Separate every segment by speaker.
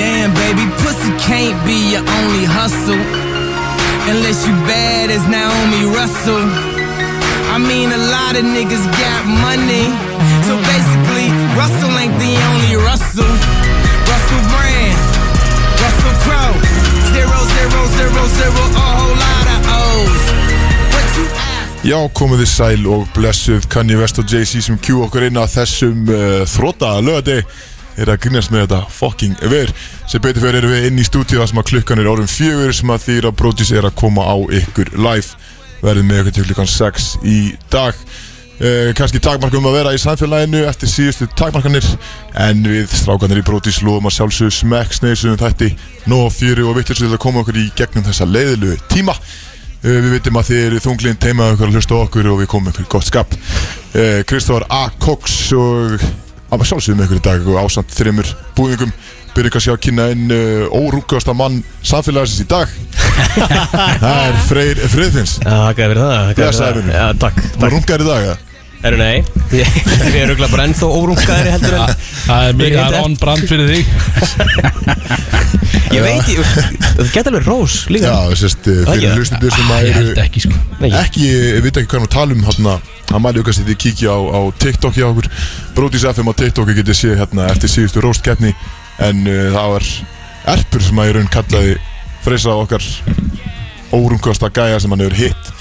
Speaker 1: Damn, baby, pussy can't be your only hustle. Unless you bad as Naomi Russell. I mean, a lot of niggas got money. So basically, Russell ain't the only Russell. Russell Brand, Russell Crowe. Zero, zero, zero, zero, a whole lot of O's. What you ask?
Speaker 2: Já, komið þið sæl og blessuð Kanye West og Jay-Z sem kjú okkur inn að þessum uh, þrótta lögadi er að grínast með þetta fucking ver sem betur fyrir erum við inn í stúdíu þar sem að klukkan er orðum fjögur sem að þýra Brodís er að koma á ykkur live verðið með ykkur til klukkan 6 í dag uh, kannski takmarkum að vera í samfélaginu eftir síðustu takmarkanir en við strákanir í Brodís lofum að sjálfsögðu smekk sneiðsum þætti nóg fjöru og vittur til að koma okkur í gegnum þessa leiðilegu tíma Uh, Við veitum að þið eru þunglinn teimað okkur að hlusta á okkur og við komum ykkur í gott skap Uh, Kristófar A. Cox og að maður sjálfsögum ykkur í dag og ásamt þreymur búðingum byrju kannski að kynna inn uh, órúkasta mann samfélagsins í dag Það er Freyr Friðfinns
Speaker 3: Já, þakka þér fyrir það þakka þér
Speaker 2: Blessaður,
Speaker 3: fyrir
Speaker 2: vinur.
Speaker 3: það. Já, takk,
Speaker 2: Hún rungar í dag, eða?
Speaker 3: takk Eru nei, ég ég er auðvitað bara ennþá órungaðri heldur en
Speaker 4: Það er
Speaker 3: Ég
Speaker 4: mikið,
Speaker 3: veit
Speaker 4: það er
Speaker 3: ekki.
Speaker 4: on brand fyrir þig
Speaker 3: Ég veit, ég- þú geta alveg rós
Speaker 2: Já,
Speaker 3: líka
Speaker 2: sérst, uh,
Speaker 3: Já, já.
Speaker 2: fyrir hlustendur sem að
Speaker 4: Ég held
Speaker 2: eru
Speaker 4: ekki sko
Speaker 3: Nei, ég-
Speaker 2: ekki, ég veit ekki hvað hann tala um hérna að maður aukast því að kíkja á, á TikTok hjá okkur Brodís FM á TikTok getið séð hérna eftir síðustu róstkeppni en uh, það var Erpur sem að ég raun kallaði freysa okkar órumkvasta gæja sem hann hefur hitt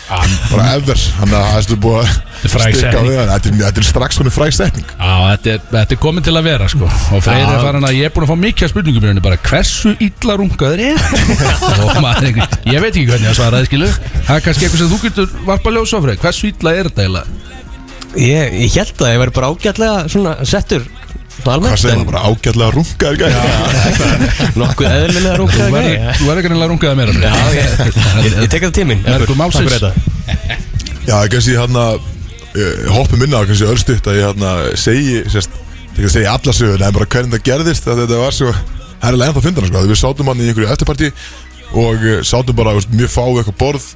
Speaker 2: bara ever, hann að það er búið að
Speaker 4: Fræg
Speaker 2: stikka
Speaker 4: setning.
Speaker 2: við hann, þetta er, þetta er strax svona frægsetning
Speaker 4: Já, þetta er, þetta er komin til að vera sko Og Freyr er farin að ég er búin að fá mikið af spurningum í rauninni bara Hversu illa rungaður er hann? Og maður, einhver- ég veit ekki hvernig að svara það skilu Það er kannski eitthvað sem þú getur varpa ljós á Freyr Hversu illa er þetta eiginlega?
Speaker 3: Ég ég held að ég væri bara ágætlega svona settur Svona
Speaker 2: hvað
Speaker 3: almennt
Speaker 2: segir hann,
Speaker 3: en
Speaker 2: bara ágætlega rungaður gæja
Speaker 3: nokkuð eðlilega
Speaker 4: Þú
Speaker 3: rungaðri
Speaker 4: verður- Þú verður kannilega rungaður meira
Speaker 3: Já, ég, ég, ég tek það tíminn
Speaker 4: Mergur málsins.
Speaker 2: Já, ég kannski hérna uh, hoppum inn á það, kannski örstutt að ég hérna segi, sérst, ég kannski segi alla söguna en bara hvernig það gerðist að þetta var svo herrilega ennþá fyndana sko, að við sátum hann í einhverju eftirparti og uh, sátum bara veist, mjög fáið eitthvað borð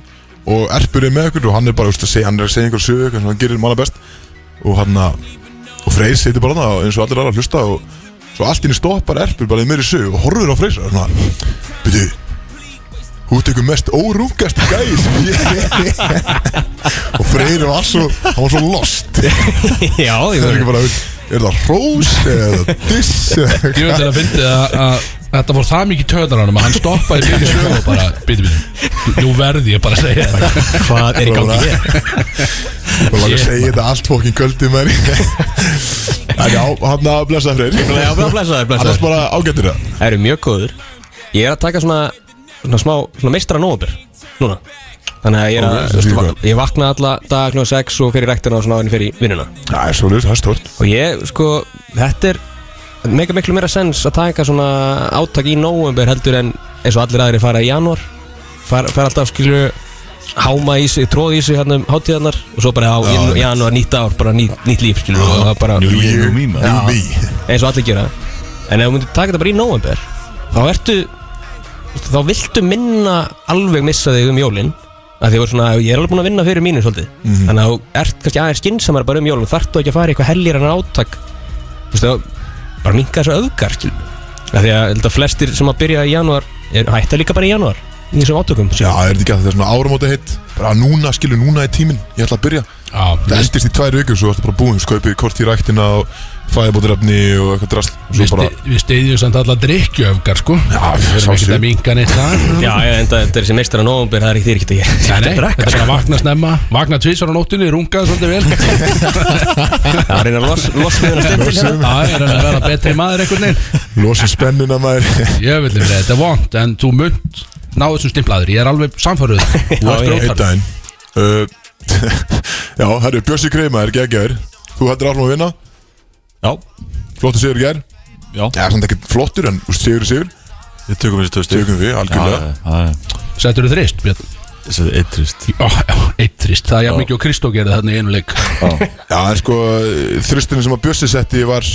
Speaker 2: og erpur er með okkur og hann er bara veist, að segja, hann er að segja einhverju sögu eitthvað sem hann gerir manna best og hann að, og Freyr setur bara hann eins og allir aðra að hlusta og svo allt inni stoppar erpur bara í meiri sögu og horfir á Freyr og svona, byrju Þú ert eitthvað mest órungast gæði sem ég Og Freyri var svo, hann var svo lost Það
Speaker 3: Já,
Speaker 2: er
Speaker 3: ég verður
Speaker 2: ekki bara, er það hrós eða diss eða-
Speaker 4: Ég veit að fyndi að að Þetta fór það mikið töðar á hann að hann stoppaði byrju sög og bara, byrju, byrju, nú verði ég bara að segja þetta
Speaker 3: Hvað er í gangi hér?
Speaker 2: Þú var að segja þetta allt fókin kvöldi með henni En já, hann að blessa Freyri
Speaker 3: Já, bara blessaður,
Speaker 2: Annars
Speaker 3: blessaður
Speaker 2: bara ágættir það
Speaker 3: Það eru mjög góður Ég er að taka svona, svona smá, svona meistra nóður Núna Þannig að ég er að,
Speaker 2: Ok,
Speaker 3: þú veist,
Speaker 2: því
Speaker 3: va- ég vakna alla dag kl. 6 og fyrir rektina og svona áðurinn fyrir vinnuna
Speaker 2: Það er svolítið, það er stort
Speaker 3: Og ég, sko, þetta er mega miklu meira sens að taka svona átak í nóvember heldur en eins og allir aðrir fara í janúar fara, fara alltaf skilju háma í sig, tróð í sig hérna um hátíðarnar og svo bara á
Speaker 2: Já,
Speaker 3: í janúar nýtt ár, bara nýtt, nýtt líf skilju og það bara
Speaker 2: New year, new me
Speaker 3: eins og allir gera en ef þú myndir taka þetta bara í november þá ertu þá viltu minna alveg missa þig um jólin að því voru svona, ég er alveg búin að vinna fyrir mínu svolítið þannig að þú ert kannski aðeins skynnsamar bara um jólin þarf þú ekki að fara í eitthvað hellir en átak þú veist þá, bara minka þessu öfgar skil að því að ég held að flestir sem að byrja í janúar er- hætta líka bara í janúar í þessum átökum
Speaker 2: Já, er þetta ekki að þetta er svona áramóta hitt Bara núna, skilu, núna er tíminn Ég ætla að byrja Það
Speaker 4: Já,
Speaker 2: endist í tvær vikur, svo ertu bara búinn Skaupið kort í ræktina og fæðabótrefni og eitthvað drast
Speaker 4: við, sti, við stiðjum samt alla drikkjöfgar sko Já, við erum ekkert
Speaker 2: sjálfsögðu.
Speaker 4: að minga neitt það
Speaker 3: já, já, en þetta er sem meistara november það er ekki þér ekki að
Speaker 4: Nei,
Speaker 3: gera
Speaker 4: nei, þetta er bara að vakna snemma Vakna tvísar á nóttunni, runga svolítið vel Já,
Speaker 3: það er að reyna að los- losna við hana stundin
Speaker 4: ég er að vera betri maður einhvern veginn
Speaker 2: Losa spennuna maður
Speaker 4: Ég vil vera, þetta er vond En þú munt ná þessum stimplaður Ég er alveg samfæruð
Speaker 3: Já, ég-
Speaker 2: Eitt daginn uh, Já, herru, Bjössi Kreima er geggjær Þú hættir áfram að vinna
Speaker 5: Já,
Speaker 2: Flottur sigur í gær
Speaker 5: Já.
Speaker 2: Já, samt ekki flottur en úst, sigur er sigur
Speaker 5: við tökum þessi tvö stík
Speaker 2: Tökum við, algjörlega
Speaker 5: Það
Speaker 4: Settur þú þrist, Björn
Speaker 5: er eitt trist
Speaker 4: Ó, já, Eitt þrist, það er jafn mikið og Kristó gerði þarna í einu leik
Speaker 2: Já, en sko, þristinu sem að Bjössi setti var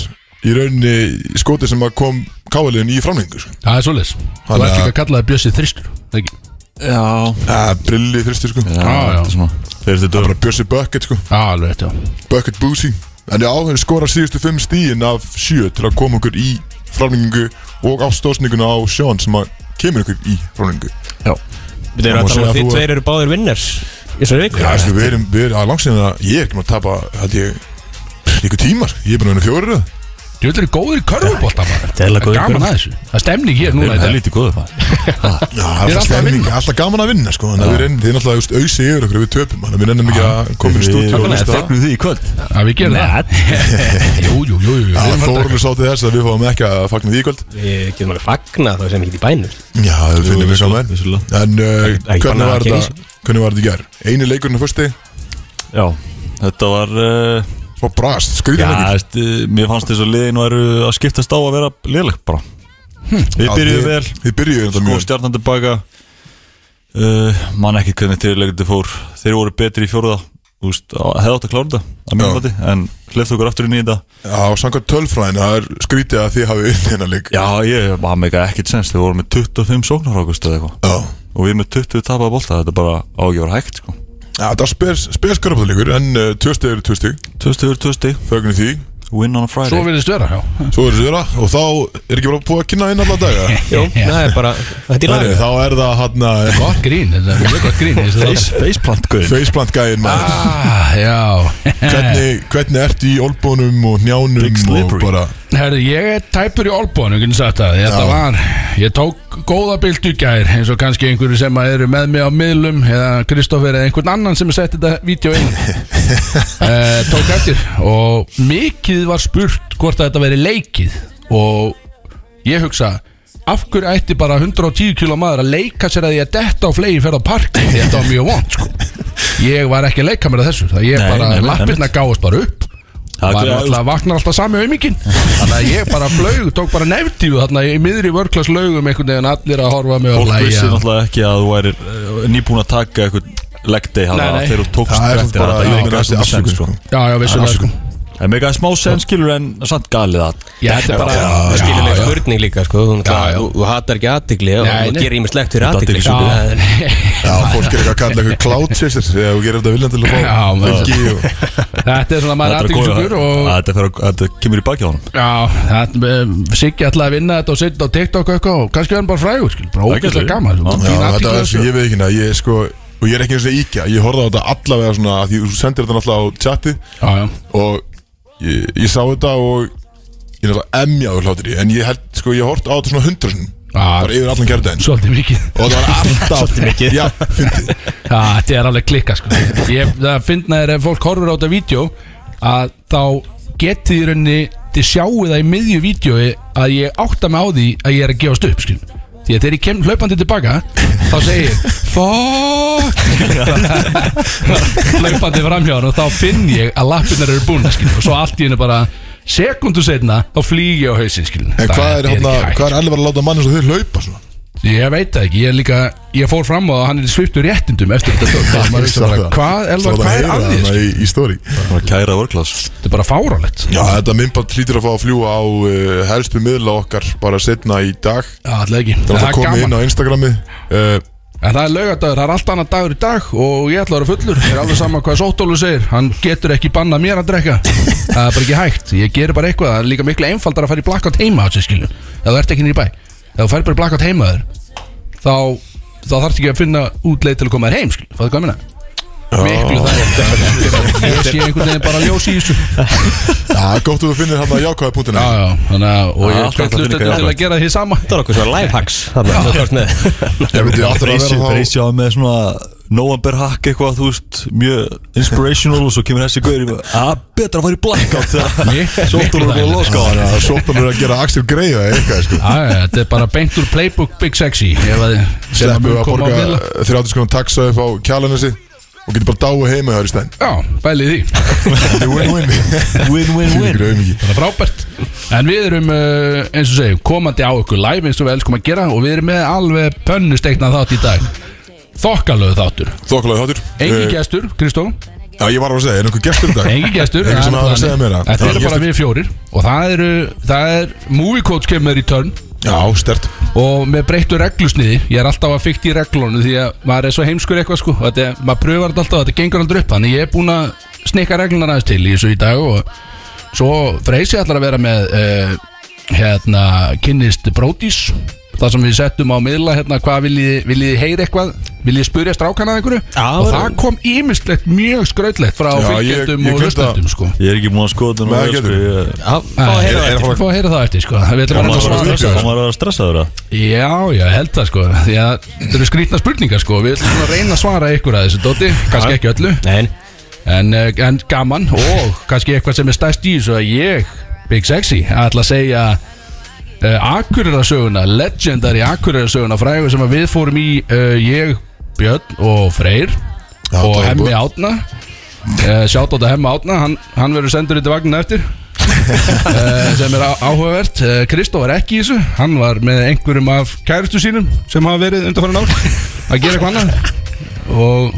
Speaker 2: í rauninni skoti sem að kom káliðin í framlengu sko.
Speaker 4: Það er svoleiðis Þú
Speaker 2: Þannig
Speaker 4: ert
Speaker 2: að-
Speaker 4: líka að kalla það Bjössi þristur það ekki?
Speaker 5: Já,
Speaker 2: Já, brilli þristi sko
Speaker 5: já,
Speaker 4: Já, já.
Speaker 5: þetta er svona Fyrstu
Speaker 2: Það er
Speaker 5: dögum
Speaker 2: bara Bjössi Bucket sko
Speaker 4: Já, alveg þetta já.
Speaker 2: Bucket Boozy En já, hann skorar síðustu fimm stíin af sjö til að koma okkur í fráningu og á stóðsninguna á Sean sem að kemur ykkur í fráningu
Speaker 3: Við
Speaker 2: Það
Speaker 3: erum
Speaker 2: má
Speaker 3: að tala
Speaker 2: segja
Speaker 3: um
Speaker 2: að
Speaker 3: að þið
Speaker 2: þú-
Speaker 3: tveir eru báðir vinners í þessari viku
Speaker 2: Já, þessi, við erum, við erum að langsinn að ég er ekki maður að tapa held ég, ykkur tímar ég er búin að vinna fjórir röð.
Speaker 4: Þú ætlir góður í körfubólta maður
Speaker 5: Það er eiginlega
Speaker 4: Það er
Speaker 5: góður í
Speaker 4: gaman að þessu Það er stemning hér
Speaker 5: Við
Speaker 4: núna
Speaker 5: erum
Speaker 4: í dag.
Speaker 5: helvítið góður maður
Speaker 2: Já, það
Speaker 4: Ég
Speaker 2: er
Speaker 4: er alltaf að
Speaker 2: stemning,
Speaker 4: vinna.
Speaker 2: alltaf gaman að vinna sko, þannig að við erum, þið er náttúrulega just, ausi yfir okkur, við töpum, þannig að við ennum ekki að koma inn í stúdíu og
Speaker 5: Við
Speaker 2: hlusta
Speaker 5: fagnum því í kvöld
Speaker 4: að við gerum það Jú, jú, jú, jú, jú.
Speaker 2: Já,
Speaker 4: Við erum
Speaker 2: Þórun er sátið þess að við fáum ekki að fagna því í kvöld
Speaker 3: Við getum alveg fagna þá sem ekki í bænum
Speaker 2: Já, það finnum við saman
Speaker 5: vissulega.
Speaker 2: En uh,
Speaker 5: ekki
Speaker 2: hvernig
Speaker 5: bannað
Speaker 2: var
Speaker 5: að gera
Speaker 2: þetta, hvernig var þetta í gær? Einu leikurinn á fyrsti,
Speaker 5: Já, þetta var uh,
Speaker 2: svo brast,
Speaker 5: Já,
Speaker 2: skrýðin ekki
Speaker 5: veist, eh, mér fannst þess að liðin væru að skiptast á að vera liðleg bara Hm. Við byrjuðum vel
Speaker 2: Við byrjuðum þetta
Speaker 5: sko
Speaker 2: mjög
Speaker 5: stjarnan tilbaka uh, man ekki hvernig þeirrleikundu fór þeir voru betri í fjóruða Úst, hefði átt að klára þetta að mínum
Speaker 2: Já.
Speaker 5: mati en hlifðu okkur aftur inn í þetta
Speaker 2: Já, samkvæmt tölfræðin, það er skrýtið að þið hafið inn hérna leik
Speaker 5: já ég var með ekkert sens þeir voru með 25 sóknar ákvist eða eitthvað
Speaker 2: Já,
Speaker 5: og við með 20 tapaða bolta þetta bara á ekki að vera hægt sko.
Speaker 2: Já, það er speskarabóðleikur En uh, tvö stig eru tvö stig,
Speaker 5: 20 yfir 20
Speaker 2: fögnir því
Speaker 5: win on a
Speaker 4: Svo
Speaker 5: Friday
Speaker 4: virðist vera, já
Speaker 2: Svo eru þeirra og þá er ekki bara búið að kynna inn alla daga
Speaker 3: Jú, það er bara, þetta
Speaker 2: Herri,
Speaker 3: er lag
Speaker 2: Þá er það hann eh, að
Speaker 4: Gott grín, þetta er mjög gott grín þessi þáttur.
Speaker 5: faceplant guðin
Speaker 2: Faceplant gæðin maður
Speaker 4: Ah, Já
Speaker 2: hvernig, hvernig ertu í olbónum og
Speaker 5: Big
Speaker 2: njánum og
Speaker 5: slippery.
Speaker 2: bara
Speaker 4: Herði, ég er tæpur í olbónu, getur sagt það Þetta
Speaker 2: Já.
Speaker 4: var, ég tók góða bildu í gær eins og kannski einhverju sem að eru með mig á miðlum eða Kristoffer eða einhvern annan sem er sett þetta vídeo inn uh, tók eftir og mikið var spurt hvort að þetta veri leikið og ég hugsa af hverju ætti bara 110 kg maður að leika sér að ég detta á flegi fyrir á parkin því þetta var mjög vond sko. ég var ekki að leika mér að þessu það ég
Speaker 5: Nei,
Speaker 4: bara,
Speaker 5: nei, nei,
Speaker 4: lappirna gáðast bara upp
Speaker 5: Það
Speaker 4: var
Speaker 5: er
Speaker 4: alltaf, vaknar alltaf sami auðmikinn þannig að ég bara flög, tók bara nefntífu þarna í miðri vörklas laugum einhvern veginn allir að horfa á mig og
Speaker 5: fólk vissi
Speaker 4: læja
Speaker 5: náttúrulega ekki að þú væri nýbúin að taka eitthvað leggdei
Speaker 4: Nei, nei.
Speaker 5: þegar þú tókst
Speaker 2: það er
Speaker 5: eftir
Speaker 2: samt bara
Speaker 5: þetta
Speaker 2: ég
Speaker 5: make
Speaker 2: meina þessi
Speaker 5: alls konar
Speaker 2: afsökun
Speaker 5: sense,
Speaker 2: sko.
Speaker 5: sko.
Speaker 4: já, já, vissulega sko
Speaker 5: Það make að smá sens skilur en samt galið að
Speaker 4: já, þetta er bara,
Speaker 3: Það er
Speaker 4: já,
Speaker 3: skilileg
Speaker 4: já,
Speaker 3: spurning líka, sko Þú
Speaker 4: Já, já.
Speaker 3: náttúrulega- þú- þú hatar ekki aðtigli og
Speaker 4: Nei,
Speaker 3: þú
Speaker 4: nei.
Speaker 3: gerir ímislegt fyrir aðtigli
Speaker 5: athygli, sko.
Speaker 2: Já, fólk er ekki að kalla eitthvað kláttsessir eða þú gerir þetta viljandi til að
Speaker 4: Já,
Speaker 2: fá
Speaker 4: maður.
Speaker 2: fylgi og
Speaker 4: þetta er svona maður
Speaker 5: Þetta er
Speaker 4: aðtíksugur
Speaker 5: góð-
Speaker 4: og
Speaker 5: að Þetta fer að- að þetta kemur í baki á hann
Speaker 4: Já, það, eh, Siggi ætlaði að vinna þetta og setja á TikTok og eitthvað og kannski verður hann bara frægur, skil, bara
Speaker 5: Það getur
Speaker 4: ógeðslega
Speaker 5: verið.
Speaker 4: gaman
Speaker 5: Já,
Speaker 2: Já, þetta er
Speaker 4: þessu
Speaker 2: ég veit ekki hérna, ég er sko og ég er ekki eins og íkja, ég horfði á þetta allavega svona af því þú sendir þetta alltaf á chati
Speaker 4: Já, já,
Speaker 2: og ég, ég sá þetta og ég er alltaf emjaður hlátur í en ég held, sko, ég horfði á þetta svona hundra sinum
Speaker 4: Já.
Speaker 2: bara yfir allan kjörðin
Speaker 4: svolítið mikið Já,
Speaker 2: og það var alltaf já, fyndið
Speaker 4: þetta er alveg klikka, sko Ég, það finna þér ef fólk horfur á þetta vídeo að þá getið þið í rauninni þið sjáu það í miðju vídeo að ég átta mig á því að ég er að gefast upp, skil Því að þegar ég kem hlaupandi tilbaka þá segir ég Fuck Hlaupandi framhjáðan og þá finn ég að lappinnar eru búin skil, og svo allt í hennu bara sekundu setna þá flýg ég á hausin skil
Speaker 2: En hvað er, hana, hvað er alveg bara að láta mann eins og þau hlaupa svona?
Speaker 4: Ég veit það ekki, ég er líka Ég fór fram á að hann er sviptur réttindum eftir þetta tök Þannig að maður
Speaker 2: Ég sá
Speaker 4: hugsa bara,
Speaker 2: það. Sá
Speaker 4: Hvað, Elvar,
Speaker 2: það
Speaker 4: hvað er
Speaker 2: heyra
Speaker 4: að því
Speaker 2: þarna
Speaker 4: sko?
Speaker 2: Í, í stóri
Speaker 5: Bara Kæra vörglas
Speaker 4: Þetta er bara fáralegt
Speaker 2: Já, þetta minnband hlýtur að fá að fljúa á uh, helstu miðla okkar bara setna í dag
Speaker 4: Já, alltaf ekki
Speaker 2: Það er
Speaker 4: Það
Speaker 2: alltaf
Speaker 4: er
Speaker 2: komið
Speaker 4: gaman
Speaker 2: inn á Instagrami uh,
Speaker 4: En það er laugadagur, það er allt annar dagur í dag og ég ætla að vera fullur, það er alveg sama hvað Sóttólu segir, hann getur ekki banna mér að drekka það er bara ekki hægt, ég gerir bara eitthvað það er líka miklu einfaldar að fara í blackout heima á sig skilju, ef þú ert ekki niður í bæ ef þú fær bara í blackout heima þér þá, þá þarfst ekki að finna út leið til að koma þér heim skilju, fæðu hvað ég minna miklu það ég sé einhvern veginn bara ljós í þessu já,
Speaker 2: Já, gott að þú finnir hann að jákvæða punktina
Speaker 4: já, þannig að og
Speaker 5: Já,
Speaker 4: ég
Speaker 5: alltaf
Speaker 4: hlut
Speaker 5: líka
Speaker 4: þetta til að
Speaker 5: jákvætt.
Speaker 4: gera því sama
Speaker 3: Það er okkur svona lifehacks þarna, þú ert með.
Speaker 2: Ég veit, ég áttur að vera þá
Speaker 5: Freysi á með svona November hack eitthvað, þú veist Mjög inspirational og svo kemur þessi guður Að betra að fara í blackout
Speaker 4: Mik-
Speaker 5: þegar Sóttur
Speaker 4: miklu
Speaker 5: og búið að
Speaker 4: þægilegra.
Speaker 5: loska á
Speaker 2: Það
Speaker 5: hann
Speaker 2: er svolítið Sko, að gera Axel Greiða eitthvað sko
Speaker 4: Já, já, þetta er bara beint úr playbook Big Sexy ef að sem að
Speaker 2: Sleppu
Speaker 4: mun
Speaker 2: að
Speaker 4: koma á
Speaker 2: borga
Speaker 4: miðla.
Speaker 2: 30 skoðum taxa upp á kjalanessi og getur bara dáið heima hjá þér í stæn
Speaker 4: Já, bælið í því
Speaker 2: Þetta er win-win
Speaker 5: Win, win,
Speaker 2: Fyrir
Speaker 5: win
Speaker 2: auðviki
Speaker 4: Það er frábært En við erum, uh, eins og segjum, komandi á ykkur live eins og við elskum að gera og við erum með alveg pönnustekna þátt í dag Þokkalöðu þáttur
Speaker 2: Þokkulega þáttur
Speaker 4: Engi
Speaker 2: Eh,
Speaker 4: gestur, Kristó
Speaker 2: Já, ég var að segja, er einhver gestur í dag?
Speaker 4: Engi gestur
Speaker 2: Engi sem
Speaker 4: en
Speaker 2: hafa að
Speaker 4: þannig-
Speaker 2: segja meira
Speaker 4: Þetta eru
Speaker 2: Já,
Speaker 4: bara
Speaker 2: gestur.
Speaker 4: við fjórir og það eru, það er Movie Coach kemur í törn
Speaker 2: Já, stert
Speaker 4: og með breyttu reglusniði ég er alltaf að fykta í reglunum því að maður er svo heimskur eitthvað sko og þetta, er- maður pröfar þetta alltaf og þetta gengur aldrei upp þannig ég er búin að snikka reglunar aðeins til í þessu í dag og svo freysi allar að vera með uh, hérna, kynnist Brodís Það sem við settum á miðla hérna, hvað viljið viljið þið heyra eitthvað viljið þið spurja strákana að einhverju
Speaker 3: Já,
Speaker 4: og
Speaker 3: það-
Speaker 4: það kom ímislegt mjög skrautlegt frá
Speaker 2: Já, ég- ég
Speaker 4: fylgjendum og
Speaker 2: kunni það.
Speaker 4: hlustendum sko.
Speaker 5: Ég er ekki múin að skoða þetta
Speaker 2: Nei,
Speaker 5: nógu vel,
Speaker 2: getur.
Speaker 5: sko, ég-
Speaker 3: Já, fá að heyra
Speaker 2: Er- er-
Speaker 3: það
Speaker 2: það
Speaker 4: Fá að heyra það eftir sko. Við ætlum að
Speaker 5: Á maður
Speaker 4: reyna að
Speaker 5: að
Speaker 4: svara þessu.
Speaker 5: vera stressaður? Á maður að vera stressaður að
Speaker 4: Já, já, ég held það sko Því að þetta eru skrýtna spurningar sko Við ætlum svona að reyna að svara ykkur að þessu Dóti Kannski ekki öllu
Speaker 3: Nei,
Speaker 4: en, eh, en gaman og kannski eitthvað sem er stærst í þessu að ég, Big Sexy, ætla að segja uh, Akureyrarsöguna, legendary Akureyrarsöguna frægur sem að við fórum í uh, ég, Björn og Freyr
Speaker 2: Já,
Speaker 4: og
Speaker 2: það er
Speaker 4: Hemmi
Speaker 2: búið.
Speaker 4: Átna uh, sjátt á þetta Hemmi Átna hann, hann verður sendur í vagnin eftir uh, sem er á- áhugavert uh, Kristó var ekki í þessu, hann var með einhverjum af kæristu sínum sem hafa verið undanfærin ár að gera eitthvað annað og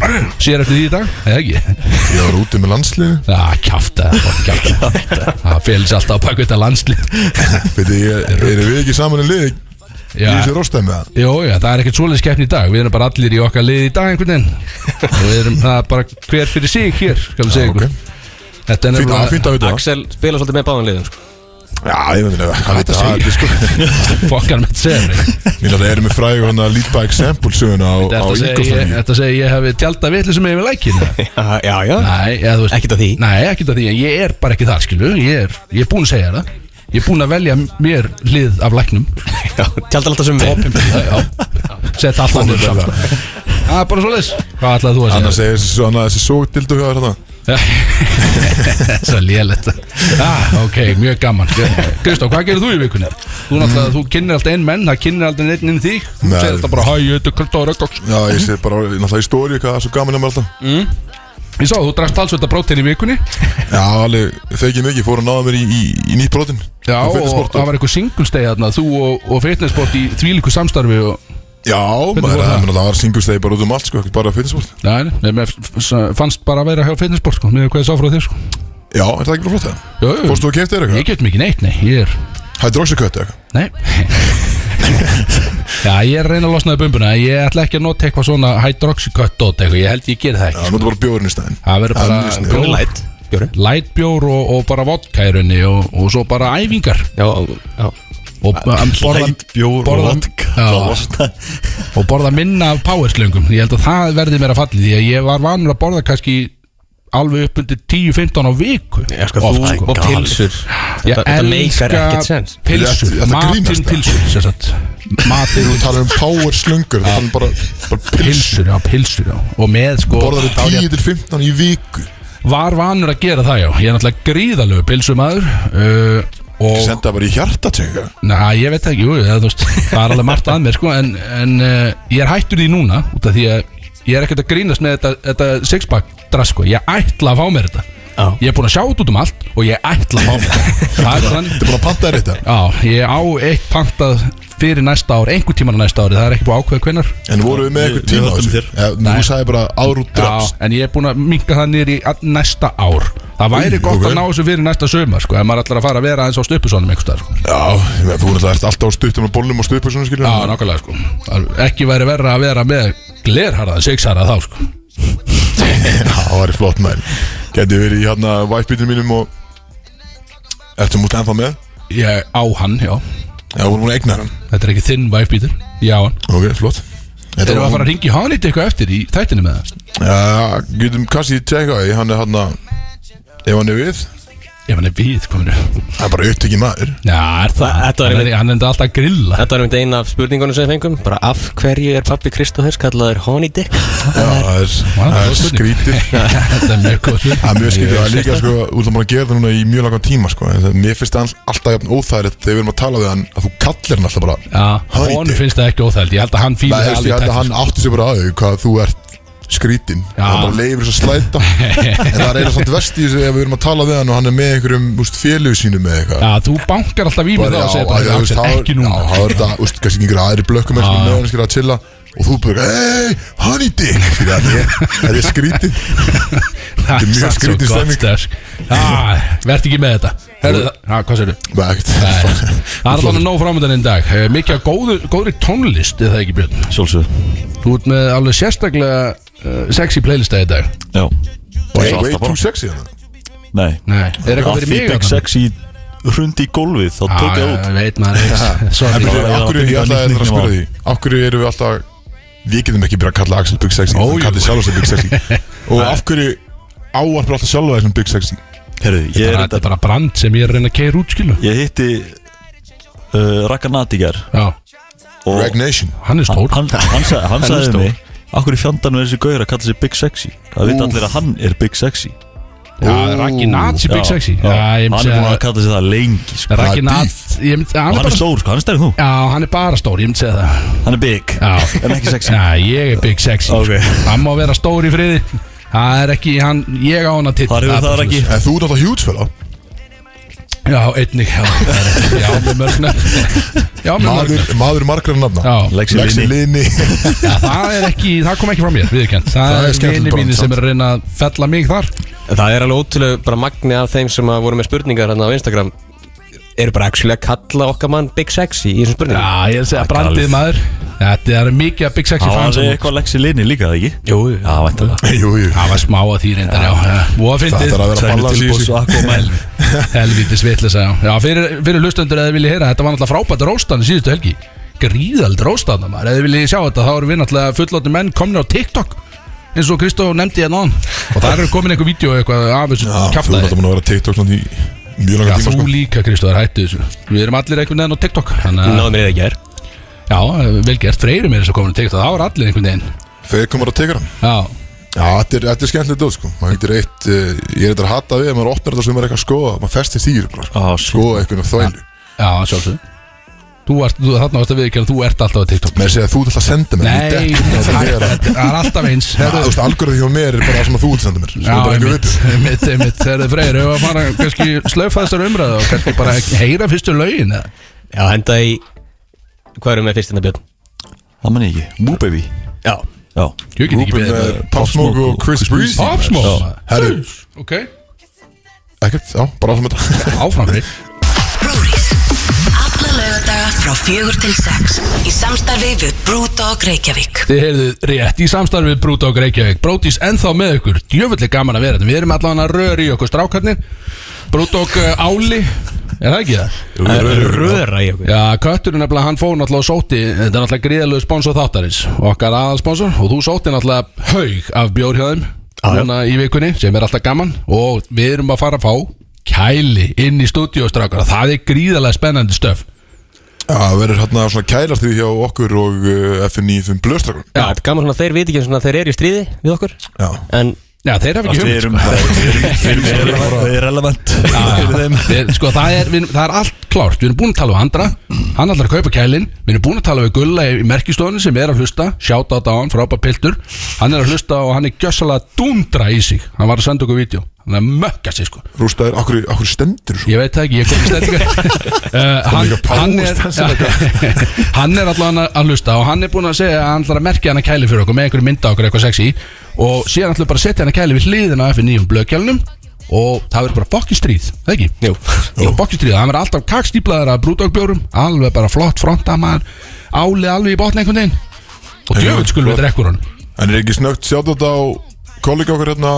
Speaker 4: sér eftir því í dag eða ekki
Speaker 2: Ég var úti með landslið
Speaker 4: Já, kjáfta Það félis alltaf á bak við þetta landslið
Speaker 2: Veitir, ég- erum við ekki saman en liði í
Speaker 4: Já,
Speaker 2: þessu róstæmi eða?
Speaker 4: jó, já, það er ekkert svoleiðis keppni í dag Við erum bara allir í okkar lið í dag einhvern veginn Og við erum það er bara hver fyrir sig hér Skal við segja
Speaker 2: Ok,
Speaker 4: ykkur Þetta er
Speaker 2: fínt að
Speaker 4: nefnilega
Speaker 2: fínt að vita það
Speaker 3: Axel spila svolítið með báðan liðum sko.
Speaker 2: Já, ég veit nefnilega, hann veit að það sko
Speaker 4: Fokkar með segja
Speaker 2: Mér náttúrulega erum við fræði hann að lead by example söguna á, á
Speaker 4: Þetta segja ég,
Speaker 2: Ígóflæmi
Speaker 4: ertu að segja ég hefði tjálta vitlu sem hefur lækina
Speaker 3: Já, já, já
Speaker 4: Nei, eða þú veist
Speaker 3: Ekkert að því.
Speaker 4: Nei, ekkert að því en Ég er bara ekki þar, skilu Ég er, ég er búin að segja það Ég er búin að velja mér lið af læknum
Speaker 3: Tjaldar alltaf sem við
Speaker 4: Sett allt annir saman Það er bara svoleiðis Hvað ætlaði þú að segja?
Speaker 2: Annars segir þessi, annað þessi sógdildu höfðar þarna
Speaker 4: Svo lélætt ah, Ok, mjög gaman Kristó, hvað gerir þú í vikunni? Þú náttúrulega, þú kynir alltaf einn menn Það kynir alltaf einn inn í þig Þú
Speaker 2: Nei.
Speaker 4: segir alltaf bara Hæ, ég heiti Kristó Rökkóks
Speaker 2: Já, ég sé bara náttúrulega í stóri hvað það er svo gaman hjá mér alltaf
Speaker 4: Ég sá, þú drakst alls þetta brótin í vikunni
Speaker 2: Já, alveg þegið mikið, fór að náða mér í, í, í nýtt brotin
Speaker 4: Já, og það
Speaker 2: var...
Speaker 4: var eitthvað singulstegi þarna Þú og, og fitnessport í þvílíku samstarfi og,
Speaker 2: Já, maður,
Speaker 4: fór það?
Speaker 2: það meina, það var singulstegi bara út um allt sko, ekki bara fitnessport
Speaker 4: Nei, nei, mér f- fannst bara að vera hjá fitnessport sko, Með hvað ég sá frá þér sko
Speaker 2: Já, er það ekki bara flott það?
Speaker 4: Jú, jú,
Speaker 2: Mm. Fórstu og keftið þér
Speaker 4: ég
Speaker 2: eitthvað?
Speaker 4: get mikið neitt, nei Ég er,
Speaker 2: Hydroxycut eða eitthvað?
Speaker 4: nei Já, ég er að reyna að losnaði bumbuna Ég ætla ekki að nota eitthvað svona hydroxycut dot eitthvað, Ég held ég geri það ekki
Speaker 2: Já, nú er bara bjórinn í stæðin
Speaker 4: Það verður bara
Speaker 2: Hann er sniðugur.
Speaker 4: bjór,
Speaker 3: Light Bjóri
Speaker 4: light bjór og, og bara vodka í rauninni og, og svo bara æfingar
Speaker 3: Já, já
Speaker 4: og, um, borða,
Speaker 5: Light bjór og
Speaker 4: borða-
Speaker 5: vodka.
Speaker 4: Já.
Speaker 5: Það losnar.
Speaker 4: og borða minna af powerslöngum ég held að það verði mér að falli því að ég var vanur að borða kannski alveg upp undir 10-15 á viku
Speaker 3: Já, sko, þú
Speaker 4: sko.
Speaker 3: og pilsur
Speaker 4: Ég
Speaker 3: Þetta- þetta meikar ekkert
Speaker 4: elska
Speaker 3: sens.
Speaker 4: pilsur,
Speaker 2: Þetta- þetta
Speaker 4: matinn
Speaker 2: grínast það.
Speaker 4: pilsur sem sagt. matinn
Speaker 2: Þú talar um power slungur, það talar um bara, bara pilsu
Speaker 4: pilsur, já, pilsur já. og með sko
Speaker 2: Borðar
Speaker 4: þá er ég-
Speaker 2: við 10 til 15 í viku
Speaker 4: var vanur að gera það já ég er náttúrulega gríðalegu pilsumadur uh, og
Speaker 2: Senda bara í hjartatöku
Speaker 4: Næ, ég veit það ekki, jú, það, þú veist, það er alveg margt að mér sko, en, en uh, ég er hættur því núna út af því að ég er ekkert að grínast með þetta, þetta sixpack drask sko. ég ætla að fá mér þetta
Speaker 3: Já.
Speaker 4: ég er búin að sjá þetta út um allt og ég ætla að fá mér þetta það er þannig
Speaker 2: Þetta er bara að panta þér þetta
Speaker 4: Já, ég á eitt pantað fyrir næsta ár, einhver tíman á næsta ári, það er ekki búið ákveða hvenar
Speaker 2: En voru við með
Speaker 5: Við-
Speaker 2: eitthvað
Speaker 5: við
Speaker 2: tíma á
Speaker 5: höldum
Speaker 2: þessu?
Speaker 5: þér.
Speaker 2: Ja,
Speaker 4: Nei.
Speaker 2: Þú sagði bara ár út drafst
Speaker 4: en ég er búin að minka það niður í all- næsta ár Það væri
Speaker 2: Í,
Speaker 4: gott
Speaker 2: ok.
Speaker 4: að ná þessu fyrir næsta sömar, sko, ef maður ætlar að fara að vera eins á stöpusónum einhvers staðar, sko.
Speaker 2: Já, ég meina, þú náttúrulega ert alltaf á stuttum og bólnum og stuðpur svona skilur
Speaker 4: Já, nákvæmlega sko Það- Ekki væri verra að vera með glerharðan sexharða þá sko
Speaker 2: það var flott mæl Gæti verið í hérna væpbítinu mínum og Ertu mútið ennþá með?
Speaker 4: Ég á hann, já
Speaker 2: Já, hún er múin að eigna hann
Speaker 4: Þetta er ekki þinn væfbítur Ég á hann
Speaker 2: Ok, flott Þetta
Speaker 4: Erum við að
Speaker 2: var-
Speaker 4: fara að ringi hann eitt eitthvað eftir í þættinu með það?
Speaker 2: Já, getum kannski tjekka því Hann er hérna Ef hann er við
Speaker 4: Ef hann er við kominu
Speaker 2: Það er bara upptekið maður
Speaker 4: Já, er það
Speaker 3: þetta er
Speaker 4: Hann er, hann er enda alltaf að grilla
Speaker 3: Þetta var einmitt eina af spurningunum sem við fengum Bara af hverju er pappi Kristóðers kallaður Honey Dick?
Speaker 2: Já, það er,
Speaker 4: Ah, Vá,
Speaker 2: það
Speaker 4: góð
Speaker 2: er
Speaker 4: spurning.
Speaker 2: skrítið
Speaker 4: Þetta er mjög góð spurning
Speaker 2: Það er mjög skrítið, það er líka sko, þú ætlum bara að gera það núna í mjög langan tíma sko, en það- mér finnst það alltaf jafn óþægilegt þegar við erum að tala við hann, að þú kallir hann alltaf bara
Speaker 4: Já,
Speaker 2: Honey
Speaker 4: honum
Speaker 2: dick.
Speaker 4: finnst það ekki óþæld Ég held að
Speaker 2: Nei,
Speaker 4: hann fýlir
Speaker 2: þú veist, ég held að hann átti sér bara að þau hvað þú ert skrítin
Speaker 4: Já.
Speaker 2: hann bara leifir þess að slæta en það er eða samt vest í þessu ef við erum að tala við hann og hann er með einhverjum úst, félugu sínum með eitthvað
Speaker 4: Já, þú bankar alltaf í mig
Speaker 2: Bara,
Speaker 4: það og segir
Speaker 2: að
Speaker 4: bara
Speaker 2: þú veist,
Speaker 4: Axel,
Speaker 2: þá-
Speaker 4: ekki
Speaker 2: Já,
Speaker 4: núna
Speaker 2: þá er þetta, úst, kannski einhverja aðri blökkum með hann skilur að chilla og þú bara, hei, hann í dig það er skrítið
Speaker 4: Það
Speaker 2: er mjög
Speaker 4: samt svo
Speaker 2: skrítið
Speaker 4: gott
Speaker 2: stemming.
Speaker 4: stösk. Já, verð ekki með þetta Herðu það, Já, hvað segirðu?
Speaker 2: Nei, ekkert.
Speaker 4: Það er alveg nóg framöndan einn dag Eh, Mikið af góðu, góðri tónlist er það ekki Björn
Speaker 5: Sjálfsögðu
Speaker 4: Þú ert með alveg sérstaklega uh, sexy playlista í dag
Speaker 5: Já
Speaker 2: Way
Speaker 5: Alltaf
Speaker 2: way
Speaker 5: bara.
Speaker 2: too sexy hann
Speaker 5: Nei
Speaker 4: Nei Er eitthvað
Speaker 5: Að
Speaker 4: fyrir
Speaker 5: því
Speaker 4: mig
Speaker 5: Big
Speaker 4: þarna?
Speaker 5: Sexy hrundi í gólfið þá tók ég það út
Speaker 4: Já, ég veit maður eitt
Speaker 2: En
Speaker 4: Sorry
Speaker 2: byrju,
Speaker 5: já,
Speaker 2: akkur, ég
Speaker 5: já,
Speaker 2: ætlaði
Speaker 5: nýtt
Speaker 2: að
Speaker 5: nickname
Speaker 2: spyrja
Speaker 5: á.
Speaker 2: því Akkur erum við alltaf Við getum ekki byrjað að kalla Axel Big Sexy
Speaker 4: Ó,
Speaker 2: Hann
Speaker 4: jú.
Speaker 2: kallir sjálf þess að Big Sexy Og af hverju áarpar alltaf sjálf þess að Big Sexy
Speaker 5: Herru, ég,
Speaker 4: Bara-
Speaker 5: er
Speaker 4: Þetta er
Speaker 5: þetta-
Speaker 4: bara brand sem ég er að reyna að keira út skilu
Speaker 5: ég hitti uh, Raka Natigar
Speaker 4: Já,
Speaker 5: og
Speaker 2: Rag Nation
Speaker 4: hann er
Speaker 5: hann,
Speaker 4: stór
Speaker 5: hann, hann, sa- hann
Speaker 4: Hann er
Speaker 5: sagði
Speaker 4: stór.
Speaker 5: mig Akkur í fjandarnu er þessi gauður að kalla sig Big Sexy Það veit allir að hann er Big Sexy
Speaker 4: Já, Raki Nazi Big
Speaker 5: Já,
Speaker 4: Sexy
Speaker 5: já.
Speaker 4: Já, ég
Speaker 5: Hann er
Speaker 4: myndi
Speaker 5: búin
Speaker 4: segja
Speaker 5: að kalla sig það lengi sko.
Speaker 2: það er
Speaker 4: Raki
Speaker 2: dýf.
Speaker 4: Nazi Ég myndi
Speaker 5: Og
Speaker 4: hann er
Speaker 5: hann er
Speaker 4: bara-
Speaker 5: stór, sko, hann er stærri en þú
Speaker 4: Já, hann er bara stór, ég myndi segja það
Speaker 5: Hann er Big
Speaker 4: Já.
Speaker 5: En ekki sexy
Speaker 4: Já, ég er Big Sexy sko.
Speaker 5: Ok.
Speaker 4: Hann má vera stór í friði Það er ekki, hann, ég á hann að titta
Speaker 5: Þar hefur það ekki
Speaker 2: En þú ert alltaf huge fella
Speaker 4: Já, einnig Já, það er rétt. já með mörgna Já, með mörgna
Speaker 2: Maður, maður margra nafna
Speaker 4: Já,
Speaker 5: Lexi
Speaker 2: Lexi
Speaker 5: Lini
Speaker 2: Lini
Speaker 4: já, það er ekki, það kom ekki frá mér, viðurkjönd Það,
Speaker 2: Það er
Speaker 4: er
Speaker 2: skemmtileg
Speaker 4: vini
Speaker 2: brand,
Speaker 4: mínu sem
Speaker 2: samt.
Speaker 4: er að reyna að fella mig þar
Speaker 3: Það er alveg ótrúlega bara magni af þeim sem að voru með spurningar hérna á Instagram eru bara actually að kalla okkar mann Big Sexy í þessum spurningum
Speaker 4: Já, ég er að segja brandið maður Þetta er mikið að Big Sexy
Speaker 5: Hann var
Speaker 4: fans þarna.
Speaker 5: eitthvað Lexi Lini líka, það ekki?
Speaker 3: Jú, já,
Speaker 5: Já, væntanlega
Speaker 2: Jú, jú
Speaker 4: Það var smá að því reyndar, já Vóða
Speaker 2: Það
Speaker 4: fyndið
Speaker 2: þarf að vera
Speaker 5: Tvenni
Speaker 2: ballast í
Speaker 5: tilbúið
Speaker 2: þessu.
Speaker 5: svo Aquaman
Speaker 4: Helvítis vitlisa, já Já, fyrir, fyrir lustendur eða þið viljið heyra Þetta var náttúrulega frábært róstan í síðustu helgi Gríðald róstan, maður Eða þið viljið sjá þetta, þá erum við náttúrulega fullotni menn komnir á TikTok eins og Kristó nefndi hérna áðan Og það eru komin einhver vídeo eitthvað af þessu
Speaker 2: Já, þú ert
Speaker 4: kjaftaði
Speaker 2: alltaf búin að vera TikTok svona í mjög
Speaker 4: Já,
Speaker 2: langan tíma
Speaker 4: þú
Speaker 2: sko
Speaker 4: líka Kristó, það er hættið þessu Við erum allir einhvern veginn á TikTok Þannig að,
Speaker 3: náðu mér eða ekki er
Speaker 4: já, vel gert, freyri mér þess að komin á TikTok Það var allir einhvern veginn
Speaker 2: Þeir komur að tekja hann
Speaker 4: Já,
Speaker 2: Já, þetta er, þetta er skemmtilegt dót sko Maður getur eitt, uh, ég er þetta að hata við að maður opnar þetta sem maður er eitthvað að skoða Maður festist í þessu bara
Speaker 5: Á, shit.
Speaker 2: Skoða eitthvað um þvælu
Speaker 4: já, sjálfsög Þú ert, þú, þarna varst að viðkjörn, þú ert alltaf á TikTok
Speaker 2: Mér segja að þú ert alltaf að senda mér
Speaker 4: Nei,
Speaker 2: Ég dekk þetta
Speaker 4: það
Speaker 2: þegar að-
Speaker 4: það er alltaf eins
Speaker 2: Já, Þú veist, algjörðu hjá mér er bara það sem að þú ert að senda mér Svo
Speaker 4: Já,
Speaker 2: er bara einhver
Speaker 4: einmitt,
Speaker 2: vitur
Speaker 4: einmitt, einmitt Þegar þið freyr, hefur að fara kannski slöfa þessar umræðu og kannski bara heyra fyrstu lögin eða?
Speaker 3: Já, henda í Hvað erum við með fyrst hérna Björn?
Speaker 5: Það mann ég ekki Woo Baby
Speaker 3: Já
Speaker 5: Já
Speaker 4: Ég get ekki
Speaker 2: Rúben
Speaker 4: beðið um
Speaker 2: með Pop Smoke og Chris Breezy
Speaker 4: Pop Smoke.
Speaker 2: Já. Herru,
Speaker 4: Ok,
Speaker 2: ekkert, já, bara áfram með þetta
Speaker 4: áfram við
Speaker 6: Brúðis Alla lögadaga frá fjögur til sex Í samstarfi við Brúdog Reykjavík
Speaker 4: Þið heyrðuð rétt í samstarfi við Brúdók Reykjavík Brótis ennþá með ykkur, djöfulli gaman að vera þetta Við erum allan að röra í okkur strákarnir Brúdók Áli Er það ekki það?
Speaker 3: Röra í okkur
Speaker 4: Já, kötturinn nefnilega, hann fór náttúrulega og sótti, þetta er náttúrulega gríðalegu sponsor þáttarins, okkar aðalsponsor og þú sótti náttúrulega haug af bjór hjá þeim núna í vikunni, sem er alltaf gaman og við erum að fara að fá kæli inn í stúdíóstrákar og það er gríðalega spennandi stöf
Speaker 2: Já, það verður hérna svona kælastrið hjá okkur og uh, FN95 Blöðstrakun
Speaker 3: Já, þetta er gaman svona að þeir viti ekki svona að þeir eru í stríði við okkur
Speaker 2: Já,
Speaker 3: En
Speaker 4: Já, þeir hafa ekki
Speaker 5: Við
Speaker 4: hugmynd
Speaker 5: erum bara Við erum- við erum- við erum- við erum relevant Fyrir þeim
Speaker 4: Þeir, sko, það, er, við, það er allt klárt Við erum búin að tala við Andra Hann ætlar að kaupa kælin Við erum búin að tala við Gulla í, í merkistofunni sem er að hlusta Shout out á hann, frábæð piltur Hann er að hlusta og hann er gjössalega dúndra í sig Hann var að senda okkur vídeo Hann er að mökka sig sko
Speaker 2: rústaður, akkur, akkur stendur svo
Speaker 4: Ég veit það ekki, ég kom í stendingar uh, hann,
Speaker 2: líka
Speaker 4: hann, er,
Speaker 2: páfast, hann
Speaker 4: hann er allan að, að hlusta og hann er búin að segja að hann ætlar að merkja hann að kæli fyrir okkur með einhverju mynda okkur eitthvað sexy og síðan ætlar bara að setja hann að kæli við hliðina á F9 um blöðkjálnum og það verður bara fokki stríð, það ekki? Jú, Jú fokki stríð, hann verður alltaf kakstýplaður að brúdogbjórum, alveg bara flott frontamaður, álið alveg í botn einhvern veginn og
Speaker 2: Já,
Speaker 4: djöfut skulum
Speaker 2: flott.
Speaker 4: við drekkur hann
Speaker 2: En er ekki snögt sjátt á kollega okkur hérna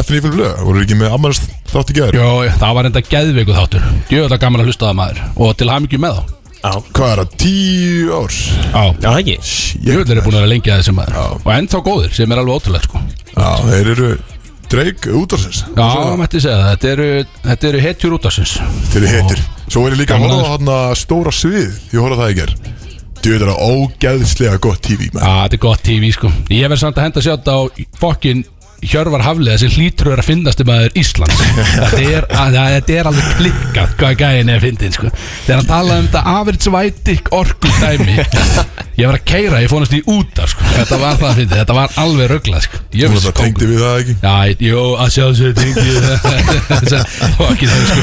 Speaker 2: FN95 Blöð Voru ekki með ammælst þátt í gæður
Speaker 4: Jó, það var enda geðveiku þáttur, djöfut að gaman að hlusta það maður og til hamingju með þá
Speaker 2: Hvað er það, tíu ár?
Speaker 4: Já,
Speaker 3: Já, það ekki
Speaker 4: Jöfnir er búin að vera lengi að þessum maður Og ennþá góðir sem er alveg ótrúlega sko
Speaker 2: Já, þeir eru dreik útarsins
Speaker 4: Já, það mætti segja það Þetta eru, þetta eru hetjur útarsins
Speaker 2: Þeir eru heitir Svo er ég líka að
Speaker 4: Gaman
Speaker 2: horfa á
Speaker 4: aðeins.
Speaker 2: þarna stóra svið Ég horfa á það í ger Djöður er það ógæðslega gott TV
Speaker 4: Já,
Speaker 2: maður.
Speaker 4: þetta er gott TV sko Ég verð samt að henda sér þetta á fokkin Hjörvar Hafliða sem hlýtur að vera finnast um aður Ísland þetta, er, að, að, þetta er alveg klikkað hvað gæðin er að fyndin sko Þegar hann talaði um þetta afritsvætik orku dæmi Ég var að keira, ég fónast í útar sko Þetta var það að fyndi, þetta var alveg rugglað sko
Speaker 2: Þú
Speaker 4: Jöfnir
Speaker 2: veist það tengdi við það ekki
Speaker 4: Já, ég- jú, að sjálfsögðu tengi Það var ekki það sko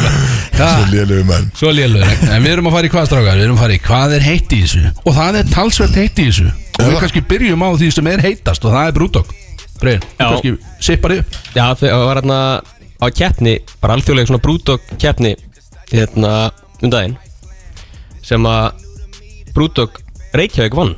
Speaker 2: Svo
Speaker 4: Já,
Speaker 2: lélegu menn
Speaker 4: Svo lélur En við erum að fara í hvað strákar Við erum að fara í hvað er heitt í þessu Og það er talsvert heitt í þessu Og við
Speaker 2: það?
Speaker 4: kannski byrjum á því sem er heitast Og það er brúdokk Breir, þú
Speaker 3: Já.
Speaker 4: kannski sippar upp
Speaker 3: Já, það var hérna á keppni bara alþjóðlega svona brúdog keppni hérna um daginn sem að brúdog Reykjavík vann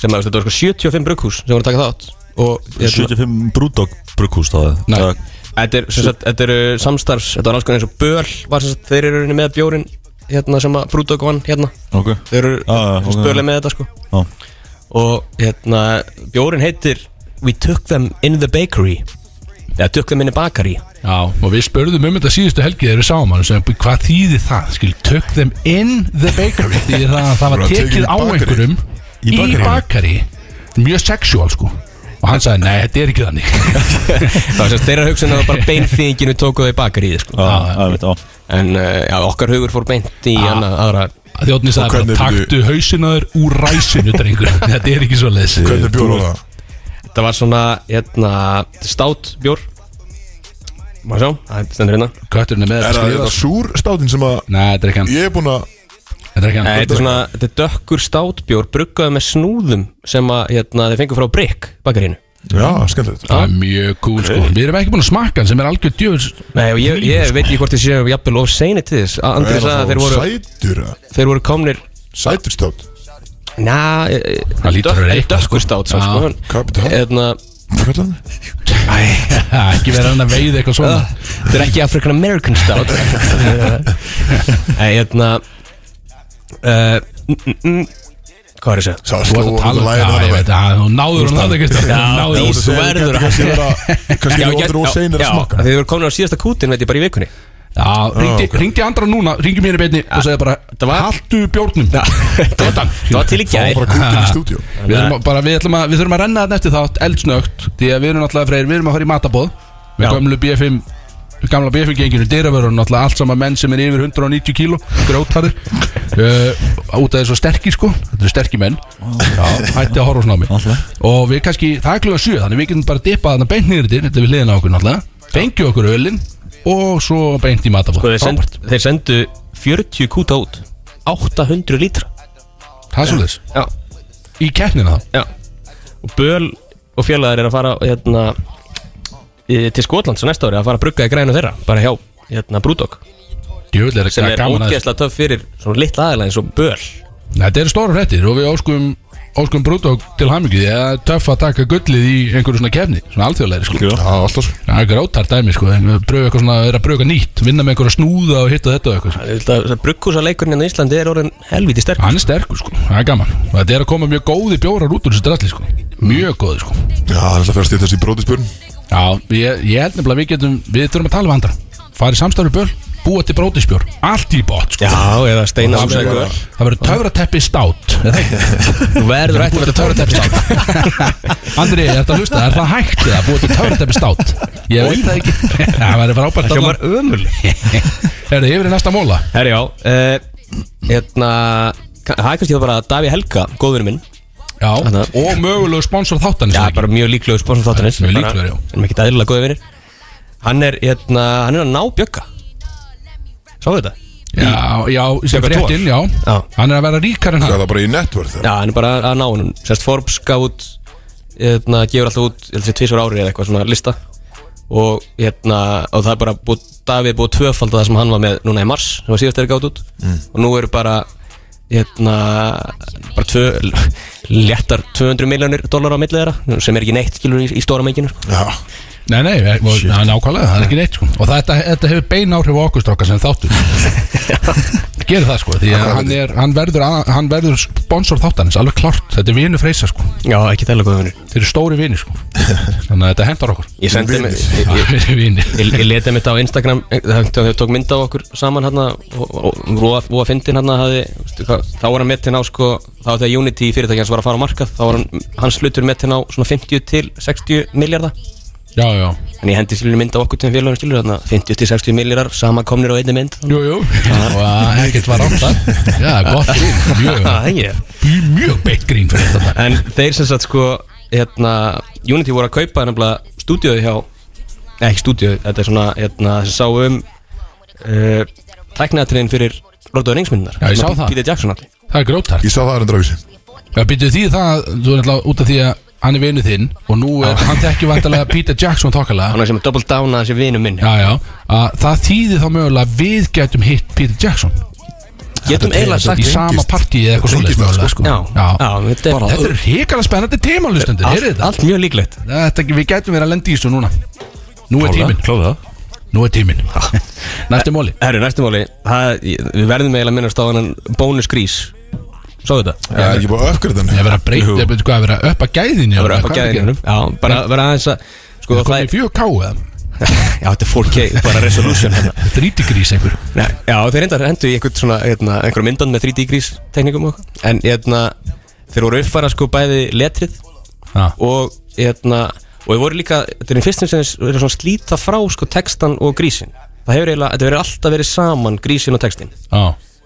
Speaker 3: sem að þetta var sko 75 brugghús sem voru að taka þátt og
Speaker 5: 75 Brewdog brugghús þá
Speaker 4: Nei.
Speaker 5: eða?
Speaker 3: Þetta er, sem sagt, þetta eru samstarfs Þetta var alls konar eins og Böl var sem sagt, Þeir eru í rauninni með bjórin hérna sem að Brúta og Gvan hérna
Speaker 5: Ok
Speaker 3: Þeir eru
Speaker 5: Ah,
Speaker 3: ah,
Speaker 5: ok.
Speaker 3: spöli með þetta sko
Speaker 5: Já.
Speaker 3: Og hérna Bjórin heitir We took them in the bakery Eða took them in the bakery
Speaker 4: Já, og við spurðum um þetta síðustu helgi þegar við sáum hann og sagðum, hvað þýði það? Skil, tök þeim in the bakery því það, að það var
Speaker 2: Bara tekin
Speaker 4: tekið
Speaker 2: í
Speaker 4: á
Speaker 2: bakarí.
Speaker 4: einhverjum
Speaker 2: Í
Speaker 4: í
Speaker 2: bakaríinu.
Speaker 4: bakari mjög sexual sko og hann sagði, nei, þetta er ekki þannig
Speaker 3: Það var sem sagt, þeirra hugsun að bara beinþýðinginu tóku þau í bakeríið sko.
Speaker 5: Já, það veit, já
Speaker 3: En uh, já, okkar hugur fór beint í ah. annað, aðra
Speaker 4: Þjóttni sagði
Speaker 2: hvernig
Speaker 4: bara,
Speaker 2: byrju-
Speaker 4: taktu hausinaður úr ræsinu, drengur þetta er ekki svo leis
Speaker 2: Hvernig bjóra það?
Speaker 3: Þetta var svona, hérna, stát bjór Má sjá, það stendur hérna
Speaker 4: Kötturinn er með
Speaker 2: Er
Speaker 4: þetta
Speaker 2: það- er það
Speaker 4: skrifast
Speaker 2: súr státin sem að
Speaker 4: Nei, þetta er ekki hann
Speaker 2: ég er búin að
Speaker 4: Þetta er ekki
Speaker 3: Nei,
Speaker 4: hann
Speaker 3: þetta er svona, þetta er dökkur státbjór bruggaði með snúðum sem að hérna, þeir fengu frá Brick bakarínu
Speaker 2: Já,
Speaker 4: Mm.
Speaker 2: skemmtilegt
Speaker 4: Það er mjög cool sko Við erum ekki búin að smakka hann sem er algjör djöfus
Speaker 3: Nei, og ég, ég veit ekki hvort þið séu jafnvel of seinir til þess að Andri
Speaker 2: Er
Speaker 3: sagði
Speaker 2: það
Speaker 3: að þeir
Speaker 2: þá
Speaker 3: voru,
Speaker 2: Sætur, eða?
Speaker 3: þeir voru komnir
Speaker 2: sætur stát
Speaker 3: Na, e, e,
Speaker 4: Það lítur að
Speaker 3: dökk-
Speaker 4: vera eitthvað,
Speaker 3: dökkur stát svo,
Speaker 4: Já.
Speaker 3: sko, hann-
Speaker 2: Kapital.
Speaker 3: hérna,
Speaker 2: Hvað kallar hann?
Speaker 4: Ekki vera hann að veið eitthvað svona
Speaker 3: uh, Þetta er ekki African American stát Nei, hérna uh, mm, mm, mm, Hvað er þessu?
Speaker 2: Sá
Speaker 4: Þú
Speaker 2: sló
Speaker 4: varst að
Speaker 2: og
Speaker 4: tala um
Speaker 2: lægir
Speaker 4: það, ég veit
Speaker 2: hann
Speaker 4: að þú náður hann það, Kristján
Speaker 3: Já,
Speaker 4: Þú náður
Speaker 3: já,
Speaker 4: honum.
Speaker 3: þú verður að-
Speaker 2: Kanski Kanski er
Speaker 3: ég-
Speaker 2: það og seinir
Speaker 3: já,
Speaker 2: að smakka
Speaker 3: af því Þið voru komin á síðasta kútin, veit ég, bara í vikunni
Speaker 4: Já, ringdi,
Speaker 2: ok.
Speaker 4: ringdi andra núna, ringi mér í beinni og segði bara
Speaker 3: var-
Speaker 4: Haltu bjórnum
Speaker 3: Já,
Speaker 4: Það var þann.
Speaker 3: Það var til í
Speaker 2: Það var
Speaker 3: gær
Speaker 2: bara kútin í stúdíu
Speaker 4: Við þurfum að- bara, við, ætlum að, við þurfum að renna þetta eftir þátt eldsnögt Því að við erum náttúrulega freyr, við erum að fara í matabóð
Speaker 3: Já.
Speaker 4: Með gömlu BFM Gamla BFM genginu, dyravörun náttúrulega Allt saman menn sem er yfir 190 kíló Grótarður uh, Út af þessu sterkir sko, þetta eru sterkir menn Já, hætti að horfa svona á mig Og við kannski, það er kluga sjö Þannig við getum bara dippað þarna beint niður til Þetta er við hliðina á okkur náttúrulega Fengi okkur ölin og svo beint í matabóð
Speaker 3: Sko, þeir, send, þeir sendu 40 kúta út 800 lítra
Speaker 4: Það er svolítið
Speaker 3: Já,
Speaker 4: Í keppnina þá
Speaker 3: já Og Böl og fjölaðar er að fara hérna, í, til Skotlands á næsta ári að fara að brugga í grænu þeirra bara hjá hérna, Brúdók
Speaker 4: Djöfull er
Speaker 3: sem
Speaker 4: ekki
Speaker 3: er
Speaker 4: gaman að
Speaker 3: ógeðslega töff fyrir svona litla aðeins eins og Böl
Speaker 4: Nei, Þetta eru stóra fréttir og við óskum Óskum Brúdók til hamingju því að það er töff að taka gullið í einhverju svona kefni Svona alþjóðlegri sko
Speaker 5: Algjörlega.
Speaker 2: Já, alltaf svo
Speaker 4: Það er grótar dæmi sko en við Bröðu eitthvað svona, er að bröðu eitthvað nýtt Vinna með einhverja snúða og hitta og þetta og eitthvað sko.
Speaker 3: Brugghúsaleikurinn hérna á Íslandi er orðin helviti sterk
Speaker 4: Hann er sterkur sko, það er gaman Og þetta er að koma mjög góði bjórar út úr þessu drasli sko Mjög góði sko
Speaker 2: Já, það er alltaf fyrir að stýta þessi brótispurn
Speaker 4: Já, ég, ég held nefnilega að við getum Við þurfum að tala við andra Fara í samstarfi böl, búa til brótisbjór Allt í bót sko
Speaker 3: Já, eða steina
Speaker 4: Það verður- það verður töfrateppi stát eða ekki?
Speaker 3: Þú verður ætti að vera töfra
Speaker 4: töfrateppi stát Andri, er þetta að hlusta? Er það hægt eða búið til töfrateppi stát? Ég veit það ekki Það verður frábært
Speaker 3: Það var ömurleg
Speaker 4: Er það yfir í næsta móla?
Speaker 3: Herri já uh, Hérna ka- Það er kannski þá bara Daví Helga, góðurinn minn
Speaker 4: Já
Speaker 3: Þarna.
Speaker 4: Og mögulegu sponsor þáttan
Speaker 3: Já, bara mjög líklegur sponsor þáttanins
Speaker 4: Mjög líklegur, já.
Speaker 3: En ekki aðlilega góði vinir Hann er, hérna, hann er að ná bjögga Sáu þetta?
Speaker 4: Já, já, sem
Speaker 3: Björgvin
Speaker 4: fréttin, já
Speaker 3: Já.
Speaker 4: Hann er að vera ríkar en
Speaker 2: Það
Speaker 4: hann
Speaker 2: er það bara í network
Speaker 3: Já, hann er bara að ná hann Sérst Forbes gaf út Hérna, gefur alltaf út Ég held sér tvisvar á ári eða eitthvað svona lista Og hérna, og það er bara búið, Davíð er búið tvöfald það sem hann var með núna í mars Sem var síðast þegar gátt út Og nú eru bara hérna, bara tvö, léttar 200 miljónir dólar á milli þeirra sem er ekki neitt skilur í, í stóra menginu sko.
Speaker 2: Já,
Speaker 4: Nei, nei, eh, og- það er nákvæmlega, það er ekki neitt sko Og þetta, þetta hefur bein áhrif á okkur stráka sem þáttur Gerið það sko, því að
Speaker 2: Akkurat.
Speaker 4: hann, er, hann, verður, að- hann verður sponsor þáttanins, alveg klart Þetta er vinu freysa sko,
Speaker 3: Já, ekki þærlega góða vinur
Speaker 4: þeir eru stóri vini sko Þannig að þetta hendar okkur
Speaker 3: Ég sendi
Speaker 2: Vinir.
Speaker 3: mig ég- ég-
Speaker 4: Þeir eru vini
Speaker 3: Ég, ég leti mitt á Instagram eh, þegar þau tók mynd á okkur saman hérna og, og, og Róa- Róa Fyndin hérna hafði, veistu hvað, þá var hann metinn á sko, þá var þegar Unity fyrirtæki hans var að fara á markað þá var hann, hans hlutur metinn á svona 50 til 60 miljardar
Speaker 4: Já, já,
Speaker 3: en ég hendi skilur mynd á okkur til félagum skilur þarna 50 til 60 miljardar sama komnir á einni mynd
Speaker 4: jú, jú Og ekkert var átt það Já, gott grín, mjög,
Speaker 3: Ah, yeah.
Speaker 4: mjög beitt grín fyrir þetta
Speaker 3: en þeir sem sagt sko hérna, Unity voru að kaupa nefnilega stúdíói hjá nei, ekki stúdíói, þetta er svona hérna, sem sá um uh, tæknatriðin fyrir Lord of the Rings myndunar
Speaker 4: Já, ég sá það.
Speaker 3: Peter Jackson allir
Speaker 4: Það er grótart
Speaker 2: ég sá það er endur á vísi
Speaker 4: Já, byrjuð því það, þú er náttúrulega út af því að hann er vinu þinn Og nú er, hann tekki vantarlega Peter Jackson þokkalega
Speaker 3: hann er sem að double down að þessi vinum minn
Speaker 4: Já, já, að það þýðir þá mögulega að við getum hitt Peter Jackson
Speaker 3: getum eiginlega
Speaker 2: þetta
Speaker 4: í
Speaker 3: sagt
Speaker 2: tengist-
Speaker 4: sama partí eða eitthvað
Speaker 2: tengist
Speaker 4: svoleiðis
Speaker 2: allt,
Speaker 4: mögulega
Speaker 2: sko.
Speaker 4: sko.
Speaker 3: já, já, þetta er
Speaker 4: Þetta er hrikalega spennandi tema, lustendur, heyrið
Speaker 3: allt,
Speaker 4: þetta?
Speaker 3: allt mjög líklegt
Speaker 4: þetta? ekki- Við getum verið að lenda í þessu núna Nú er tíminn
Speaker 5: Kláða það
Speaker 4: Nú er tíminn Næsti móli
Speaker 3: Herru, næstu máli það, Við verðum eiginlega að minnast á hann Bónus grís Sá þetta?
Speaker 2: Það er ekki búið að öfgra
Speaker 4: Ég
Speaker 2: þannig
Speaker 4: verið að breyta, ég veit hvað, ég verið að uppa gæðinu
Speaker 3: Það verður upp á gæðinu Já, bara verður aðeins að Sko,
Speaker 4: Það
Speaker 3: það
Speaker 4: komið
Speaker 3: er
Speaker 4: fjög káða
Speaker 3: Já, þetta er 4K Bara resolution hérna
Speaker 4: Þetta er rítigrís einhver
Speaker 3: Nei, Já, þeir reyndar hendu í einhvern svona hérna, einhverjum myndan með 3D grís teknikum og okkur En hérna Þeir voru uppfæra sko bæði letrið
Speaker 4: Já.
Speaker 3: Og hérna Og þeir voru líka Þetta er einn fyrstum sem þeir eru svona að slíta frá sko textan og grísin Það hefur eiginlega Þetta verður alltaf verið saman grísin og textin
Speaker 4: Já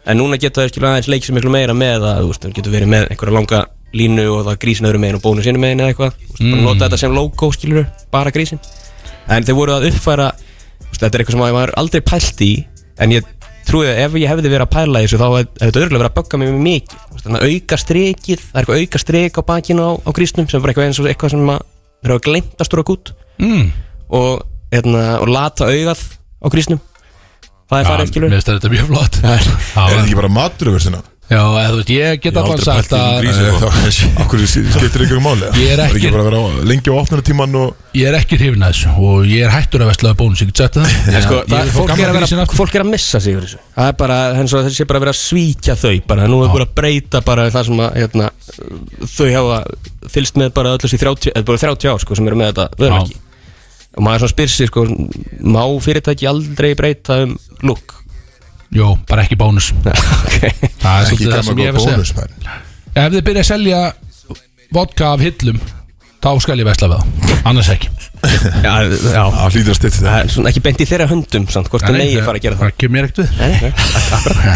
Speaker 3: En núna geta þau skilja aðeins leikið sem miklu meira með að, þú veist, þau getur verið með einhverja langa línu og það grísin öðru megin og bónus einu megin eða eitthvað, þú veist, bara nota þetta sem logo skiljur, bara grísin. En þau voru að uppfæra, þú veist, þetta er eitthvað sem maður aldrei pælt í, en ég trúið að ef ég hefði verið að pæla í þessu þá hefði þetta örgulega verið að bögga mig mjög mikið, þú veist, þannig að auka strikið, það er eitthvað auka strik á bakinu á, á grísnum sem var eitthvað eins og eitthvað sem maður þeir hafa gleymt að stúra gút
Speaker 4: Mm.
Speaker 3: og, hérna, og lata augað á grísnum, það er
Speaker 4: Já,
Speaker 3: farið
Speaker 4: Mér
Speaker 3: skilur.
Speaker 4: finnst þetta mjög flott
Speaker 3: Það
Speaker 2: Er
Speaker 3: er-
Speaker 4: Já,
Speaker 2: þetta ekki bara maturöfustina?
Speaker 4: Já, eða þú veist, ég get allan sagt að
Speaker 2: Eh,
Speaker 3: sko.
Speaker 2: Akkur skiptir ykkur máli
Speaker 4: sko. Ég er
Speaker 2: Það
Speaker 4: ekki-
Speaker 2: bara að vera á- lengi á opnartíman og
Speaker 4: ég er ekki hrifin að þessu og ég er hættur að vestlaða bónus, ég get sagt það
Speaker 3: Já, sko,
Speaker 4: Ég
Speaker 3: það,
Speaker 4: vil fá
Speaker 3: fólk,
Speaker 4: gamla
Speaker 3: er að
Speaker 4: grísinn
Speaker 3: vera,
Speaker 4: aftur.
Speaker 3: fólk er að missa sig yfir þessu Það er bara, eins og þessi er bara að vera að svíkja þau bara, nú er bara að breyta bara það sem að hérna, þau hafa fylst með bara öllust í 30, eða bara 30 ár sko, sem eru með þetta vörmerki og maður svona spyr sig, sko, má fyrirtæki aldrei breyta um look
Speaker 4: Jó, bara ekki bónus
Speaker 3: Já, ok.
Speaker 4: Það
Speaker 2: ekki
Speaker 4: er svolítið það
Speaker 2: gama
Speaker 4: sem ég
Speaker 2: góð
Speaker 4: hef að segja
Speaker 2: bónus menn.
Speaker 4: Ef þið byrja að selja vodka af hillum þá skal ég vestla við það, annars ekki
Speaker 3: já, já.
Speaker 2: Það hlýtur að styrta
Speaker 3: Það
Speaker 2: þetta
Speaker 3: er svona ekki bent í þeirra höndum samt, hvort það megi fara að gera það
Speaker 4: Það kemur mér ekkert við,
Speaker 3: Nei, nei.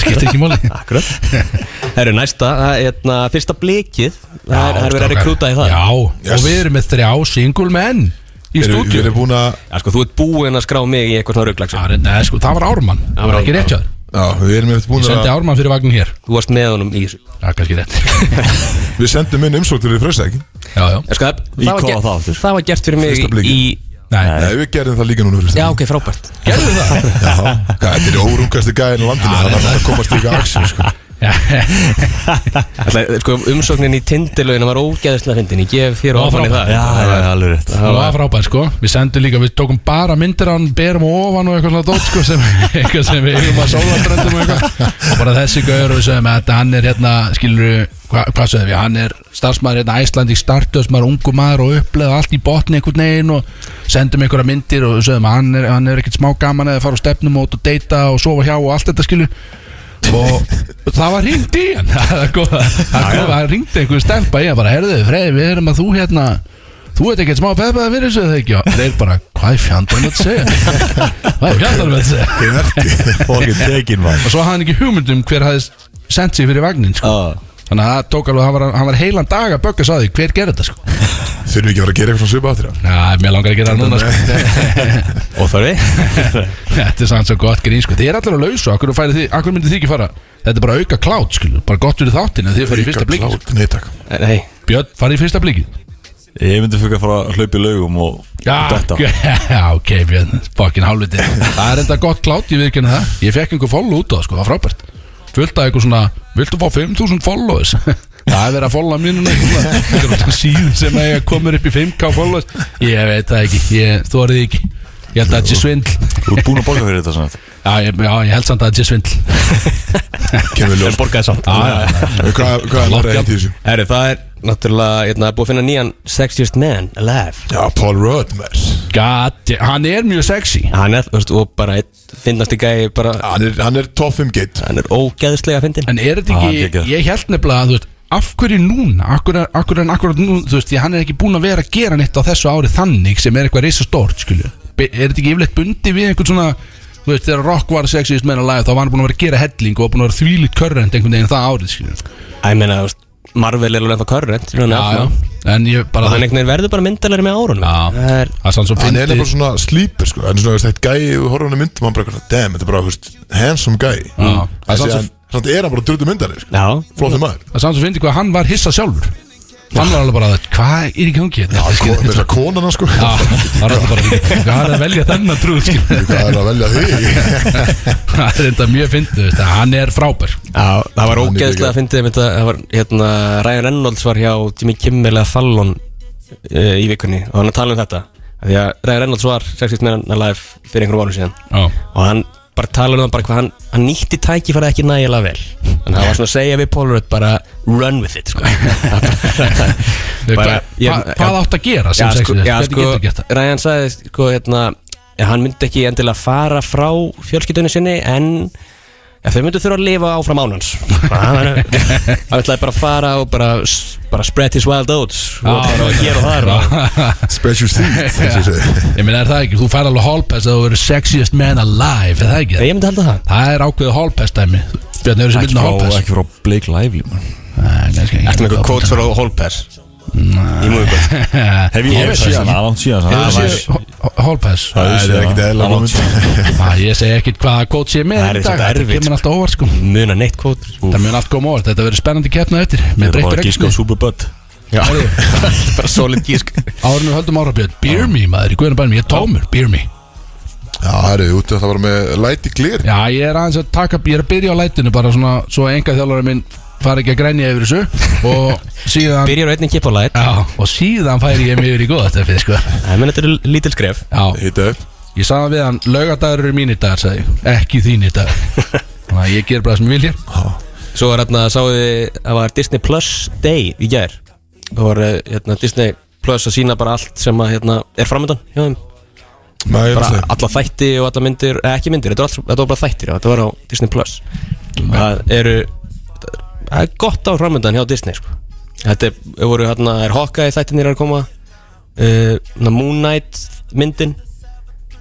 Speaker 4: skiptir ekki máli
Speaker 3: Akkurat Það eru næsta, það er hérna, fyrsta blikið Það er- það er verið að
Speaker 4: strákar.
Speaker 3: rekrúta í það
Speaker 4: Já,
Speaker 2: Yes.
Speaker 4: og við erum með þrjá single menn í
Speaker 2: Erum við
Speaker 4: stúdíu
Speaker 2: erum búin að
Speaker 3: Já, sko, þú ert búinn að skrá mig í eitthvað svona rugglags
Speaker 4: Já, Nei, sko, það var Ármann, það var ekki rétt hjá þér
Speaker 2: Já, við erum eftir
Speaker 4: Ég
Speaker 2: búin
Speaker 4: sendi
Speaker 2: að
Speaker 4: Ármann fyrir vagnin hér
Speaker 3: Þú varst með honum í þessu
Speaker 4: Já, kannski rétt
Speaker 2: Við sendum inn umsókn til því frösta ekki
Speaker 4: Já, já,
Speaker 3: Ég Sko, það,
Speaker 5: Í
Speaker 3: það, var
Speaker 5: hvað
Speaker 3: gert,
Speaker 5: var það aftur?
Speaker 3: það var gert fyrir mig
Speaker 2: Fyrsta blikið.
Speaker 3: í
Speaker 4: nei,
Speaker 2: Nei, við gerum það líka núna frösta
Speaker 3: Já, ok, frábært
Speaker 4: gerðu það
Speaker 2: Já, hvað, þetta er órungastu gæðin á landinu Það er að komast í ykkar aksjum sko.
Speaker 3: Alltaf, sko, umsóknin í tindilöginu var ógeðislega fyndin Ég gef þér
Speaker 4: Já,
Speaker 3: og ofan í
Speaker 4: frábært.
Speaker 3: það
Speaker 5: Já, já, alveg rétt
Speaker 4: Það var frábæð sko, við sendum líka, við tókum bara myndir á hann, berum og ofan og eitthvað svona dót sko sem, eitthvað sem við erum að sólaströndum og eitthvað og bara þessi gaur og við sögum að þetta, hann er hérna, skilur við, hva, hvað sögum við, hann er starfsmæður hérna Æslandik startöðs, maður ungu maður og uppleða allt í botni einhvern veginn og sendum einhverja myndir og við sögum að hann er, hann er ekkert smá gaman eða fara á stefnumót og deyta og sofa hjá og allt þetta skilur og það var ringt í hann það er góð- það kom- það ringdi einhver stelpa í hann bara, herðu, Freyr, við erum að þú hérna þú ert ekkert smá peppaði fyrir þessu þegar ekki og þeir bara, hvað er fjandarn að segja hvað er fjandarn að segja
Speaker 2: Ég verði
Speaker 5: Fólkin tekin maður
Speaker 4: og svo hafði hann ekki hugmyndum hver hafði sendt sig fyrir vagnin sko.
Speaker 5: Já.
Speaker 4: þannig að það tók alveg, hann var, hann var heilan dag að bögga sá því, hver gerði þetta sko
Speaker 2: Þurfum við ekki að fara að gera eitthvað svona svipa áttir það
Speaker 4: Já, mér langar að gera það núna sko.
Speaker 5: Og það er við
Speaker 4: Þetta er sanns og gott grín sko. Þið er allir að lausa, akkur, færið þið, akkur myndið þið ekki fara Þetta er bara auka klátt, skilur, bara gott fyrir þáttin Þið farið í fyrsta blikki sko.
Speaker 2: Nei, takk
Speaker 3: Nei,
Speaker 4: Björn, farið í fyrsta blikki
Speaker 5: Ég myndi fyrir að fara að hlaupa í laugum og og
Speaker 4: Já,
Speaker 5: detta.
Speaker 4: já, ok, Björn, fokkin hálfviti Það er enda gott klátt, ég viðkynna það Ég fekk einhver follow út á það, sko, það var frábært Fullt að eitthvað svona, viltu fá 5000 followers? það er verið að followa mínuna Þetta er út síðu sem að ég komur upp í 5k followers Ég veit það ekki, ég þórið ekki Ég held að þetta sé svindl
Speaker 5: Þú ert búin að borga fyrir þetta svona
Speaker 4: Já, ég, já, ég held samt að þetta sé svindl
Speaker 2: Kemur ljós Ah,
Speaker 3: borgaði samt
Speaker 4: Já, já, já.
Speaker 2: Hvað hvað er maður
Speaker 4: Látt
Speaker 2: að
Speaker 4: jafn.
Speaker 2: heiti þessu?
Speaker 3: Herri, það er náttúrulega, hérna, búið að finna nýjan Sexiest man alive
Speaker 2: Já, Paul Rudd, maður
Speaker 4: God, damn, hann er mjög sexy
Speaker 3: Hann er, þú veist, og bara einn finnast í gæi bara,
Speaker 2: Hann er- Hann er top 5 gate
Speaker 3: hann er ógeðislega fyndin
Speaker 4: En er
Speaker 5: Já,
Speaker 4: þetta
Speaker 5: hann
Speaker 4: ekki,
Speaker 5: gekkjaður.
Speaker 4: ég held nefnilega að, þú veist, af hverju núna, akkur er, akkur er, akkur er núna, þú veist, því hann er ekki búin að vera að gera neitt á þessu ári þannig sem er eitthvað reysa stort, skilju. Be- Er þetta ekki yfirleitt bundi við einhvern svona, þú veist, þegar rock var sexist meina lagið, þá var hann búin að vera að gera helling og var búin að vera þvílið körrend einhvern veginn það árið, skilju.
Speaker 3: Æ, ég meina, þú veist, Marvel er alveg ennþá körrent Já,
Speaker 4: En ég bara,
Speaker 3: Og hann einhvern veginn verður bara myndalari með árunum
Speaker 4: Já.
Speaker 3: Það er,
Speaker 4: það er sann svo
Speaker 2: Hann er bara
Speaker 4: fyndi,
Speaker 2: svona slíper sko Hann er svona, veist, þetta gæi Þú horfum hann í myndum Hann bara, eitthvað, damn, þetta er bara, þú veist Handsome gæi
Speaker 4: Já.
Speaker 2: Það sé hann Þannig er hann bara dröldu myndari sko
Speaker 3: já,
Speaker 2: Flóttu maður
Speaker 4: það er sann svo fyndi hvað hann var hissa sjálfur. Hann var alveg bara, hvað er í gangi hérna?
Speaker 2: Ko-
Speaker 4: skilju?
Speaker 2: Með þess að konan hans sko
Speaker 4: Já, það er alltaf bara, hvað er að velja þennan trúð, skilju?
Speaker 2: Hvað er að velja því?
Speaker 4: það er enda mjög fyndið, veist, að hann er frábær
Speaker 3: Já, það
Speaker 2: Hann
Speaker 3: var
Speaker 2: er
Speaker 3: ógeðslega
Speaker 2: geggjað.
Speaker 3: að fyndið um þetta það var, hérna, eh, Ryan Reynolds var hjá Jimmy Kimmel eða Fallon uh, í vikunni og hann að tala um þetta Því að Ræði Reynolds var sexist með hann live fyrir einhverjum árum síðan
Speaker 4: Já,
Speaker 3: og hann bara talaði um það bara hvað hann, hann nýtti tækifærið ekki nægilega vel þannig að hann var svona að segja við Paul Rudd bara run with it sko.
Speaker 4: bara,
Speaker 3: Bara- ég-
Speaker 4: hva, hvað átt að gera sem
Speaker 3: já,
Speaker 4: sexist?
Speaker 3: sko, já,
Speaker 4: Hvernig
Speaker 3: sko,
Speaker 4: getur gert það?
Speaker 3: Ryan sagði sko, hérna, ja, hann myndi ekki endilega fara frá fjölskyldunni sinni en ja, þau myndu þurfa að lifa áfram án hans hann hann- hann ætlaði bara að fara og bara, bara spread his wild oats og bara hér og þar og-
Speaker 2: Special seat eins og ég segi.
Speaker 4: Ég meina, er það ekki? Þú fær alveg hallpass að þú verður sexiest man alive, er það ekki?
Speaker 3: ég myndi halda það
Speaker 4: Það er ákveðið hallpass dæmi Björn, eru sem
Speaker 5: Ekki
Speaker 4: myndin
Speaker 5: frá,
Speaker 4: hallpass?
Speaker 5: ekki frá Blake Lively man.
Speaker 4: Nei, kannski ekki.
Speaker 3: Ertu með eitthvað kvót frá Holpass? Í múðugöld
Speaker 5: Hef ég hefði síðan, það er langt síðan
Speaker 4: Hefur þú
Speaker 5: Það var-
Speaker 4: séð ho- Hallpass?
Speaker 2: Það er- það er ekkert eðla
Speaker 5: Það er
Speaker 2: moment
Speaker 4: Æ, Ég segi ekkert hvaða kót sé með
Speaker 3: Það er
Speaker 4: í
Speaker 3: samt
Speaker 4: dag, Þetta
Speaker 3: erfitt,
Speaker 4: kemur alltaf óvart sko
Speaker 3: Muna neitt kvót
Speaker 4: Það mun allt koma óvart, þetta verður spennandi keppna eftir
Speaker 5: Ég
Speaker 4: Með
Speaker 5: er
Speaker 4: breyttur
Speaker 5: bara að gíska á
Speaker 4: reglunni.
Speaker 5: Superbud
Speaker 3: Bara solid gísk
Speaker 4: Áður en við höldum árabjörn Beer me maður í guðinu bænum, ég er tómur Beer me
Speaker 2: Já, það eru út að það var með light í glir
Speaker 4: Já, ég er aðeins að taka, ég er að byrja á lætinu bara svona Svo enga þjálfari minn fari ekki að grænja yfir þessu Og síðan
Speaker 3: Byrjar á einni kipp á læt
Speaker 4: Já, og síðan færi ég mig yfir í góðatöfið sko
Speaker 3: Það menn þetta eru lítil skref
Speaker 4: Já,
Speaker 2: Hita upp
Speaker 4: ég sagði við hann, laugardagur eru mínir dagar, sagði ég Ekki þínir dagar Þannig að ég ger bara sem ég vil hér
Speaker 3: Svo var hérna, sáðu þið, það var Disney Plus Day í gær Það var eh, hérna, Disney Plus að sína bara allt sem að hérna, er framöndan hjá þeim
Speaker 2: Nei, ég
Speaker 3: Bara
Speaker 2: veist
Speaker 3: alla þætti og alla myndir, eh, ekki myndir, þetta var, allt, þetta var bara þættir já, Þetta var á Disney Plus Það eru, það er gott á framöndan hjá Disney sko. Þetta er, voru hérna, er Hawkeye þættinir að koma uh, Moon Knight myndin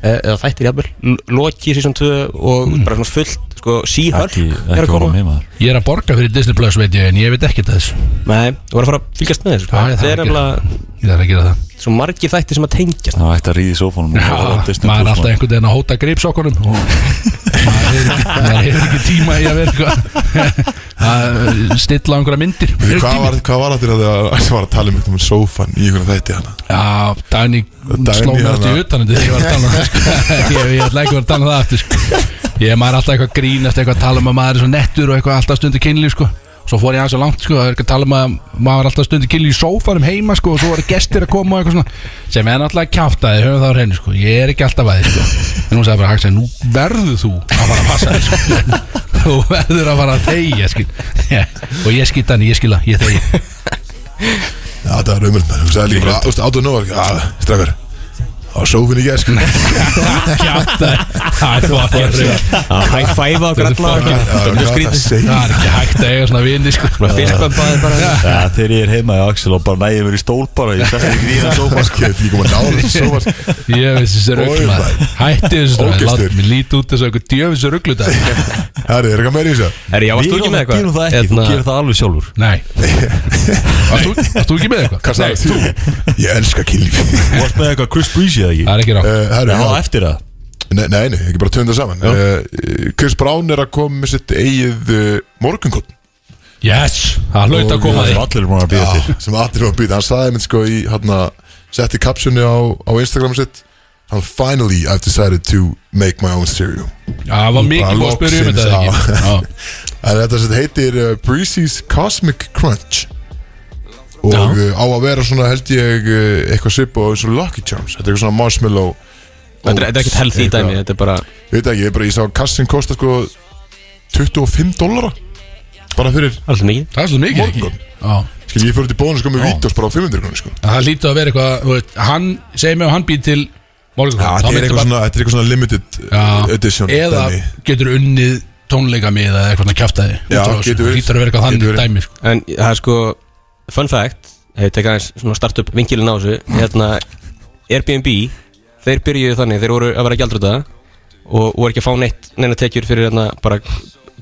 Speaker 3: eh, eða þættir jafnvel, Loki season 2 og bara svona fullt sko, She-Hulk
Speaker 5: Ekki,
Speaker 3: er
Speaker 5: ekki
Speaker 3: að
Speaker 5: voru
Speaker 3: koma
Speaker 5: með maður
Speaker 4: Ég er að borga fyrir Disney Plus veit ég en ég veit ekki þess
Speaker 3: Nei, þú voru að fara að fylgjast með þessu sko.
Speaker 4: Já, ég þarf
Speaker 3: Það er
Speaker 4: að
Speaker 3: nefnilega
Speaker 4: Ég þarf að gera það
Speaker 3: svo margir þættir sem að tengjast
Speaker 5: Það var hægt að ríði í sófónum og um horfa á Disney
Speaker 4: Maður er
Speaker 5: Plus,
Speaker 4: alltaf
Speaker 5: maður.
Speaker 4: einhvern veginn að hóta greipsokkunum og maður hefur ekki- maður hefur ekki tíma í að vera eitthvað að stilla á einhverja myndir
Speaker 2: það Hvað var, hvað var þetta þegar það var að tala um eitthvað um sófan í einhvern þætti hérna? hana?
Speaker 4: Já, Dani hún
Speaker 2: Dagný
Speaker 4: sló mér
Speaker 2: hana.
Speaker 4: alltaf í utan þegar ég var að tala um það sko. ég, ég ætla ekki að vera að tala um það aftur sko. Ég maður er alltaf eitthvað að grínast eitthvað að tala um að maður er svo nettur og eitthvað alltaf stundu kynlíf sko. Svo fór ég aðeins á langt sko, að er ekki að tala um að maður er alltaf stundu kynlíf í sófanum heima sko, og svo eru gestir að koma og eitthvað svona sem er náttúrulega kjáftaði, höfum það á henni sko. Ég er ekki alltaf að þið sko. En hún sagði bara, Hagsæ, nú verður þú að fara að passa þig sko. Þú verður að fara að þegja skil. Og ég skýt hann, ég skila, ég þegja
Speaker 2: Já, það var umrönd maður Þú sagði líka bara, þú veist, átt og nóg Já, strafgar Á sófin í sko. gæsk
Speaker 4: Kjáftaði, það er fokkin
Speaker 3: High five á okkur alla
Speaker 2: Það er skrítið segja
Speaker 4: Það er ekki hægt að eiga svona vini sko.
Speaker 3: Fyrstbömbaði bara
Speaker 5: Já, Þegar ég er heima í Axel og bara næði mér í stól bara Ég sest ekki í það sófán
Speaker 2: Ég veit ekki koma að náða þessu sófan
Speaker 4: Ég veist þessi
Speaker 2: Oj,
Speaker 4: ruggla
Speaker 2: maður.
Speaker 4: Hætti þessu stráð
Speaker 2: Ógeðstur.
Speaker 4: Látt mér líti út þessu eitthvað djöfissu rugglu dag
Speaker 2: Herri, er eitthvað meira í þessu?
Speaker 3: Er ég ástu ekki
Speaker 5: Við
Speaker 3: með eitthvað?
Speaker 5: gerum það ekki, þú
Speaker 3: Hérna,
Speaker 5: gerir það alveg sjálfur
Speaker 4: Nei Varst þú- varst þú ekki með eitthvað?
Speaker 2: Hvað sagði þú? Ég elska kynlíf
Speaker 5: Þú varst með eitthvað Chris Breezy eða
Speaker 4: Það er ekki
Speaker 5: ekki
Speaker 4: rátt
Speaker 2: Eh, Herri,
Speaker 5: Já,
Speaker 2: já,
Speaker 5: eftir það
Speaker 2: Nei, nei, nei, ekki bara tönda saman uh, Chris Brown er að koma með sitt eigið uh, morgunkott
Speaker 4: Yes Það hlaut að koma
Speaker 5: Það
Speaker 4: því
Speaker 5: er allir búin að býja til
Speaker 2: sem allir var að býta, hann sagði minn sko í hann setti kapsunni á, á Instagram sitt hann finally I've decided to make my own cereal
Speaker 4: Já, það var mikið
Speaker 2: Bara
Speaker 4: búið að spyrja um
Speaker 2: loksins,
Speaker 4: þetta eða ekki Já.
Speaker 2: en þetta sitt heitir uh, Breezy's Cosmic Crunch og
Speaker 4: Já.
Speaker 2: uh, á að vera svona held ég uh, eitthvað svip og eins og Lucky Charms þetta er eitthvað svona marshmallow
Speaker 3: Þetta er þetta er ekkert healthy
Speaker 2: Eitthvað-
Speaker 3: dæmi Þetta er bara
Speaker 2: Ég veit ekki, ég, bara, ég sá að kassin kosta sko 25 dólara bara fyrir
Speaker 3: alltaf mikið
Speaker 4: Það er svo mikið ekki
Speaker 2: morgun
Speaker 4: Já.
Speaker 2: Skil, ég fyrir til bónus sko með vítjós bara á 500 grunni sko
Speaker 4: Það lítið að vera eitthvað þú veist, Hann, segir mig og hann býr til Morgun
Speaker 2: þetta er eitthvað svona, þetta er eitthvað svona limited uh, edition
Speaker 4: Eða
Speaker 2: dæmi.
Speaker 4: getur unnið tónleika með eða eitthvað kjáftæði
Speaker 2: Já, getur verið.
Speaker 4: Lítur að vera eitthvað
Speaker 2: Getur
Speaker 4: þannig
Speaker 2: verið.
Speaker 4: dæmi sko.
Speaker 3: En það er sko Fun fact Ef ég tek aðeins svona start up vinkilin á þessu Hérna Airbnb Þeir byrjuðu þannig Þeir voru að vera gjaldröta Og voru ekki að fá neitt Neina tekjur fyrir hérna Bara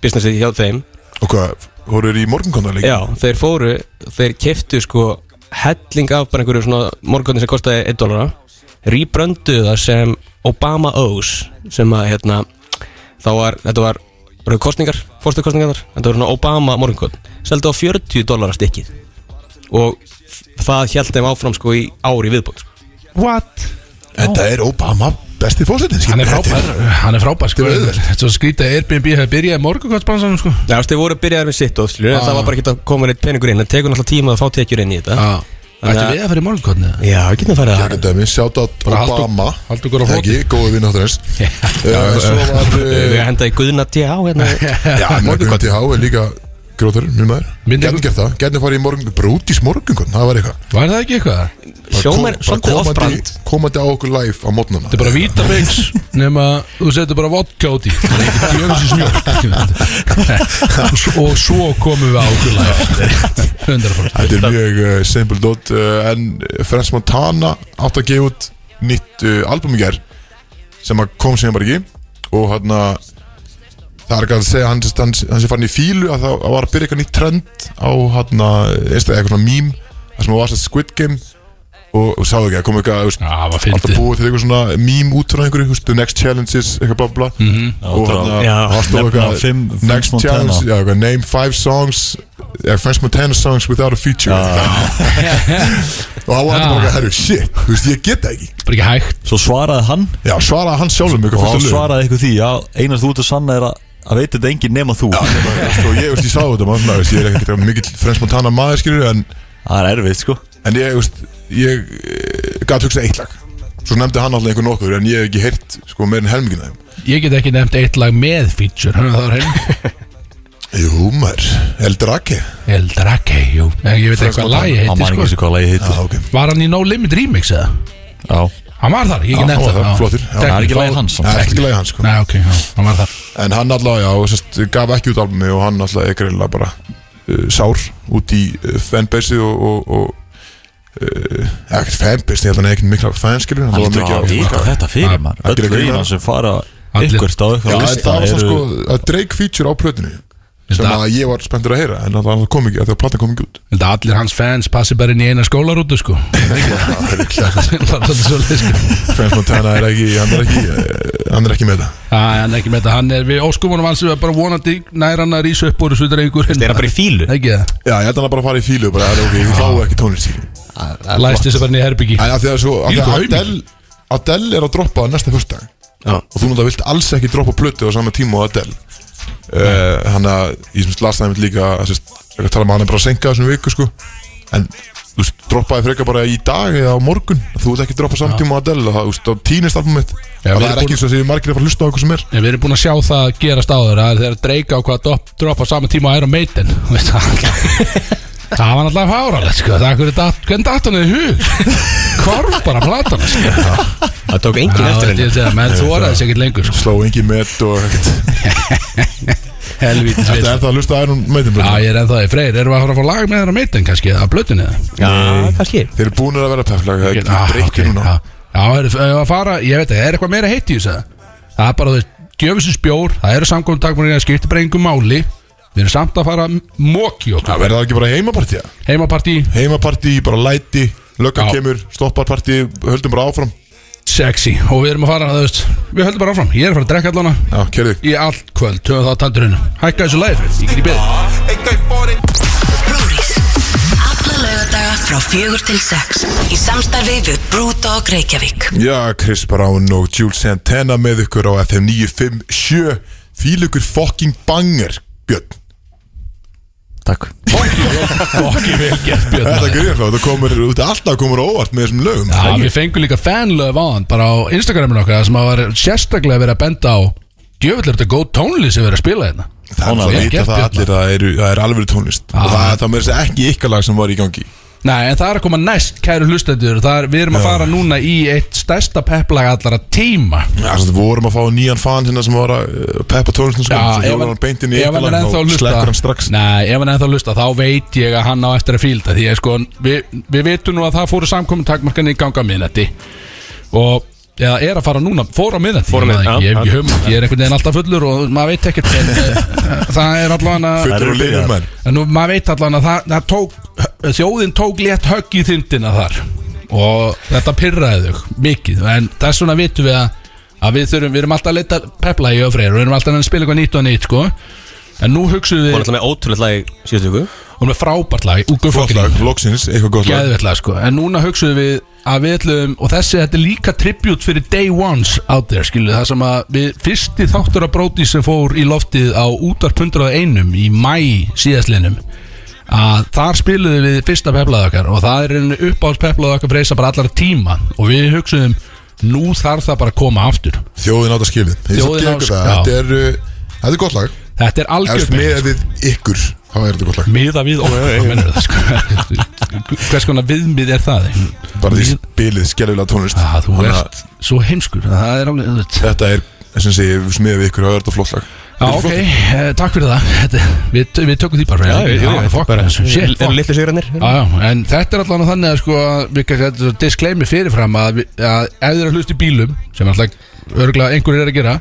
Speaker 3: businessið hjá þeim
Speaker 2: Og hvað, voru þér í morgunkonda líka?
Speaker 3: Já, þeir fóru, þeir keftu sko helling af bara einhverju svona morgunni sem kostaði 1 dólara rýbrönduðu það sem Obama O's sem að hérna þá var, þetta var, voru kostningar fórstu kostningar þar, þetta voru svona Obama morgunkoll seldu á 40 dólara stikkið og það held þeim áfram sko í ári viðbútt sko.
Speaker 4: What?
Speaker 2: Þetta er Obama besti fósettin
Speaker 4: Hann er frábær, hann er frábær sko
Speaker 2: Þetta er auðvelt.
Speaker 4: Þetta er svo skrítið að Airbnb hefði byrjað morgunkvæðsbransanum sko
Speaker 3: Já, þú veist, þeir voru byrjaðar með sitt og skilur,
Speaker 4: Ah.
Speaker 3: það var bara ekki að koma neitt peningur inn, það tekur náttúrulega tíma að fá tekjur inn í þetta
Speaker 4: Já, Ættu við að fara í málkotni
Speaker 3: Já, við getum að fara
Speaker 2: Þetta er minn sjátt
Speaker 4: Bara haldu-
Speaker 2: Obama
Speaker 4: haldu ykkur á
Speaker 2: Þegar ekki, góði vinn áttur hans Eh, Svo var
Speaker 3: Við
Speaker 2: eh,
Speaker 3: henda í Guðna D.A. hérna
Speaker 2: Já, morgun til há er líka grótarinn, minn maður
Speaker 4: Myndi-
Speaker 2: Gætni gert það, gætni farið í morgun Brútis morgun, það var eitthvað
Speaker 4: Var það ekki eitthvað?
Speaker 2: Bara
Speaker 3: Sjómer,
Speaker 2: kom- bara
Speaker 3: svolítið
Speaker 2: komandi-
Speaker 3: off-brand
Speaker 2: Komandi á okkur live á mótnana
Speaker 4: Þetta er bara vítamix nema þú setur bara vodka út í Það er ekki djöfisins mjölk Og svo komum við á okkur live 100%
Speaker 2: Þetta er mjög uh, simple dot uh, En Frans Montana átt að gefa út nýtt uh, album í ger sem að kom síðan bara ekki og hann það er ekki að segja hann, hann, hann sem fann í fílu að það var að byrja eitthvað nýtt trend á hann eitthvað eitthvað svona mím það sem var að Squid Game og, og sáðu ekki að kom eitthvað þú veist,
Speaker 4: Já, það var
Speaker 2: alltaf
Speaker 4: fyndið
Speaker 2: búið til eitthvað svona mím út frá einhverju, þú veist, the next challenges eitthvað bla bla mm -hmm. og
Speaker 5: Já,
Speaker 2: hann
Speaker 3: já,
Speaker 2: það stóð
Speaker 5: nefna
Speaker 2: eitthvað
Speaker 5: fimm- fimm
Speaker 2: next
Speaker 5: Montana.
Speaker 2: challenge, já, eitthvað, name five songs yeah, French Montana songs without a feature og hann var alltaf bara eitthvað, herru, shit þú veist, ég get það ekki
Speaker 4: Bara ekki hægt
Speaker 5: Svo svaraði hann
Speaker 2: já, svaraði hann sjálfum
Speaker 5: og
Speaker 2: eitthvað
Speaker 5: hann
Speaker 2: fullt af lögum.
Speaker 5: svaraði eitthvað því Já, einar þú ert að sanna er að, að veit þetta enginn nema þú
Speaker 2: Ég bara, þú veist, og Sko, ég, þú veist, ég sá þetta maður, svona, þú veist, ég er ekkert mikill French Montana maður, skilur, en
Speaker 5: Það er erfitt sko
Speaker 2: En ég, veist, ég eh, gat hugsað eitt lag Svo nefndi hann alltaf einhver nokkur En ég hef ekki heyrt sko, meir en helmingina þeim
Speaker 4: Ég get ekki nefnt eitt lag með feature Þannig að það var heim
Speaker 2: Jú, maður, eldur ekki
Speaker 4: Eldar ekki, jú En ég veit eitthvað lagi
Speaker 5: Hann
Speaker 4: heiti
Speaker 5: man ekki
Speaker 4: sko
Speaker 5: þessu hvað lagi heiti
Speaker 2: Já, ok
Speaker 4: Var hann í No Limit Remix eða?
Speaker 5: Já,
Speaker 4: Hann var þar, ég
Speaker 2: Já,
Speaker 4: get nefnt
Speaker 2: hann var
Speaker 4: það
Speaker 2: þar,
Speaker 4: já.
Speaker 2: flottur. Já,
Speaker 5: það
Speaker 4: Teknifá-
Speaker 5: er ekki lagi hans
Speaker 2: Það er ekki lagi hans sko
Speaker 4: Nei, ok, já, hann var þar
Speaker 2: En hann alltaf, já, og sest, gaf ekki út albumi Og hann alltaf er greinlega bara uh, Sár út í uh, fanbase Og, og, og uh, Ekkert fanbase, ég held að hann er ekkert mikla fanskilur Hann
Speaker 5: Hann
Speaker 2: var mikið á
Speaker 5: lítur að vita þetta fyrir mann
Speaker 2: Allir að
Speaker 5: Öll
Speaker 2: grínast.
Speaker 5: lögin hans sem fara
Speaker 4: Allir-
Speaker 5: ykkurt á
Speaker 2: Já, en
Speaker 5: ykkar lista
Speaker 2: það var svona
Speaker 5: eru
Speaker 2: sko að Drake feature á plötinu Sem
Speaker 4: Þetta-
Speaker 2: að ég var spenntur að heyra En hann kom ekki, að það platan kom ekki út
Speaker 4: Þetta allir hans fans passi bara inn í eina skólarútu sko Bara svolítið svolítið sko
Speaker 2: French Montana er ekki, hann er ekki, eh, hann er ekki með það
Speaker 4: Æ, hann er ekki með þetta, hann er við óskumunum hans við bara vonandi nær hann að rísa upp úr þessu dreigur
Speaker 3: Það er hann bara í fílu
Speaker 4: Ekki það,
Speaker 2: Já, ég held að hann bara að fara í fílu og bara, "Herra, ok, ég fá ekki tónlist skilur."
Speaker 4: læst þessu bara niður herbyggi
Speaker 2: Æ, af því að svo, af því
Speaker 4: Þvílíkur
Speaker 2: að
Speaker 4: aumingi.
Speaker 2: Adele, Adele er að droppa næsta fyrstdag
Speaker 3: Já.
Speaker 2: Og þú náttúrulega vilt alls ekki droppa plötu á sama tíma og Adele Eh, Þannig að, ég sem lasaði mitt líka, að sérst, ég tala um að hann er bara að senka þessum viku sko En, þú veist, droppaði frekar bara í dag eða á morgun Þú vilt ekki droppa samtíma og Adele og það, þú veist, þá týnist album mitt
Speaker 4: Já,
Speaker 2: Það
Speaker 4: við
Speaker 2: er
Speaker 4: erum
Speaker 2: ekki
Speaker 4: búin-
Speaker 2: eins og þessi margir að fara að hlusta á okkur sem er
Speaker 4: En við erum búin að sjá það gerast áður að þegar dreika á hvað dopp, droppa saman tíma á Iron Maiden Þú veist, Það það var náttúrulega fáralegt sko, það er hverju datt, hvernig datt hann í hug Hvarf bara platan sko
Speaker 3: Það tók enginn
Speaker 4: Já,
Speaker 3: eftir
Speaker 4: þetta
Speaker 3: henni
Speaker 4: er það, menn þóraði sér ekkert lengur sko
Speaker 2: Sló engi met og ekkert
Speaker 4: Helvítið
Speaker 2: Þetta er það að hlusta að Iron Maiden
Speaker 4: Já,
Speaker 2: blötu
Speaker 4: ég er ennþá í freyr, erum við að fara að fá lag með Iron Maiden kannski, að blötunni það
Speaker 3: Já, kannski
Speaker 2: Þeir eru búinir að vera peflag, það er
Speaker 4: Ah,
Speaker 2: ekki breykt
Speaker 4: ok,
Speaker 2: núna
Speaker 4: Já, já er, er að fara, ég veit ekki, er eitthvað meira heitt í þessu Það er bara, þú veist, djöfisins bjór Það eru samkvæmum takmarinn að skipta bara engum máli Við erum samt að fara móki okkur
Speaker 2: Það verður það ekki bara heimapartía
Speaker 4: Heimapartí,
Speaker 2: Heimapartí, bara læti, löggan
Speaker 4: Já.
Speaker 2: kemur, stopparpartí, höldum bara áfram
Speaker 4: sexy Og við erum að fara, þú veist, við höldum bara áfram Ég er að fara að drekka allana
Speaker 2: Já, kerðu
Speaker 4: í allt kvöld Töðum það taldurinn Hækka þessu lagi fyrir, ég get í beð
Speaker 6: Brúris Alla lögadaga frá fjögur til sex Í samstarfi við Brúdog Reykjavík
Speaker 2: Já, Chris Brown og Jules Santana með ykkur á FM 957 Fýl ykkur fucking banger, Björn
Speaker 5: Takk
Speaker 4: Fokki vel gert Björn
Speaker 2: Þetta
Speaker 4: maður.
Speaker 2: grýr þá, þetta komur, þetta alltaf komur á óvart með þessum lögum
Speaker 4: Já, við fengum líka fanlöf á hann bara á Instagraminu okkar þar sem að var sérstaklega verið að benda á djöfull er þetta góð tónlist sem við erum að spila hérna
Speaker 2: Það er
Speaker 4: vel
Speaker 2: að vita það
Speaker 4: gert, Björn,
Speaker 2: allir að það eru- það er alveg tónlist Og það það með þess að segja ekki ykkar lag sem var í gangi
Speaker 4: Nei, en það er að koma næst, kæru hlustendur Það er, Við erum að fara núna í eitt stærsta peplag allara tíma
Speaker 2: Já, svo vorum að fá nýjan fan hérna sem var að uh, peppa tónlistin sko, svo
Speaker 4: ef
Speaker 2: hjólar
Speaker 4: hann
Speaker 2: hann beint inn í
Speaker 4: ef hann
Speaker 2: ykkar
Speaker 4: er
Speaker 2: lag
Speaker 4: ennþá að
Speaker 2: og
Speaker 4: hlusta
Speaker 2: slekkur hann strax
Speaker 4: Nei, ef hann er ennþá að hlusta Þá veit ég að hann á eftir að fílda Því að sko, við, við vitum nú að það fóru samkomin Takmarkan í ganga minnetti Og eða er að fara núna, fór á miðnætti Fór
Speaker 3: á miðnætti, já,
Speaker 4: Ég hef ekki
Speaker 3: já.
Speaker 4: hugmynd, ég er einhvern veginn alltaf fullur Og maður veit ekkert en, eh, Það er allan að
Speaker 5: Það
Speaker 2: Fullur
Speaker 5: eru
Speaker 2: og liður
Speaker 5: byrjaðar.
Speaker 2: menn
Speaker 4: En nú, maður veit allan að það, það tók, þjóðin tók létt högg í þindina þar og þetta pyrraði þau mikið en þess vegna vitum við að, að við þurfum, við erum alltaf að leita pepla í öfreir og við erum alltaf að spila eitthvað nýtt og nýtt sko en nú hugsuðum
Speaker 3: Hún
Speaker 4: við
Speaker 3: er alltaf með ótrúlega lag síðustu viku
Speaker 4: og með frábært lag úr
Speaker 2: Flott
Speaker 4: guffagrín
Speaker 2: lag, loksins, eitthvað gott lag
Speaker 4: geðveitlega sko en núna hugsuðum við að við ætlum og þessi þetta er líka tribut fyrir day ones out there skilu það sem að við fyrsti þáttur að bróti sem fór í loftið á útarp 101 í mæ síðastlinum að þar spiluðum við fyrsta peplaðu okkar og það er einu uppáhalds peplaðu okkar freysa bara allar tíma og við hugsuðum nú þarf það bara að koma aftur
Speaker 2: Þjóðin átt að skilja
Speaker 4: Þjóðin á- já.
Speaker 2: Þetta er uh, Þetta er gott lag
Speaker 4: þetta er
Speaker 2: Ef
Speaker 4: algjörn
Speaker 2: með við ykkur þá er þetta gott lag
Speaker 4: miða við okkur hvað meinarðu það, sko? hvers konar viðmið er það
Speaker 2: Bara því spilið skelvilega tónlist
Speaker 4: að Ah, þú
Speaker 2: Þannig að
Speaker 4: ert svo heimskur það er alveg þú veit.
Speaker 2: Þetta er, sem sé, ef við með við ykkur þá er þetta flott lag
Speaker 4: Já, ok, eh, takk fyrir það Þetta- Við, við tökum því bara
Speaker 3: Já, já, já,
Speaker 4: fuck bara Shit,
Speaker 3: Er
Speaker 4: fuck
Speaker 3: litlu sigrannir?
Speaker 4: Já, já, en þetta er allan þannig að sko, við kannski disclaimer fyrirfram að, við- að ef þið eru að hlusta í bílum sem alltaf örgulega einhverjir er að gera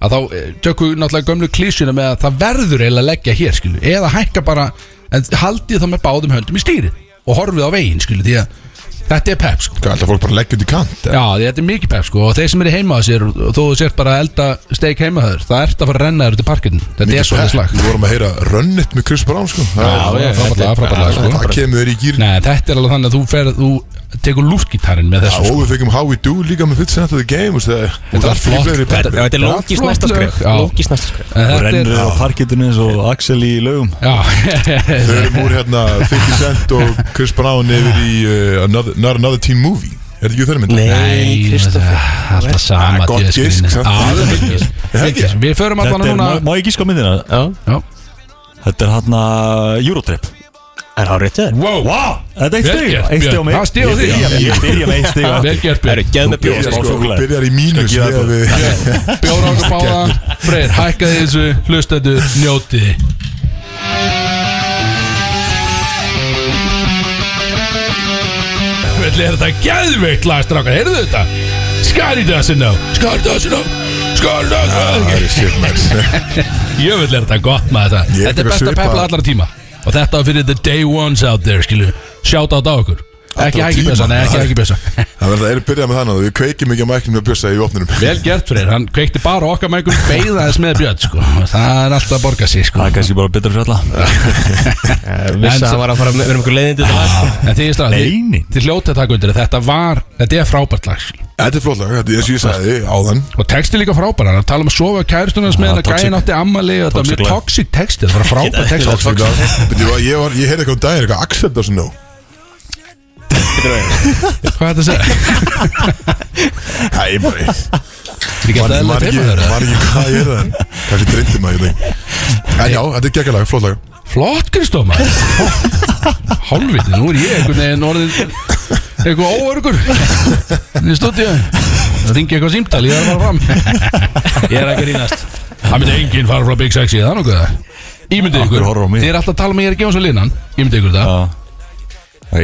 Speaker 4: að þá eh, tökum við náttúrulega gömlu klísjuna með að það verður eiginlega að leggja hér skilu, eða hækka bara en haldið það með báðum höndum í stýri og horfið á veginn skilu, því að þetta er pep sko
Speaker 2: Hvað, ætla fólk bara að leggja út í kant eða?
Speaker 4: Já, því þetta er mikið pep sko og þeir sem eru heima að sér og þú sért bara að elda steik heima þaður, það ert að fara að renna þér út í parkinn, þetta
Speaker 2: Mikið
Speaker 4: er svona
Speaker 2: pepp.
Speaker 4: slag
Speaker 2: Við vorum að heyra Run It með Chris Brown sko.
Speaker 4: Já,
Speaker 2: Það
Speaker 4: já, frábærlega, frábærlega sko
Speaker 2: það kemur þér í gýrin
Speaker 4: Nei, þetta er alveg þannig að þú ferð, þú tekur lúftgitarinn með þessu sko.
Speaker 2: Og við fengum How We Do líka með Fitz Night of the Game og það- og það
Speaker 4: var
Speaker 2: er fyrir
Speaker 4: flott.
Speaker 2: fleiri
Speaker 3: Þetta
Speaker 2: bættir.
Speaker 3: þetta er lókis
Speaker 4: flott
Speaker 3: næsta
Speaker 4: lög,
Speaker 3: skref
Speaker 4: já.
Speaker 3: Lókis næsta skref
Speaker 4: En
Speaker 5: Og
Speaker 4: þetta er-
Speaker 5: rennur á parkitinu eins og Axel í laugum
Speaker 4: Já,
Speaker 2: Þau erum úr hérna 50 Cent og Chris Brown yfir í uh, another, Not Another Teen Movie Er þetta ekki þeirra mynd?
Speaker 3: Nei, Kristoffer
Speaker 4: alltaf sama
Speaker 2: gott gisk,
Speaker 4: djöskilinn. Já,
Speaker 2: samt.
Speaker 4: það er gisk.
Speaker 2: ekki?
Speaker 4: Gisk. Við förum
Speaker 5: Þetta
Speaker 4: allan
Speaker 5: er,
Speaker 4: núna
Speaker 5: má, má ég gíska á myndina?
Speaker 3: Já,
Speaker 5: Þetta er hann að Eurotrip
Speaker 3: er það réttið þér?
Speaker 4: Wow,
Speaker 5: Vá, þetta er eitt
Speaker 4: Vel
Speaker 5: stig
Speaker 4: gert,
Speaker 5: Eitt stig á
Speaker 4: Björn.
Speaker 5: mig
Speaker 4: Það er stig á
Speaker 5: Ég
Speaker 4: þig.
Speaker 5: byrja- Ég byrja með eitt stig á
Speaker 4: vel gert
Speaker 3: Það eru
Speaker 4: Björn
Speaker 3: geð með
Speaker 2: Byrjar
Speaker 3: bjóð
Speaker 2: sko,
Speaker 5: Smá
Speaker 2: þú
Speaker 5: súkkulaði.
Speaker 2: byrjar í mínus
Speaker 5: Skal gefa
Speaker 2: með við
Speaker 4: Bjóra okkur báða Freyr, hækkaði þessu, hlustaðu, njótiði Hvernig er þetta geðveikt lagstrákar, heyrðu þetta? Skari dasin á, skari dasin á, skari dasin á
Speaker 2: Það er shit man
Speaker 4: Jöfull er þetta gott maður þetta
Speaker 2: Ég er
Speaker 4: Þetta er
Speaker 2: ekki
Speaker 4: besta
Speaker 2: að svipa.
Speaker 4: pepla allra tíma Og þetta var fyrir the day ones out there skilu Shout out á okkur Ekki
Speaker 2: Allra
Speaker 4: hægir
Speaker 2: tíma,
Speaker 4: bjösa, nei ekki
Speaker 2: maður.
Speaker 4: hægir bjösa
Speaker 2: Það verður að byrja með þannig að við kveikjum ekki að mæknum með bjösa í opnunum
Speaker 4: Vel gert fyrir, hann kveikti bara á okkar mægum Beigðaðis með björn sko Það er alltaf að borga sig sko
Speaker 5: Það er kannski bara betra fyrir alla
Speaker 3: Vissi að hann var að fara með vera með einhver leiðindi þetta lag.
Speaker 4: Ah, En því ég strax,
Speaker 5: Nei, nei.
Speaker 4: þið hljóta að taka undir að Þetta var, þetta er frábært lag skilu.
Speaker 2: Þetta er flott lag, þetta er eins og ég sagði áðan
Speaker 4: Og texti líka frábært, hann tala um að sofa kæristunans
Speaker 5: Ah,
Speaker 4: með hann að
Speaker 5: toxic.
Speaker 4: gæin átti ammali og Þetta var
Speaker 5: Toxic
Speaker 4: mjög
Speaker 5: lag.
Speaker 4: toxic texti, það var frábært texti
Speaker 2: Tókst líka Veitir hvað, Ég var- ég heyrði eitthvað um daginn, eitthvað Axel doesn't know
Speaker 4: Hvað er þetta að segja?
Speaker 2: Það er bara
Speaker 4: Þetta er ekki
Speaker 2: Man
Speaker 4: alltaf
Speaker 2: man
Speaker 4: eðlilegt
Speaker 2: ekki
Speaker 4: heima þeirra.
Speaker 2: man ekki hvað ég heyrði en Kanski dreyndi maður ég veit ekki. En já, þetta er geggjalag, flott lag
Speaker 4: Flott Kristó maður Hálfviti, nú er ég einhvern veginn orðin eitthvað óörgur Þið stótti ég Það ringi eitthvað símtal, ég er að fara fram Ég er að grínast Það myndi enginn fara frá Big Sexy, það er nokkuð það Ímyndið
Speaker 5: Akkur
Speaker 4: ykkur,
Speaker 5: horfir á mig.
Speaker 4: þið er alltaf að tala með ég er að gefa svo linan Ímyndið ykkur það
Speaker 5: Já.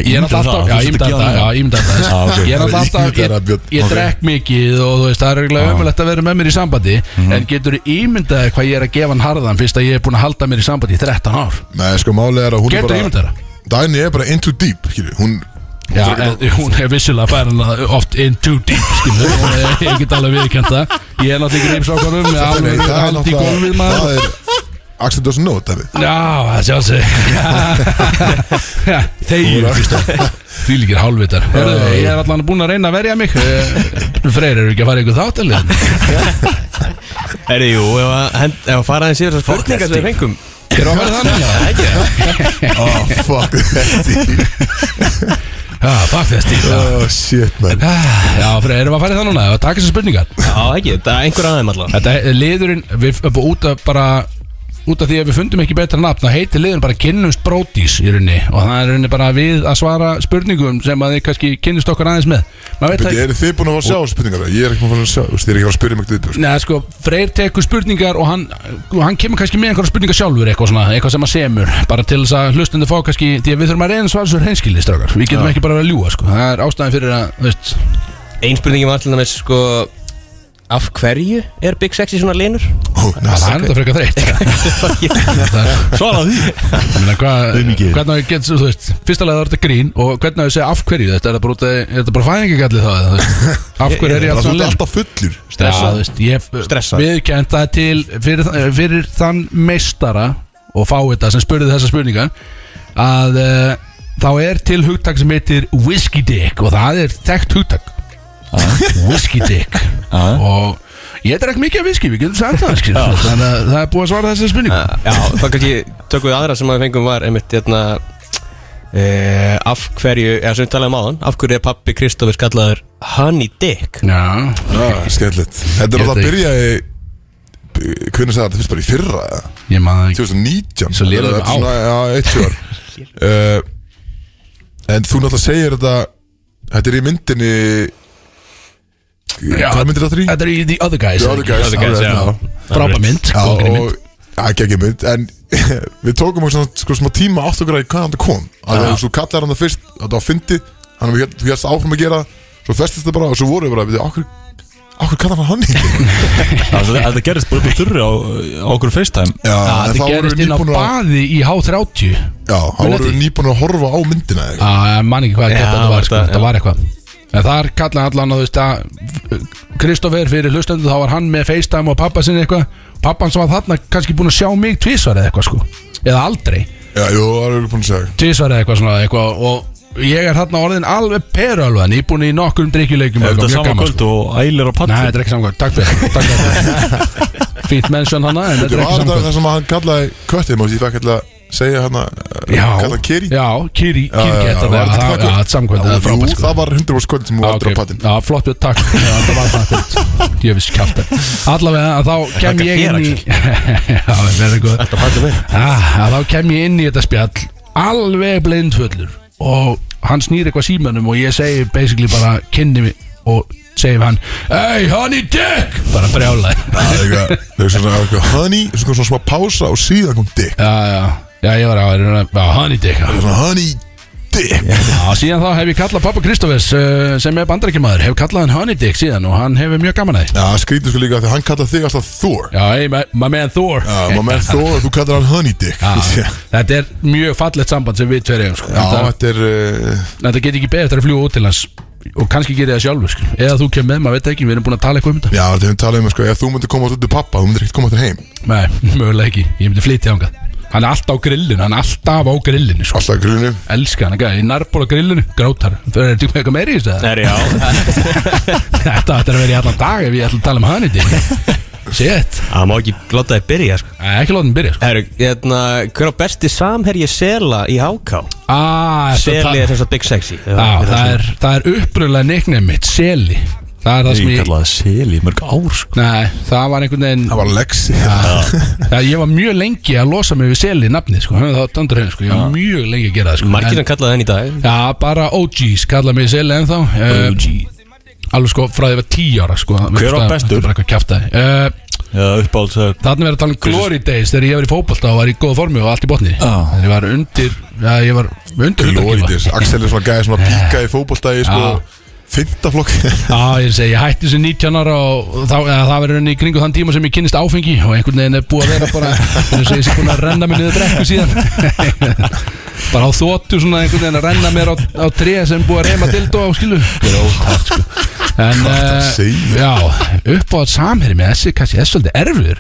Speaker 4: Ég er alltaf
Speaker 5: það,
Speaker 4: alltaf, já,
Speaker 5: þú
Speaker 4: ímynda
Speaker 5: ert að
Speaker 4: þetta,
Speaker 5: gefa
Speaker 4: já,
Speaker 5: mér.
Speaker 4: ímynda
Speaker 5: Já,
Speaker 4: þetta
Speaker 5: ok.
Speaker 2: Það er
Speaker 4: Ég er alltaf alltaf,
Speaker 2: ímyndaðar að
Speaker 4: ég,
Speaker 2: Björn-
Speaker 4: ég
Speaker 2: ok.
Speaker 4: drekk mikið og þú veist, það er reglulega ömulegt að vera með mér í sambandi
Speaker 5: Mhm.
Speaker 4: En getur ímyndaði hvað ég er að gefa hann harðan fyrst að ég er búin að halda mér í sambandi í 13 ár
Speaker 2: Nei, sko, málið er að hún er
Speaker 4: Getur
Speaker 2: bara
Speaker 4: ímyndað það?
Speaker 2: Daginn er bara in too deep, skilju Hún
Speaker 4: Já, en hún er vissilega færin að uh, oft in too deep, skilu Ég get alveg viðkjönt það Ég er náttúrulega greipsrákarum með
Speaker 2: Nei,
Speaker 4: alveg
Speaker 2: það er
Speaker 4: hald í gólfið
Speaker 2: náttúrulega Það
Speaker 4: maður
Speaker 2: er Axel doesn't know, David
Speaker 4: Já, það sjá sig Þegir, því líkir hálfvitar Hörðu, ég er allan búin að reyna að verja mig Eh, Freyr, eru ekki að fara í einhver þáttalið?
Speaker 3: Herri, jú, ef að hend- ef að fara aðeins yfir þessar spurningar sem við fengum
Speaker 4: Er að verða þannig? Já, ekki
Speaker 2: Oh, fuck þetta
Speaker 4: Já, fuck þess stíl já.
Speaker 2: Oh, shit, man
Speaker 4: Já, Freyr, erum við að fara í það núna? Ef að Taka þessar spurningar
Speaker 3: Já, ekki, þetta er einhver aðeim allavega
Speaker 4: Þetta er liðurinn, við upp, út af bara út af því að við fundum ekki betra nafn þá heitir liðurinn bara kynnumst brótís í rauninni og það er í rauninni bara við að svara spurningum sem að þið kannski kynnist okkur aðeins með maður veit
Speaker 2: Beti,
Speaker 4: það ekki
Speaker 2: eru þið búin að fá að sjá spurningar? Ég er ekki búin að fá að sjá, þú veist, ég er ekki að fara að spyrja mig þetta sko.
Speaker 4: Nei, sko, Freyr tekur spurningar og hann, hann kemur kannski með einhverja spurningar sjálfur eitthvað svona, eitthvað sem að semur bara til þess að hlustundu fá kannski því að við þurfum að reyna að svara svo reynskilni strákar við getum ekki bara að ljúa, sko, það er ástæðan fyrir að þú veist,
Speaker 3: Ein spurningi var til dæmis, sko Af hverju er Big Sexy svona linur?
Speaker 2: Ó, næs.
Speaker 4: það er þetta frekar þreytt
Speaker 5: Svara því
Speaker 4: Ég meina, hvað-
Speaker 5: Auðmýkið.
Speaker 4: hvernig á ég get, þú veist, fyrsta lega var þetta grín og hvernig á ég segja af hverju þetta, er það bara, út af- er það bara fæðingagallið það, eða, þú veist, af hverju er ég
Speaker 2: Það
Speaker 4: alltaf
Speaker 2: er
Speaker 4: leið?
Speaker 2: alltaf fullur
Speaker 4: Stressað, þú veist, ég
Speaker 3: Stressað.
Speaker 4: viðkjönd það til fyrir, fyrir þann meistara og fáið sem spurði þessa spurninga að uh, þá er til hugtak sem heitir Whiskey Dick og það er þekkt hugtak Ah. Whiskey Dick
Speaker 5: Já.
Speaker 4: og ég drekk mikið af whisky, við getum sagt það skilur. þannig að það er búið að svara þessa spurningu
Speaker 3: Já, þá kannski tökum við aðra sem að við fengum var einmitt hérna Uh, af hverju, eða sem við talaðum áðan af hverju er pappi Kristofur skallaður Honey Dick
Speaker 4: Já,
Speaker 2: Já, skemmtilegt Þetta er alltaf
Speaker 4: Ég veit
Speaker 2: að
Speaker 4: ekki.
Speaker 2: byrja í Hvernig sagði þetta fyrst bara í fyrra eða?
Speaker 4: ég maður ekki
Speaker 2: 2019
Speaker 4: Svo lélegt
Speaker 2: Þetta er
Speaker 4: ár.
Speaker 2: svona, Já, eitt sjór uh, En þú náttúrulega segir þetta Þetta er í myndinni
Speaker 4: Já,
Speaker 2: Hvað myndir þetta er í?
Speaker 4: Þetta er í The Other Guys
Speaker 2: The Other Guys,
Speaker 3: Other Guys,
Speaker 2: alveg,
Speaker 3: já.
Speaker 4: Frápa mynd,
Speaker 2: Já,
Speaker 4: góðgrinni mynd
Speaker 2: og ekki ekki mynd En við tókum okkur svona, sko, smá tíma átt okkur að í hvað hann það kom Að þú svo kallar hann það fyrst Þetta var fyndi Hann við hér- þú hérst áfram að gera Svo festist það bara Og svo voru við bara Við okkur Okkur kallar hann hann ekki
Speaker 5: Þetta þetta gerðist bara upp á þurri á, á okkur FaceTime
Speaker 2: Já,
Speaker 4: Já,
Speaker 2: en uh, þá
Speaker 4: Þetta
Speaker 2: voru
Speaker 4: gerist
Speaker 2: við
Speaker 4: inn á
Speaker 2: nýbúin að
Speaker 4: baði í H30
Speaker 2: Já, þá
Speaker 4: Munið
Speaker 2: voru við
Speaker 4: því?
Speaker 2: nýbúin að horfa á myndina eða eitthvað.
Speaker 4: Já, mann ekki hvað
Speaker 3: Já,
Speaker 4: þetta var, sko,
Speaker 3: þetta-
Speaker 4: þetta
Speaker 3: já.
Speaker 4: var eitthvað En þar kallaði allan að þú veist að Kristoffer fyrir hlustandi þá var hann með FaceTime og pappa sinni eitthvað Pappan sem var þarna kannski búin að sjá mig tvisvar eða eitthvað sko Eða aldrei,
Speaker 2: Já, jú, það eru við búin að segja
Speaker 4: tvisvar eða eitthvað svona eitthvað Og ég er þarna orðin alveg peru alveg En ég búin í nokkrum drikkjuleikum og
Speaker 5: Er þetta
Speaker 4: eitthvað, mjög
Speaker 5: sama
Speaker 4: gaman,
Speaker 5: kvöld og ælir á
Speaker 4: Nei, þetta
Speaker 5: patti?
Speaker 4: er ekki samkvæmt, takk fyrir, takk fyrir. Fínt mennsjón hana, en þetta
Speaker 2: Þetta
Speaker 4: er
Speaker 2: var
Speaker 4: ekki
Speaker 2: þetta
Speaker 4: samkvæmt
Speaker 2: það sem hann kallaði köttið Mást ég fekk eitthvað að segja hann að Kalla Keri
Speaker 4: já, Kiri,
Speaker 2: Já, já,
Speaker 4: Kiri
Speaker 2: já,
Speaker 4: geta
Speaker 2: var þetta
Speaker 4: það
Speaker 2: það
Speaker 4: Já,
Speaker 2: kvöld?
Speaker 4: samkvæmt,
Speaker 2: Já,
Speaker 4: það er frábært
Speaker 2: Jú,
Speaker 4: sko.
Speaker 2: það var 100% kvöld sem hún var
Speaker 4: Já,
Speaker 2: aldrei á
Speaker 4: ok.
Speaker 2: pattinn
Speaker 4: Já, flott, við takk Já, Það var það fyrir Jöfis kjátt Allavega, að þá kem
Speaker 5: þakka
Speaker 4: ég
Speaker 5: þér,
Speaker 4: inn í Já, það er góð
Speaker 3: Þetta pæti mig
Speaker 4: ah, að Þá kem ég inn í þetta spjall Alveg blindfullur Og hann snýr eitthvað símanum Og ég segi basically bara Kynni mig Og segi við hann Hey, honey dick Bara brjálaði
Speaker 2: Það er eitthvað- það er svona eitthvað honey Svo kom svona smá pása og síðan kom dick
Speaker 4: Já, já Já, ég var á Já, honey dick já.
Speaker 2: Það er svona honey dick
Speaker 4: Já, síðan þá hef ég kallað pappa Kristofers uh, sem er bandarækjamaður, hef kallað hann Honey Dick síðan og hann hefur mjög gaman að því
Speaker 2: Já, skrítið sko líka að því hann kallaði þig alltaf Thor
Speaker 4: Já, hey, my, my man Thor
Speaker 2: Já, maður með Thor og þú kallar hann honey dick
Speaker 4: Já, þetta er mjög fallegt samband sem við tverjum sko.
Speaker 2: Já,
Speaker 4: þetta,
Speaker 2: þetta er uh,
Speaker 4: þetta get ekki beðið eftir að fljúa út til hans og kannski gera það sjálfur sko. eða þú kem með, maður veit ekki, við erum búin að tala eitthvað um þetta
Speaker 2: Já, þetta er talað um sko Ef þú myndir koma út til pappa Þú myndir ekkert koma út heim
Speaker 4: Nei, mögulega ekki, ég myndi flytja ángað Hann er alltaf á grillinu, hann er alltaf á grillinu sko.
Speaker 2: Alltaf grunum
Speaker 4: Elskar hann, gæði, narból á grillinu, grátar Það er þetta eitthvað meiri í þessu eða?
Speaker 5: Er já
Speaker 4: Þetta ætti að vera í allan dag ef ég ætla að tala um hann í því Shit,
Speaker 3: Það má ekki láta þið byrja sko.
Speaker 4: Nei, ekki látum byrja sko.
Speaker 3: Heru, hérna, Hver á besti samherji Sela í HK?
Speaker 4: ah, þetta-
Speaker 3: Seli er þess að Big Sexy
Speaker 4: Já, það er, það er uppröðlega neiknum mitt, Seli Það er það sem
Speaker 5: Ég
Speaker 4: ég
Speaker 5: kallaði það seli í mörg ár sko
Speaker 4: Nei, það var einhvern veginn
Speaker 2: Það var Lexi
Speaker 4: Já, ég var mjög lengi að losa mig við seli nafni, sko, það var döndur henni, sko, ég var mjög lengi að gera það, sko.
Speaker 3: Markir
Speaker 4: En-
Speaker 3: hann kallaði henni í dag
Speaker 4: Já, bara OGs, kalla mig seli ennþá. OG. Alveg sko, frá því að ég var 10 ára, sko.
Speaker 5: Hver var
Speaker 4: Þetta
Speaker 5: bestur?
Speaker 4: er Bara eitthvað kjaftaði. Uh,
Speaker 5: Já, uppáhalds að
Speaker 4: Þannig verið að tala um glory days þegar ég var í fótbolta og var í góð formi og allt í botni.
Speaker 5: Já.
Speaker 4: En ég var undir, já, ég var undir hundarkíla.
Speaker 2: Glóriðis Axel er svona gæði svona píka í fótbolta Í sko
Speaker 4: Já.
Speaker 2: Fintaflokk
Speaker 4: Já, ég segi, ég hætti sem 19 ára og þá, eða, það verður henni í kringu þann tíma sem ég kynnist áfengi og einhvern veginn er búið að vera bara þannig að ég sé búin að renna mér niður brekku síðan bara á þóttu svona einhvern veginn að renna mér á, á tré sem búið að reyma dildó á skilu Grótart sko En,
Speaker 2: ertu að
Speaker 4: uh,
Speaker 2: segja?
Speaker 4: já, upp á samherri með þessi, kannski, þessi er svolítið erfur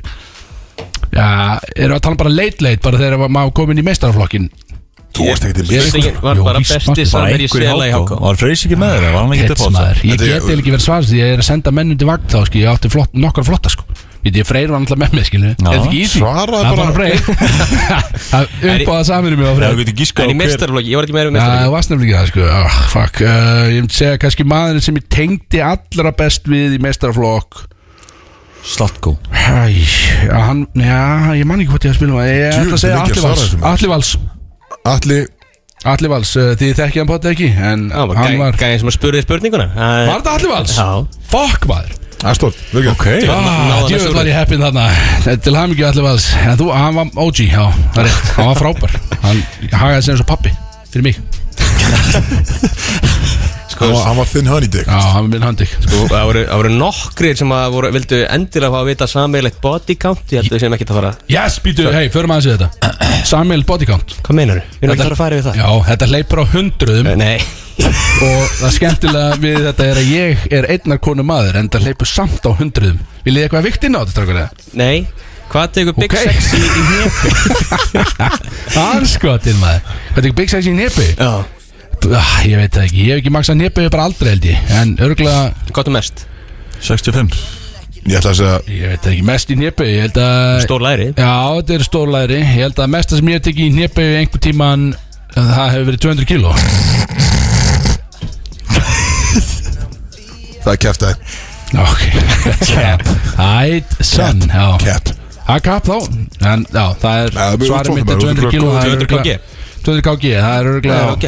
Speaker 4: Já, erum við að tala um bara leit-leit bara þegar var- maður kom inn í meistaraflokkin
Speaker 2: Þú varst ekkert í
Speaker 4: Ég-
Speaker 2: leik
Speaker 3: Stegin var
Speaker 4: Jú,
Speaker 3: bara
Speaker 4: víst,
Speaker 3: besti
Speaker 4: varstu bara
Speaker 3: samherji Sela í HK
Speaker 5: Var Freys ekki með þeirra? Var hann ekki sko.
Speaker 4: Pits
Speaker 5: uppáhalds að
Speaker 4: maður, ég
Speaker 2: Þetta er-
Speaker 4: get eiginlega ekki verið svarast Ég er að senda menn undir vagn þá skil, Ég átti flott, nokkar flotta sko Viti, ég freyr var alltaf með mig skilju Er
Speaker 5: Já.
Speaker 4: þetta ekki easy?
Speaker 2: Svaraðu
Speaker 4: Það er
Speaker 2: bara.
Speaker 4: bara freyr Upp á það samir mig á
Speaker 5: Já,
Speaker 4: freyr
Speaker 5: við getum
Speaker 3: En
Speaker 5: gískað
Speaker 3: í mestarflokki, ég var ekki meira um
Speaker 4: Já, það
Speaker 3: mestarflokki
Speaker 4: varst nefnilega ekki það sko ah, Fuck, uh, ég myndi segja kannski maðurinn sem ég tengdi allra best við í mestarflokk
Speaker 5: Slatko
Speaker 4: Æ, já, hann, já, ég man ekki hvort ég að spila um það. Ég
Speaker 2: Djú,
Speaker 4: ætla að segja
Speaker 2: þetta er ekki að svara þessu,
Speaker 4: Atli Vals
Speaker 2: maður.
Speaker 4: Atli Vals,
Speaker 2: Atli
Speaker 4: Atli Vals, uh, þið þekkið hann potið ekki En
Speaker 3: Það var
Speaker 4: hann
Speaker 3: gæ-
Speaker 4: var
Speaker 3: gæðin sem að spurði spurninguna Það-
Speaker 4: Var þetta Atli Vals?
Speaker 3: Já
Speaker 4: Fuck maður
Speaker 2: Astor Virgil
Speaker 5: Ok
Speaker 3: náði hann að
Speaker 4: Djöfell
Speaker 3: sjóða.
Speaker 4: Ah, var ég heppin þarna Til hamingju allir vaðs En þú, hann var OG, já, það er rétt Hann var frábær Hann hagaði sér eins og pappi Fyrir mig
Speaker 2: Hann var- Hann var þinn honey dick
Speaker 4: sko. Já, hann var minn handik
Speaker 3: Sko, það voru, það voru nokkrir sem að voru, vildu endilega fá að vita sammeilegt body count Ég held að við séum ekkert að fara
Speaker 4: Yes, býtu, hei, förum aðeins við þetta Samuel bodycount
Speaker 3: Hvað meinar þú? Við erum ekki að fara að fara við það
Speaker 4: Já, þetta leipur á hundruðum
Speaker 3: Nei
Speaker 4: Og það skemmtilega við þetta er að ég er einnar konu maður En það leipur samt á hundruðum Vil ég eitthvað viktinn á þetta, strákur eða?
Speaker 3: Nei Hvað tegur Big
Speaker 4: Ok.
Speaker 3: Sexy í hér?
Speaker 4: Anskotin maður Þetta er ekki big sex í nepi
Speaker 3: Já
Speaker 4: ah, Ég veit það ekki, ég hef ekki maksað nepi bara aldrei held ég En örgulega
Speaker 3: Gott og mest
Speaker 5: 65
Speaker 2: Ég ætla að segja
Speaker 4: Ég veit það ekki, mest í nýpi Ég held að
Speaker 3: Stór læri
Speaker 4: Já, þetta er stórlæri Ég held að mesta sem ég hef tekið í hnjöpu einhver tíman eh, Það hefur verið 200 kíló
Speaker 2: Það er kæft að
Speaker 4: Ok Cap Æt, sann Það
Speaker 2: Kæft
Speaker 4: er kapp þá en, já, Það er
Speaker 2: Já, við
Speaker 4: svarið
Speaker 2: útflokkum
Speaker 4: mitt er
Speaker 2: bara,
Speaker 4: 200 kíló það
Speaker 3: 200
Speaker 4: er örugglega-
Speaker 3: kg.
Speaker 4: 200 kg, það er
Speaker 3: Já,
Speaker 4: örgulega
Speaker 3: ok.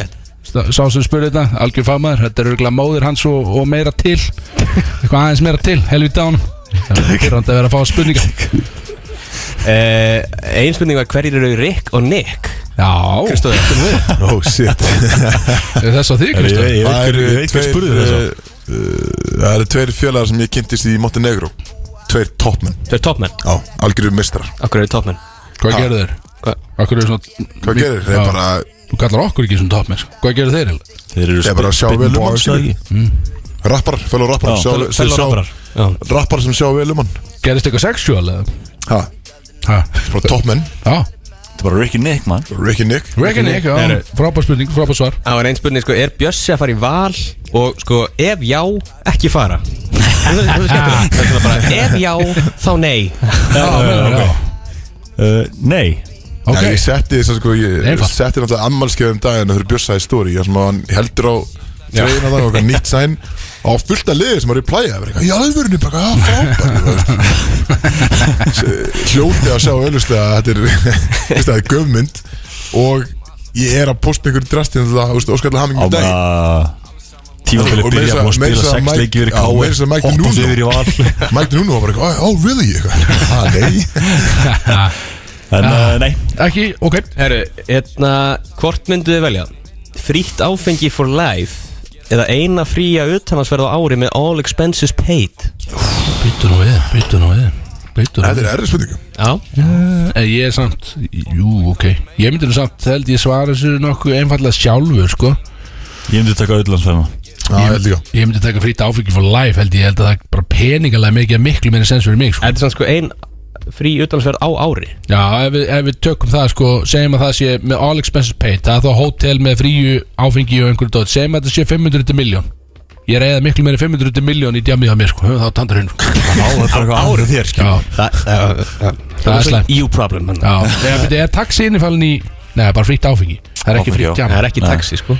Speaker 4: Sá sem spurði þetta, algjör fagmaður Þetta er örgulega móðir hans og, og meira til Eitthvað aðeins meira til, helvita á hann Það er hann að vera að fá spurninga
Speaker 3: Eh, Ein spurning var hverjir eru Rick og Nick
Speaker 4: Já,
Speaker 3: Kristóð, eftir nú við
Speaker 2: Oh shit
Speaker 4: er þess að þig Kristof
Speaker 5: Ég veit
Speaker 2: Það
Speaker 5: hver- ég
Speaker 2: eru
Speaker 5: veit hver
Speaker 2: tveir
Speaker 5: spurði
Speaker 2: uh,
Speaker 5: þess
Speaker 2: uh, Það eru tveir fjölaðar sem ég kynntist í Montenegro Tveir toppmenn
Speaker 3: Þau eru toppmenn
Speaker 2: Já, algjörum mistrar
Speaker 3: Akkur eru toppmenn
Speaker 4: Hvað gerðu þeir?
Speaker 3: Hvað?
Speaker 4: Akkur er svona
Speaker 2: Hvað gerir? Það
Speaker 4: Já.
Speaker 2: er bara
Speaker 4: Þú kallar okkur ekki svona toppmenn sko. Hvað gerðu þeir? eiginlega?
Speaker 5: Þeir eru
Speaker 2: Ég er bara að sjá
Speaker 5: spin-
Speaker 2: vel um
Speaker 5: bars,
Speaker 2: hann,
Speaker 5: ekki?
Speaker 2: rappar, fjölaðar rappar
Speaker 5: Já,
Speaker 2: sjá-
Speaker 3: fel-
Speaker 2: sem
Speaker 3: fellow
Speaker 2: sjá-
Speaker 3: rapparar. Já.
Speaker 2: Rappar sem sjá vel um hann
Speaker 4: Gerðist eitthvað sexual eða?
Speaker 2: Ha,
Speaker 4: Ha?
Speaker 2: bara toppmenn
Speaker 4: Já
Speaker 5: Þetta er bara Ricky Nick, man
Speaker 2: Ricky Nick
Speaker 4: Regan ekki, já
Speaker 3: Eru-
Speaker 4: Frábær spurning, frábær svar
Speaker 3: Það var einn spurning, sko, er Bjössi að fara í val og sko, ef já, ekki fara Það er skemmtilegt. Það er svona bara, Ef já, þá nei
Speaker 4: Já, já, já
Speaker 5: Uh, Nei
Speaker 4: Ok,
Speaker 2: Já, ég setti þess að sko, ég
Speaker 4: Einfalt.
Speaker 2: setti náttúrulega ammalskefum daginn fyrir bjössaði stóri, þar sem að hann heldur á treyna það og eitthvað nýtt sæn á fullta liði sem að replæja það var eitthvað, í alvörinu bara, að frábæri hljóti að sjá auðvist að þetta er, veist, það er göfmynd og ég er að posta einhverju drastinn þetta, þú veist, óskallega hamingi
Speaker 5: Á
Speaker 2: með um daginn
Speaker 5: bara Tímafélið
Speaker 2: Og meira
Speaker 5: byrja
Speaker 2: segja-
Speaker 5: og
Speaker 2: meira
Speaker 5: spila
Speaker 2: segja
Speaker 5: sex
Speaker 2: Mike-
Speaker 5: leikir
Speaker 2: já, meira segja Mike
Speaker 5: Óttans
Speaker 2: Nuno.
Speaker 5: yfir í val
Speaker 2: Mækti núna og var eitthvað, oh, oh really eitthvað, ah, nei
Speaker 5: En uh, nei
Speaker 4: ekki, ok
Speaker 3: Herru, hérna, hvort myndu þið velja? Frítt áfengi for life eða eina fría utanhansverð á ári með all expenses paid
Speaker 4: Byttu nú við, byttu nú við Byttu
Speaker 2: þetta er errið spurningu
Speaker 3: Já,
Speaker 4: Eh, Ég er samt, jú, ok Ég myndi nú samt, það held ég svara sér nokkuð einfallega sjálfur, sko
Speaker 5: Ég myndi taka auðlandsfæma
Speaker 2: Já, ég held ég á.
Speaker 4: Ég myndi taka frýtt áfengi for life, held ég, ég held að það er bara peningalega mikið miklu meira sens fyrir mig, sko
Speaker 3: þetta er svona sko ein frí utanhansverð á ári
Speaker 4: Já, ef við, ef við tökum það sko segjum að það sé með all expenses paid það er þá hótel með fríu áfengi og einhverju dót segjum að þetta sé 500 til miljón ég reyða miklu meiri 500 til miljón í djamið á mér sko, þá tandur hinn sko.
Speaker 5: Á árið þér, skil
Speaker 4: Já,
Speaker 3: Það, það, það,
Speaker 4: það er slæmt
Speaker 3: You problem hann.
Speaker 4: Já, eða byrja, er taxi innifalinn í Nei, bara frítt áfengi, það er ekki
Speaker 5: Áfengi, já.
Speaker 4: frítt
Speaker 3: Það
Speaker 4: djam
Speaker 3: er ekki taxi sko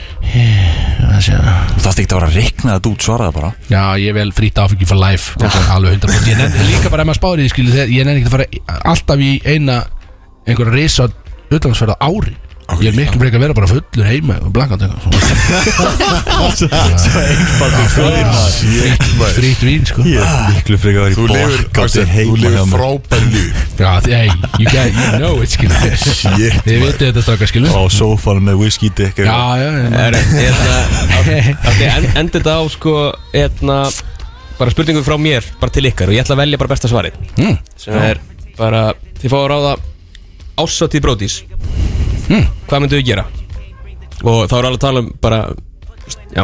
Speaker 5: Þú þarfst ekki að vera að rekna þetta út svaraði bara
Speaker 4: Já, ég vel frítt áfengi for life þetta er alveg 100% Ég nenni líka bara ef maður spáður í því skilu þegar ég nenni ekki að fara í- alltaf í eina einhverja risa utlansverða ári Ég er miklu breyka að vera bara fullur heima og blakkandi eitthvað svona.
Speaker 5: Svo einfaldur fyrir maður
Speaker 2: Ah, Shit, maður.
Speaker 4: Frýtt vín sko
Speaker 5: Ég er Miklu frekar að
Speaker 2: Þú
Speaker 5: vera í
Speaker 2: lifir,
Speaker 5: blokkandi
Speaker 2: Axel, þú
Speaker 5: heima hjá
Speaker 2: lifir
Speaker 5: mér
Speaker 2: frábæri lífi
Speaker 4: Já, því, hey, you, get, you know it, skilu
Speaker 2: Shit,
Speaker 4: Þið vitið þetta stráka, skilu
Speaker 5: Á sófanum með whisky dick
Speaker 4: Já, já, já
Speaker 3: Er, er, er, ok, en, endur þetta á sko eitna, bara spurningu frá mér bara til ykkar og ég ætla að velja bara besta svarið
Speaker 4: Mm.
Speaker 3: sem er bara þið fá að ráða ásatíð brótis hvað myndu þið gera Hmm. og þá er alveg að tala um bara já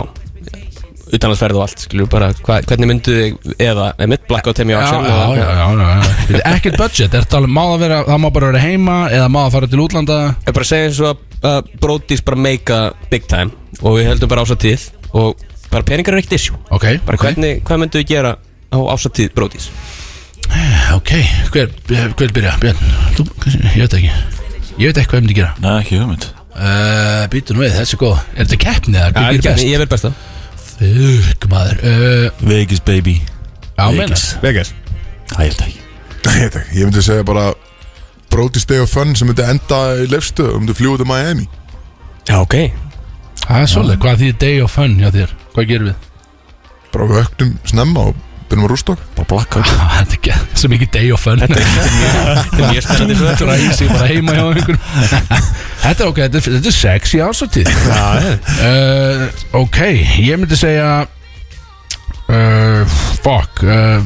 Speaker 3: utanlandsferð og allt skilju bara hva, hvernig myndu þið eða einmitt blackout heim í
Speaker 4: Já,
Speaker 3: Axel
Speaker 4: já, já, já, já, já. Ekkert budget, er talað, má það vera, það má bara vera heima eða má það fara til útlanda
Speaker 3: Ég bara segja eins og að- að brótis bara meika big time og við heldum bara ásatíð og bara peningar er ekkert issue
Speaker 4: Ok,
Speaker 3: bara
Speaker 4: ok,
Speaker 3: hvernig, hvað myndu við gera á ásatíð brótis?
Speaker 4: ok, hver, hver byrja, Björn, þú, ég veit ekki Ég veit ekki hvað ég myndi gera
Speaker 5: Nei, ekki hugmynd
Speaker 4: uh, Býtu nú við, þessi er góð, er þetta keppni eða, hver byrja best?
Speaker 3: Ég verð besta
Speaker 4: Þauk, maður, uh,
Speaker 5: Vegas baby
Speaker 4: já, meina
Speaker 3: Vegas
Speaker 5: Það ég held ekki
Speaker 2: Ég veit ekki, ég myndi segja bara Brody Stay of Fun sem myndi enda í lefstu og myndi fljúa til Miami
Speaker 3: Já, ok
Speaker 4: Það er svolítið, hvað því day of fun hjá þér, hvað gerum við?
Speaker 2: bara vöknum snemma og byrjum að rústa okkur.
Speaker 5: Bara blackout
Speaker 4: Ah, Þetta er ekki, svo mikið day of fun
Speaker 3: Þetta er mjög spennandi svo
Speaker 4: Þetta er að ísi bara heima hjá einhverjum Þetta er ok, þetta er, þetta er sexy ásatíð uh, Ok, ég myndi segja uh, Fuck uh,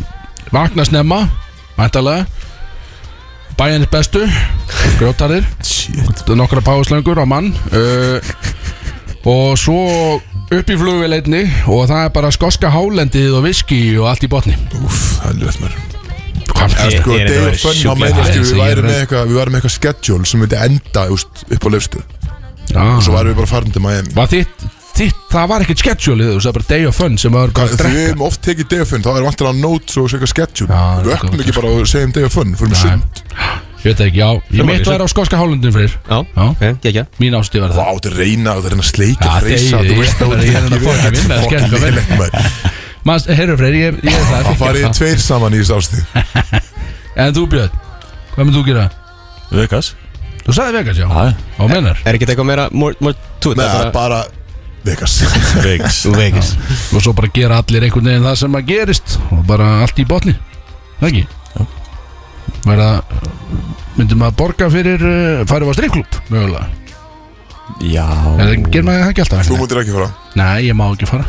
Speaker 4: Vakna snemma Mæntalega Bæjarnir bestu, grjótarðir
Speaker 2: Shit,
Speaker 4: Nokkra páslöngur á mann uh, Og svo upp í flugvéleitni Og það er bara skoska hálendið og viski og allt í botni
Speaker 2: úff, það er ljótt mér
Speaker 4: Hvað með
Speaker 2: Sko,
Speaker 3: ég er
Speaker 2: Day
Speaker 3: þetta
Speaker 2: of Fun,
Speaker 3: sjúklega
Speaker 2: þá meina ekki
Speaker 4: aðeins,
Speaker 2: við
Speaker 4: ég er
Speaker 2: værum
Speaker 4: að-
Speaker 2: með eitthvað við værum með eitthvað schedule sem myndi enda úst, upp á lefstu og
Speaker 4: ah,
Speaker 2: svo værum við bara farin til Miami
Speaker 4: Var þitt, þitt, það var ekkert schedule þú veist, það var bara day of fun sem var bara að
Speaker 2: Við
Speaker 4: drekka
Speaker 2: hefum oft tekið day of fun, þá er vantilega notes og eitthvað schedule
Speaker 4: Já,
Speaker 2: Við
Speaker 4: það er
Speaker 2: öppum
Speaker 4: gott,
Speaker 2: ekki bara og segjum day of fun, fyrir mig sund
Speaker 4: ég veit það ekki, já, ég
Speaker 3: Sem
Speaker 4: mitt
Speaker 3: var
Speaker 4: var á skoska hálundin fyrir
Speaker 3: Já,
Speaker 4: Já.
Speaker 3: ok, gekkja
Speaker 4: mín ástíð var
Speaker 2: Vá,
Speaker 4: það
Speaker 2: það er reyna, það er hérna sleik
Speaker 4: Já,
Speaker 2: og freysa
Speaker 4: þegi,
Speaker 2: Þú
Speaker 4: ég
Speaker 2: veist
Speaker 4: er
Speaker 2: að
Speaker 4: bara- ég er hérna
Speaker 2: það
Speaker 4: fokkin vinna,
Speaker 2: er
Speaker 4: skemmtilega
Speaker 2: fokkin
Speaker 4: vinna.
Speaker 2: leilegt maður
Speaker 4: Maður, heyrðu Freyr, ég, ég er það
Speaker 2: Það farið
Speaker 4: það.
Speaker 2: tveir saman í þessu ástíð
Speaker 4: En þú Björn, hvað myndir þú gera?
Speaker 5: Vegas
Speaker 4: Þú sagði Vegas, já,
Speaker 5: Já, já.
Speaker 4: og mennar
Speaker 3: Er ekki eitthvað meira more, more to
Speaker 2: Nei,
Speaker 3: it það er bara-
Speaker 2: bara Vegas
Speaker 5: Vegas
Speaker 3: Þú veikist
Speaker 4: Og svo bara gera allir einhvern veginn það sem að gerist Og bara allt í botni, það ekki? Verða, myndum að borga fyrir, uh, farið á strikklúb, mögulega
Speaker 5: Já
Speaker 4: En það gerir maður það ekki alltaf
Speaker 2: Þú mútir ekki fara
Speaker 4: Nei, ég má ekki fara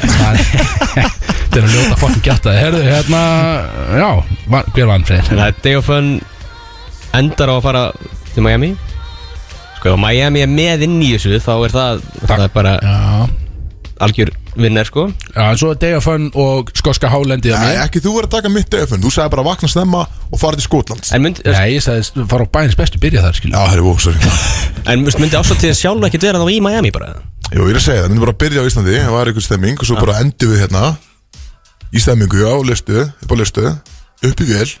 Speaker 4: Það er- Þetta er að ljóta fokkin gæta Herðu, hérna, já, va- hver vann fyrir?
Speaker 3: Þannig að Day of Fun endar á að fara til Miami Sko, ef Miami er með inn í þessu þá er það, það er bara
Speaker 4: Já,
Speaker 3: algjör vinnar, sko
Speaker 4: já, en svo er Day of Fun og skoska hálendi
Speaker 2: Nei, ekki þú verið að taka mitt day of fun Þú sagði bara vakna snemma og farið til Skotlands
Speaker 3: En mynd,
Speaker 4: Nei, ég sagði, fara á bæins bestu, byrja þar, skilja
Speaker 2: Já, herri, ó, sorry
Speaker 3: en veist, myndi ástættir sjálf ekki vera þá í Miami bara
Speaker 2: Jú, ég er að segja það, myndum bara að byrja á Íslandi Það var einhver stemming og svo bara endur við hérna Í stemmingu, já, listu Upp á listu, upp í vel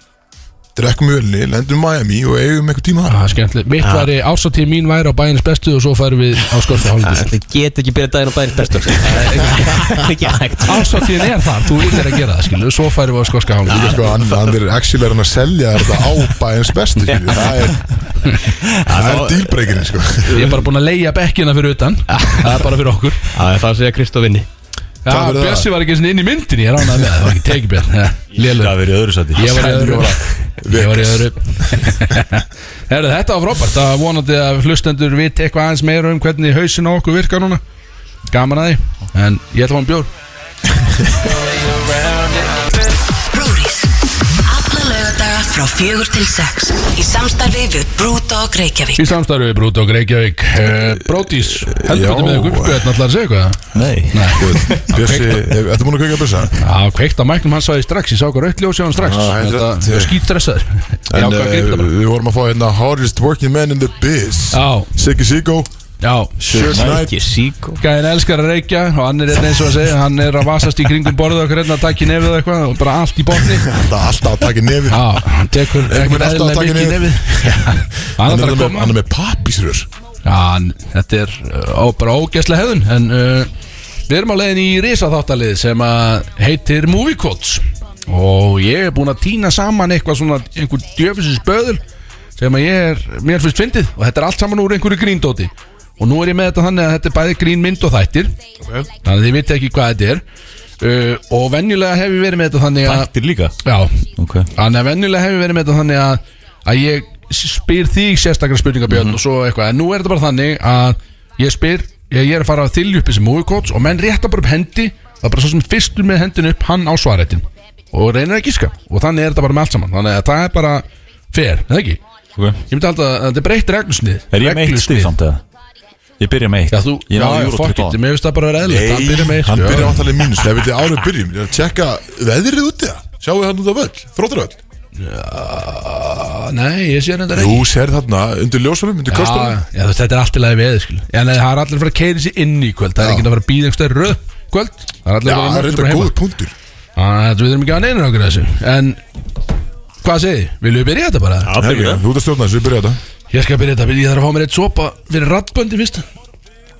Speaker 2: Drekkum í velni, lendum í Miami Og eigum einhver tíma þar
Speaker 4: Það er Ah, skemmtilegt, mitt var í ásatíð mín væri á bæins bestu og svo farum við á skoska hálendi
Speaker 3: Þið get ekki byrjað daginn á daginn bestur sko. Það er ekki- það er ekki hægt
Speaker 4: Ásatíðin er þar, þú yfir að gera það, skilja Svo farum við á skoska
Speaker 2: Líka
Speaker 4: hálendi
Speaker 2: sko, hann, hann er actually er hann að selja þér þetta á bæins bestu skilju. Það er, það er dílbreykinni sko.
Speaker 4: Ég er bara búin að leia bekkina fyrir utan Það er bara fyrir okkur
Speaker 3: Það er það að segja Kristof vinni
Speaker 4: Já,
Speaker 2: Takk fyrir það.
Speaker 4: Bjössi var ekki einu sinni inn í myndin Ég er ánað með, það það var ekki tekið björn Lélur
Speaker 5: Það verið í öðru sæti
Speaker 4: Ég var í öðru Ég var í
Speaker 2: Vegas.
Speaker 4: öðru Herðu, þetta var frábært Það var vonandi að hlustendur viti eitthvað aðeins meira um hvernig hausin á okkur virkar núna Gaman að því En ég ætla að fá um bjór
Speaker 6: Brúris Alla lögadaga frá fjögur til sex Í samstarfi við Brúdog Reykjavík
Speaker 4: Í samstarfi við Brúti og Reykjavík Eh, Brótis, heldur þetta
Speaker 2: Já.
Speaker 4: með ykkur Björn ætlar að segja eitthvað
Speaker 5: Nei
Speaker 2: Bjössi, er- ertu búin að kveika bussa?
Speaker 4: Já, kveikt á mæknum hann sagði strax Ég sá hvað rautt ljósi á hann strax
Speaker 2: Já, heldur
Speaker 4: Þetta
Speaker 2: þetta-
Speaker 4: er skítdressaður Ég
Speaker 2: En
Speaker 4: ákvað að
Speaker 2: eh,
Speaker 4: grípa það bara
Speaker 2: við vorum að fá hérna Hardest working man in the biz
Speaker 4: Já.
Speaker 2: Siggy Siggo,
Speaker 4: Já,
Speaker 2: Shug Knight
Speaker 3: Ekki síko
Speaker 4: Gæðin elskar að reykja og hann er einn eins og að segja Hann er að vasast í kringum borðið okkur hérna að takki nefið eitthvað og bara allt í botni
Speaker 2: Það er alltaf að taka nefi
Speaker 4: Já, hann tekur
Speaker 2: Einhvern
Speaker 4: ekkert
Speaker 2: alltaf að taka
Speaker 4: eðlilega mikið í
Speaker 2: niður.
Speaker 4: nefið Hann
Speaker 2: Hann
Speaker 4: ætlar
Speaker 2: er
Speaker 4: að
Speaker 2: með, hann
Speaker 4: koma
Speaker 2: er með pappísrör
Speaker 4: Já, hann, þetta er uh, ó, bara ógæslega hefðun En uh, við erum á leiðin í risaþáttalið sem að heitir Movie Quotes Og ég er búinn að týna saman eitthvað svona einhver djöfisins böðul sem að ég er, mér finnst fyndið og þetta er allt saman úr einhverju gríndóti og nú er ég með þetta þannig að þetta er bæði grínmynd og þættir þannig að þið viti ekki hvað þetta er uh, og venjulega hef ég verið með þetta þannig að
Speaker 5: Þættir líka
Speaker 4: já,
Speaker 5: Ok
Speaker 4: Þannig að venjulega hefur verið með þetta þannig að, að ég spyr þig sérstakar spurningabjörn og svo eitthvað En nú er þetta bara þannig að ég spyr, ég, ég er að fara að þylja upp þessi movie quotes og menn rétta bara upp hendi Það er bara svo sem fyrstur með hendin upp, hann á svarættin Og reynir að gíska og þannig er þetta bara með allt saman Þannig að það er bara fair, eða ekki?
Speaker 5: Ok
Speaker 4: Ég myndi alltaf að þetta er breytt reglusnið
Speaker 5: Er ég með eitt stig samt eða? Ég byrja með eitt
Speaker 4: Já, þú,
Speaker 5: Ég
Speaker 4: já,
Speaker 5: náði
Speaker 4: já,
Speaker 5: júrótrip
Speaker 4: fuck
Speaker 5: á
Speaker 4: it, mér finnst það bara að vera eðlilegt Hann byrjar með eitt,
Speaker 2: hann
Speaker 4: já.
Speaker 2: byrjar vantarlega mínus Ef þetta árið byrjum, ég er að tjekka veðrið úti það Sjáum við hann út á völl, þróttaröll
Speaker 4: Ah, Nei, ég sé þetta
Speaker 2: Jú, sér þarna, undir ljósunum, undir
Speaker 4: Já,
Speaker 2: kostunum
Speaker 4: já, þú veist, þetta er allt í lagi veður skil En það er allir að fara að keiri sér inn í kvöld Það er
Speaker 2: Já.
Speaker 4: ekki að fara að býða einhverstað röð kvöld Það er allir
Speaker 2: Já,
Speaker 4: að
Speaker 2: það
Speaker 4: fara
Speaker 2: er
Speaker 4: að
Speaker 2: reynda
Speaker 4: mæta
Speaker 2: góð
Speaker 4: bara
Speaker 2: punktur
Speaker 4: heima Það Ah, við erum ekki að neina okkur þessu En hvað segið þið? Viljum við byrja þetta bara?
Speaker 5: Já,
Speaker 2: Herri,
Speaker 5: byrja
Speaker 2: Þú ert að stjórna þessu, við byrja þetta
Speaker 4: Ég skal byrja þetta, ég þarf að fá mér eitt sopa fyrir rattböndi fyrst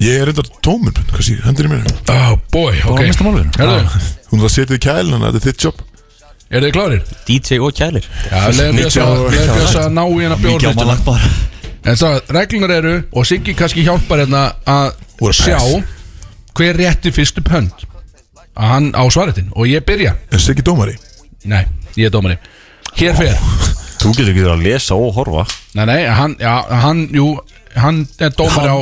Speaker 2: Ég er reynda tómur, hvað sé, hendur í mér
Speaker 4: Oh boy, ok
Speaker 5: var mesta málið.
Speaker 4: Herðu,
Speaker 2: Hún er að setja í kælin, þannig að þetta er þitt jobb
Speaker 4: eru þið klárir?
Speaker 3: DJ og kælir
Speaker 4: Já, leiðum við
Speaker 2: Nítján-
Speaker 4: þess að ná í hérna
Speaker 5: Mikið á maður
Speaker 4: bjórnustuna
Speaker 5: langt bara
Speaker 4: En það, reglunar eru Og Siggi kannski hjálpar hérna að
Speaker 2: Voru
Speaker 4: sjá
Speaker 2: press.
Speaker 4: Hver rétti fyrstu pönd Að hann á svaretin Og ég byrja
Speaker 2: En Siggi Dómari,
Speaker 4: Nei, ég er dómari Hér fer
Speaker 5: Þú getur ekki verið að lesa og horfa
Speaker 4: Nei, nei, hann, já, hann, jú Hann er dómari á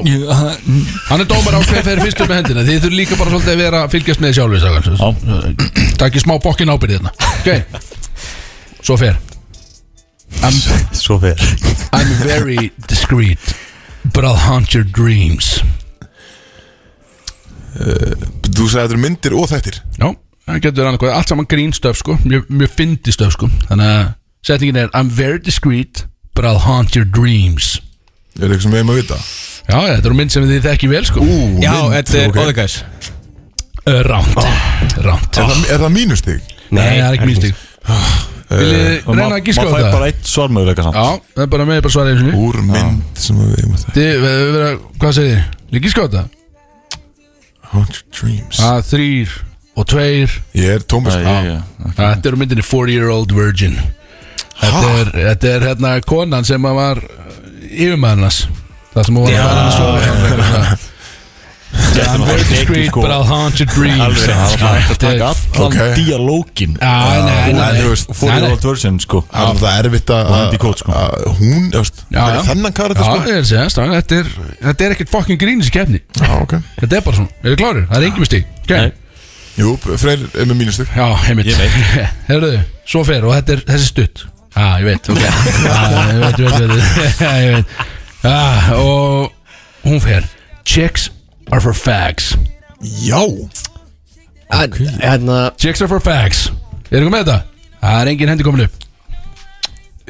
Speaker 4: Hann er dómari á hver fer fyrst upp með hendina Þið þurfum líka bara svolítið að vera að fylgjast með sjálfis Takk í smá bokkin ábyrðið hérna Ok Svo fer I'm,
Speaker 5: Svo fer
Speaker 4: I'm very discreet But I'll haunt your dreams
Speaker 2: þú sagði þetta eru myndir og þættir
Speaker 4: Já, það getur verið annað hvað Allt saman grín stöf sko Mjög, mjög fyndi stöf sko Þannig að setningin er I'm very discreet But I'll haunt your dreams
Speaker 2: Er eitthvað sem við hefum að vita?
Speaker 4: Já, Já, já, þetta eru mynd sem þið þekki vel sko
Speaker 2: Ú,
Speaker 3: Já,
Speaker 2: mynd,
Speaker 3: þetta er
Speaker 2: ok.
Speaker 3: Other Guys
Speaker 4: Uh, Ránt Ránt
Speaker 2: Er það- Er það mínustig?
Speaker 4: Nei, það er ekki mínstig
Speaker 2: Eh,
Speaker 4: Viljið þið
Speaker 5: Og ma-
Speaker 4: reyna að gíska á
Speaker 5: Maður fær
Speaker 4: þetta?
Speaker 5: bara eitt svarmöðuleika samt
Speaker 4: Já, það er bara með bara svara einu sinni
Speaker 2: Eh, Úr mynd sem að við erum að
Speaker 4: Þið, eh, við- við vera, hvað segir þið? Lík gíska á þetta?
Speaker 2: Hundred Dreams
Speaker 4: A, þrýr og tveir
Speaker 2: Ég er sko. Tómas
Speaker 5: Æ, ég- ég-
Speaker 4: Þetta eru myndinni 40 year old virgin Þetta er, þetta er hérna konan sem að var yfirmaðurinn hans Það sem hún var að fara að sofa hjá honum, eitthvað svona.
Speaker 5: Þetta er
Speaker 4: Very
Speaker 5: náttúrulega
Speaker 4: discreet
Speaker 5: ekki, sko.
Speaker 4: but I'll haunt your dreams
Speaker 5: Alveg, það var hægt að
Speaker 4: Þetta er-
Speaker 5: taka allan
Speaker 2: Ok.
Speaker 5: dialógin
Speaker 4: Já, nei,
Speaker 2: en
Speaker 4: nei,
Speaker 2: þú
Speaker 4: nei
Speaker 2: veist,
Speaker 5: For
Speaker 4: nei.
Speaker 5: the old version, sko
Speaker 2: Það er það erfitt að
Speaker 5: Andy Coates, sko.
Speaker 2: að- Hún, þú veist
Speaker 4: Já, já.
Speaker 2: Þennan karata,
Speaker 4: Já,
Speaker 2: sko
Speaker 4: ég er að segja, strákar, þetta er, þetta er ekkert fucking grínis keppni
Speaker 2: Já, ok
Speaker 4: Þetta er bara svona, eru klárir? Það er engin stík okay.
Speaker 2: Jú, Freyr er með mínustig
Speaker 4: Já, heimitt
Speaker 5: Ég veit.
Speaker 4: Herðu, svo fer og þetta er, þessi stutt Já, ég veit, ok Já, ég veit, ég veit, ég veit, Já, ég veit. Já, og hún fer Chicks are for fags
Speaker 2: Já
Speaker 3: Ah,
Speaker 7: Hérna,
Speaker 4: Chicks are for fags Eru ykkur með þetta? Það er engin hendi komin upp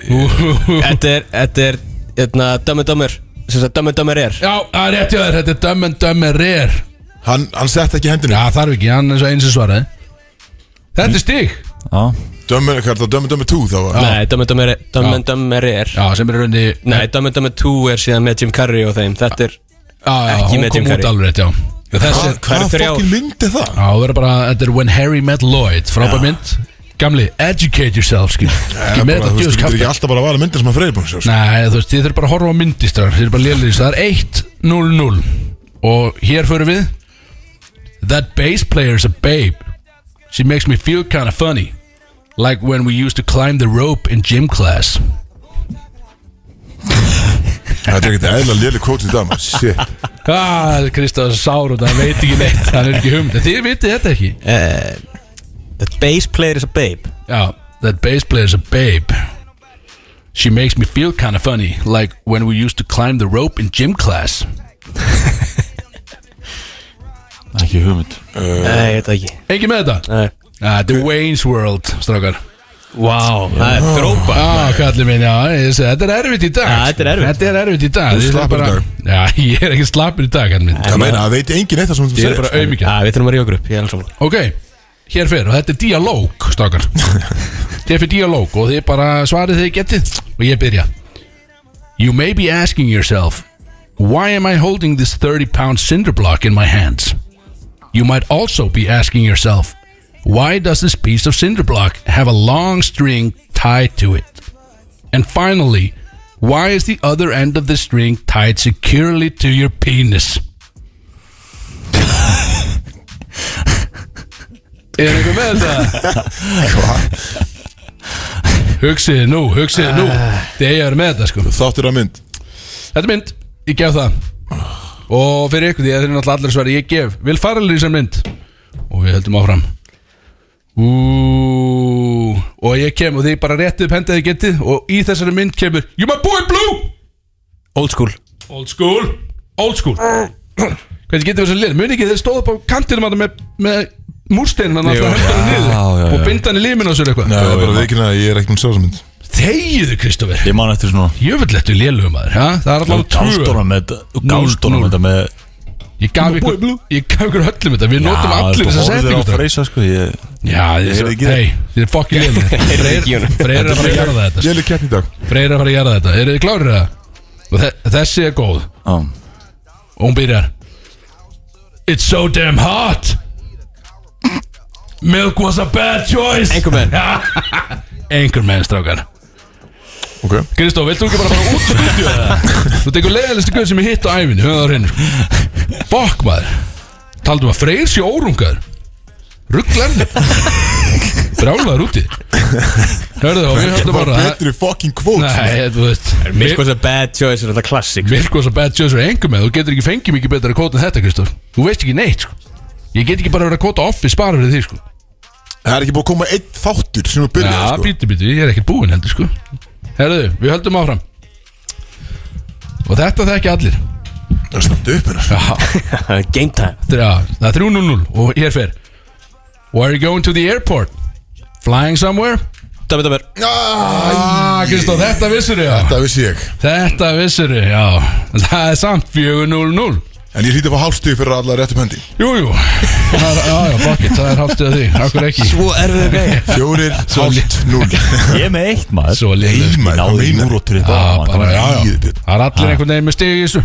Speaker 4: Úhúhú.
Speaker 3: Þetta er, þetta er, hérna, þetta er Dömmu Dömmur Sem sagt Dömmu Dömmur er
Speaker 4: Já, það er rétt hjá þér, þetta er Dumb and Dumber Rare
Speaker 2: Hann, hann sett ekki hendinu
Speaker 4: Já, þarf ekki, hann er svo eins og svaraði Þetta er stík
Speaker 5: Já,
Speaker 2: Dömmur, hvað er það? Dömmur, dömmur 2 þá var
Speaker 3: Nei, Dömmu Dömmur er Dömmu Dömmur er
Speaker 4: Já, sem er í rauninni
Speaker 3: Nei, Dömmu Dömmur 2 er síðan með Jim Carrey og þeim Þetta er,
Speaker 4: já, já,
Speaker 3: ekki
Speaker 4: hún
Speaker 3: með
Speaker 4: kom
Speaker 3: Jim
Speaker 4: út
Speaker 3: Carrey.
Speaker 4: alveg rétt, já Já, Þessi,
Speaker 2: Hvað,
Speaker 3: það
Speaker 2: hvað
Speaker 3: eru þrjár.
Speaker 2: fokkin mynd er það?
Speaker 4: Já, það verður bara, þetta er When Harry Met Lloyd Frábær mynd Gamli, educate yourself, skil Ekki
Speaker 2: Bara,
Speaker 4: með þetta
Speaker 2: þú veist, þú
Speaker 4: djöðs
Speaker 2: getur
Speaker 4: kaffi
Speaker 2: ekki alltaf bara að vara myndir sem að Freyr búin sjá sko.
Speaker 4: Nei, þú veist, þið þurfum bara að horfa á myndistrar Þið þurfum bara að lélir þessu, það er 1-0-0 Og hér förum við That bass player is a babe She makes me feel kinda funny Like when we used to climb the rope in gym class
Speaker 2: Þetta er ekkert eðla léli kvót í dag maður. Shit
Speaker 4: Ah, Kristofs sár og það veit ekki neitt Hann er ekki humd, þið vitið þetta ekki
Speaker 3: the bass player is a babe
Speaker 4: Yeah, Oh, that bass player is a babe. She makes me feel kind of funny, like when we used to climb the rope in gym class.
Speaker 5: ekki hugmynd
Speaker 3: Nei, þetta ekki
Speaker 4: Ekki með þetta?
Speaker 3: Nei.
Speaker 4: Ah, The Wayne's World, Ah, strákar.
Speaker 3: Vá, það er þrópa
Speaker 4: Já, kallið minn, já, ég segi, þetta er erfitt í dag.
Speaker 3: Já, þetta er erfitt.
Speaker 4: Þetta er erfitt í dag.
Speaker 2: Þú
Speaker 4: Ég er
Speaker 2: slappur í
Speaker 4: bara-
Speaker 2: dag.
Speaker 4: Já, ég er ekki slappur í dag, kallið minn.
Speaker 2: Það meina, það veit enginn eitt það sem þú
Speaker 4: Ég er
Speaker 2: segir
Speaker 4: bara auðmikið.
Speaker 3: Já, við þurfum að ríða okkur upp, ég er alveg saman
Speaker 4: Ok, hér fyrir og þetta er dialóg, stakar Hér fyrir dialóg og þið bara svarið þið getið og ég byrja You may be asking yourself Why am I holding this 30 pound cinder block in my hands? You might also be asking yourself Why does this piece of cinder block have a long string tied to it? And finally, why is the other end of the string tied securely to your penis? Er einhver með þetta? Hugsiði nú, hugsiði nú Þegar ég er með þetta sko
Speaker 2: Þáttur að mynd
Speaker 4: Þetta er mynd, ég gef það Og fyrir ykkur því að þeir eru náttúrulega allir svar Ég gef, vil fara alveg í þessar mynd Og við höldum áfram Ú, Og ég kem og þið bara réttið upp hendið þið getið Og í þessari mynd kemur You my boy blue
Speaker 3: Old school
Speaker 4: Old school Old school Hvernig getur við þessar lið? Muni ekki þeir stóðu upp á kantinum hann með, með múrsteinin hann alltaf hendur hann
Speaker 5: já,
Speaker 4: niður
Speaker 5: já.
Speaker 4: og binda hann í limin á sér eitthvað
Speaker 2: Nei, það er bara veikinn að ég er ekki búin að sjá þessa mynd
Speaker 4: Þegiðu Kristoffer
Speaker 5: Ég man eftir svona
Speaker 4: Jöfnlegt við lélugum aður ha? Það er alltaf tvö
Speaker 5: Gálstóna með þetta Gálstóna
Speaker 4: Núll,
Speaker 5: með þetta með
Speaker 4: Ég gaf ykkur Ég gaf ykkur öllum þetta Við notum allir þess að setja
Speaker 5: ykkur
Speaker 4: ykkur
Speaker 5: freysa, sko, ég,
Speaker 4: Já, þið
Speaker 5: heyrði ekki
Speaker 4: er Hei, þið er fokkin lélugum Freyr er að fara að gera þetta
Speaker 2: Léli keppni í dag
Speaker 4: Freyr er að fara að gera þetta Eru þið klárir það? Og þe- þessi er góð
Speaker 5: á,
Speaker 4: Og hún byrjar It's so damn hot Milk was a bad choice
Speaker 3: Anchorman.
Speaker 4: Anchorman, strákar
Speaker 2: Ok
Speaker 4: Kristó, viltu ekki bara fara út stúdíu eða? Þú tekur leiðalistu guð sem ég hitt á æfinni Höfðu það á hreinu Fokk maður Taldum að freyr sér órungaður Rugglarni Brjálaður úti Hörðu og við höfðum
Speaker 2: Það var
Speaker 4: bara
Speaker 2: betri fokkin kvót
Speaker 5: sko.
Speaker 4: Nei, þú veist
Speaker 3: Mér sko þess að bad choice er alltaf klassik
Speaker 4: Vilkos og Bad Jones eru engum með Þú getur ekki fengið mikið betra kóta en þetta Kristóf Þú veist ekki neitt sko. Ég get ekki bara verið að kóta office bara fyrir því sko.
Speaker 2: Það er ekki búin að koma einn þáttur sem við
Speaker 4: Já,
Speaker 2: byrjaði sko
Speaker 4: býtu býtu, ég er ekkert búinn heldur sko. Herðu, við höldum áfram Og þetta þekki allir
Speaker 2: Það er snabbt upp hérna
Speaker 4: Já,
Speaker 3: Game time
Speaker 4: þrjá, það er 3-0-0 Og hér fer Where are you going to the airport? Flying somewhere?
Speaker 3: Dömmi, dömmi
Speaker 4: Ah, Kristó, þetta vissur ég
Speaker 2: Þetta vissi ég
Speaker 4: Þetta vissur ég, já Það er samt 4-0-0
Speaker 2: En ég hlýtti að fá hálfstíð fyrir alla réttum hendi
Speaker 4: Jú, jú Það er- Já, já, fokkið, það er hálftið að því Akkur ekki
Speaker 3: Svo erfið greið
Speaker 2: Fjórir, hálft, núl
Speaker 5: Ég er með eitt maður
Speaker 4: Svo sko. leiðilegt.
Speaker 2: Nei, maður, hvað
Speaker 5: Náði
Speaker 2: meinar?
Speaker 5: júrótrið
Speaker 4: Já,
Speaker 5: bara
Speaker 4: Ah, bara, já, já.
Speaker 2: Æ, Björn.
Speaker 4: Það er allir einhvern veginn með stig í þessu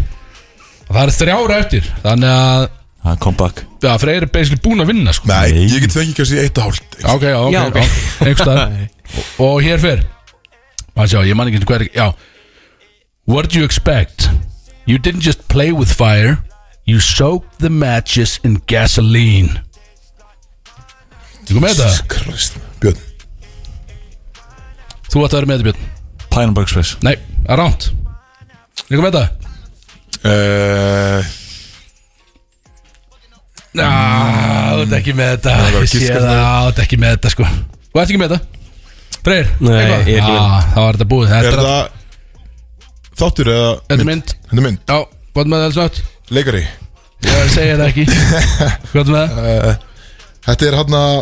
Speaker 4: Og Það er þrjára eftir Þannig að
Speaker 5: Hann kom back
Speaker 4: já, Freyr er basically búin að vinna sko.
Speaker 2: Nei,
Speaker 5: Nei.
Speaker 2: ég get fengið kannski eitt og hálft
Speaker 4: Ok, já, ok,
Speaker 3: Já, ok.
Speaker 4: já, einhvers staðar. og, og hér fyrr Að sjá, ég man ekki hver Já What do you expect? You didn't just play with fire You soaked the matches in gasoline Þú kom með þetta?
Speaker 2: Krist Björn
Speaker 4: Þú ætti að vera með þetta Björn
Speaker 5: Pineberg Space
Speaker 4: Nei, það er ránt Þú kom með þetta?
Speaker 2: Eh,
Speaker 4: Ná, þú ert ekki með þetta
Speaker 2: var
Speaker 4: Ég sé
Speaker 2: giska
Speaker 4: það,
Speaker 2: það.
Speaker 4: þú ert ekki með þetta sko Þú ert ekki með þetta? Freyr,
Speaker 3: Nei, ég er ekki með
Speaker 4: með Það var þetta búið
Speaker 2: Er
Speaker 4: Þetta er
Speaker 2: það Þáttur eða
Speaker 4: Þetta er mynd
Speaker 2: Þetta er mynd
Speaker 4: Já, hvað með það alls nátt?
Speaker 2: Leikari
Speaker 4: Ég var að segja það ekki Hvað með það?
Speaker 2: Þetta er hann að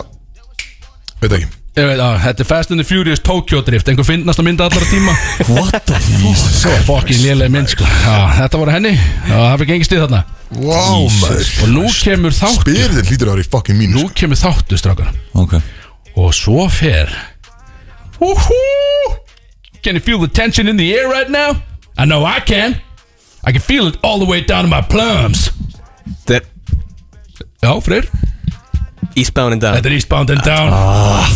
Speaker 2: Veit ekki
Speaker 4: Ég veit, á, þetta er Fast and the Furious Tokyo Drift Einhver finnast að mynda allara tíma
Speaker 5: What the fuck
Speaker 4: Svo fokkin lélega mynd sko Já, þetta voru henni Já, það fyrir gengist í þarna
Speaker 2: Wow maður
Speaker 4: Og nú kemur þáttu
Speaker 2: Byrðin hlýtur að vera í fucking mínu
Speaker 4: Nú kemur þáttu strákar
Speaker 5: Ok
Speaker 4: Og svo fer Woohoo Can you feel the tension in the air right now? I know I can I can feel it all the way down to my plums
Speaker 3: Þetta er
Speaker 4: Já, Freyr
Speaker 3: Eastbound in down
Speaker 4: Þetta er Eastbound and Down
Speaker 5: Ah.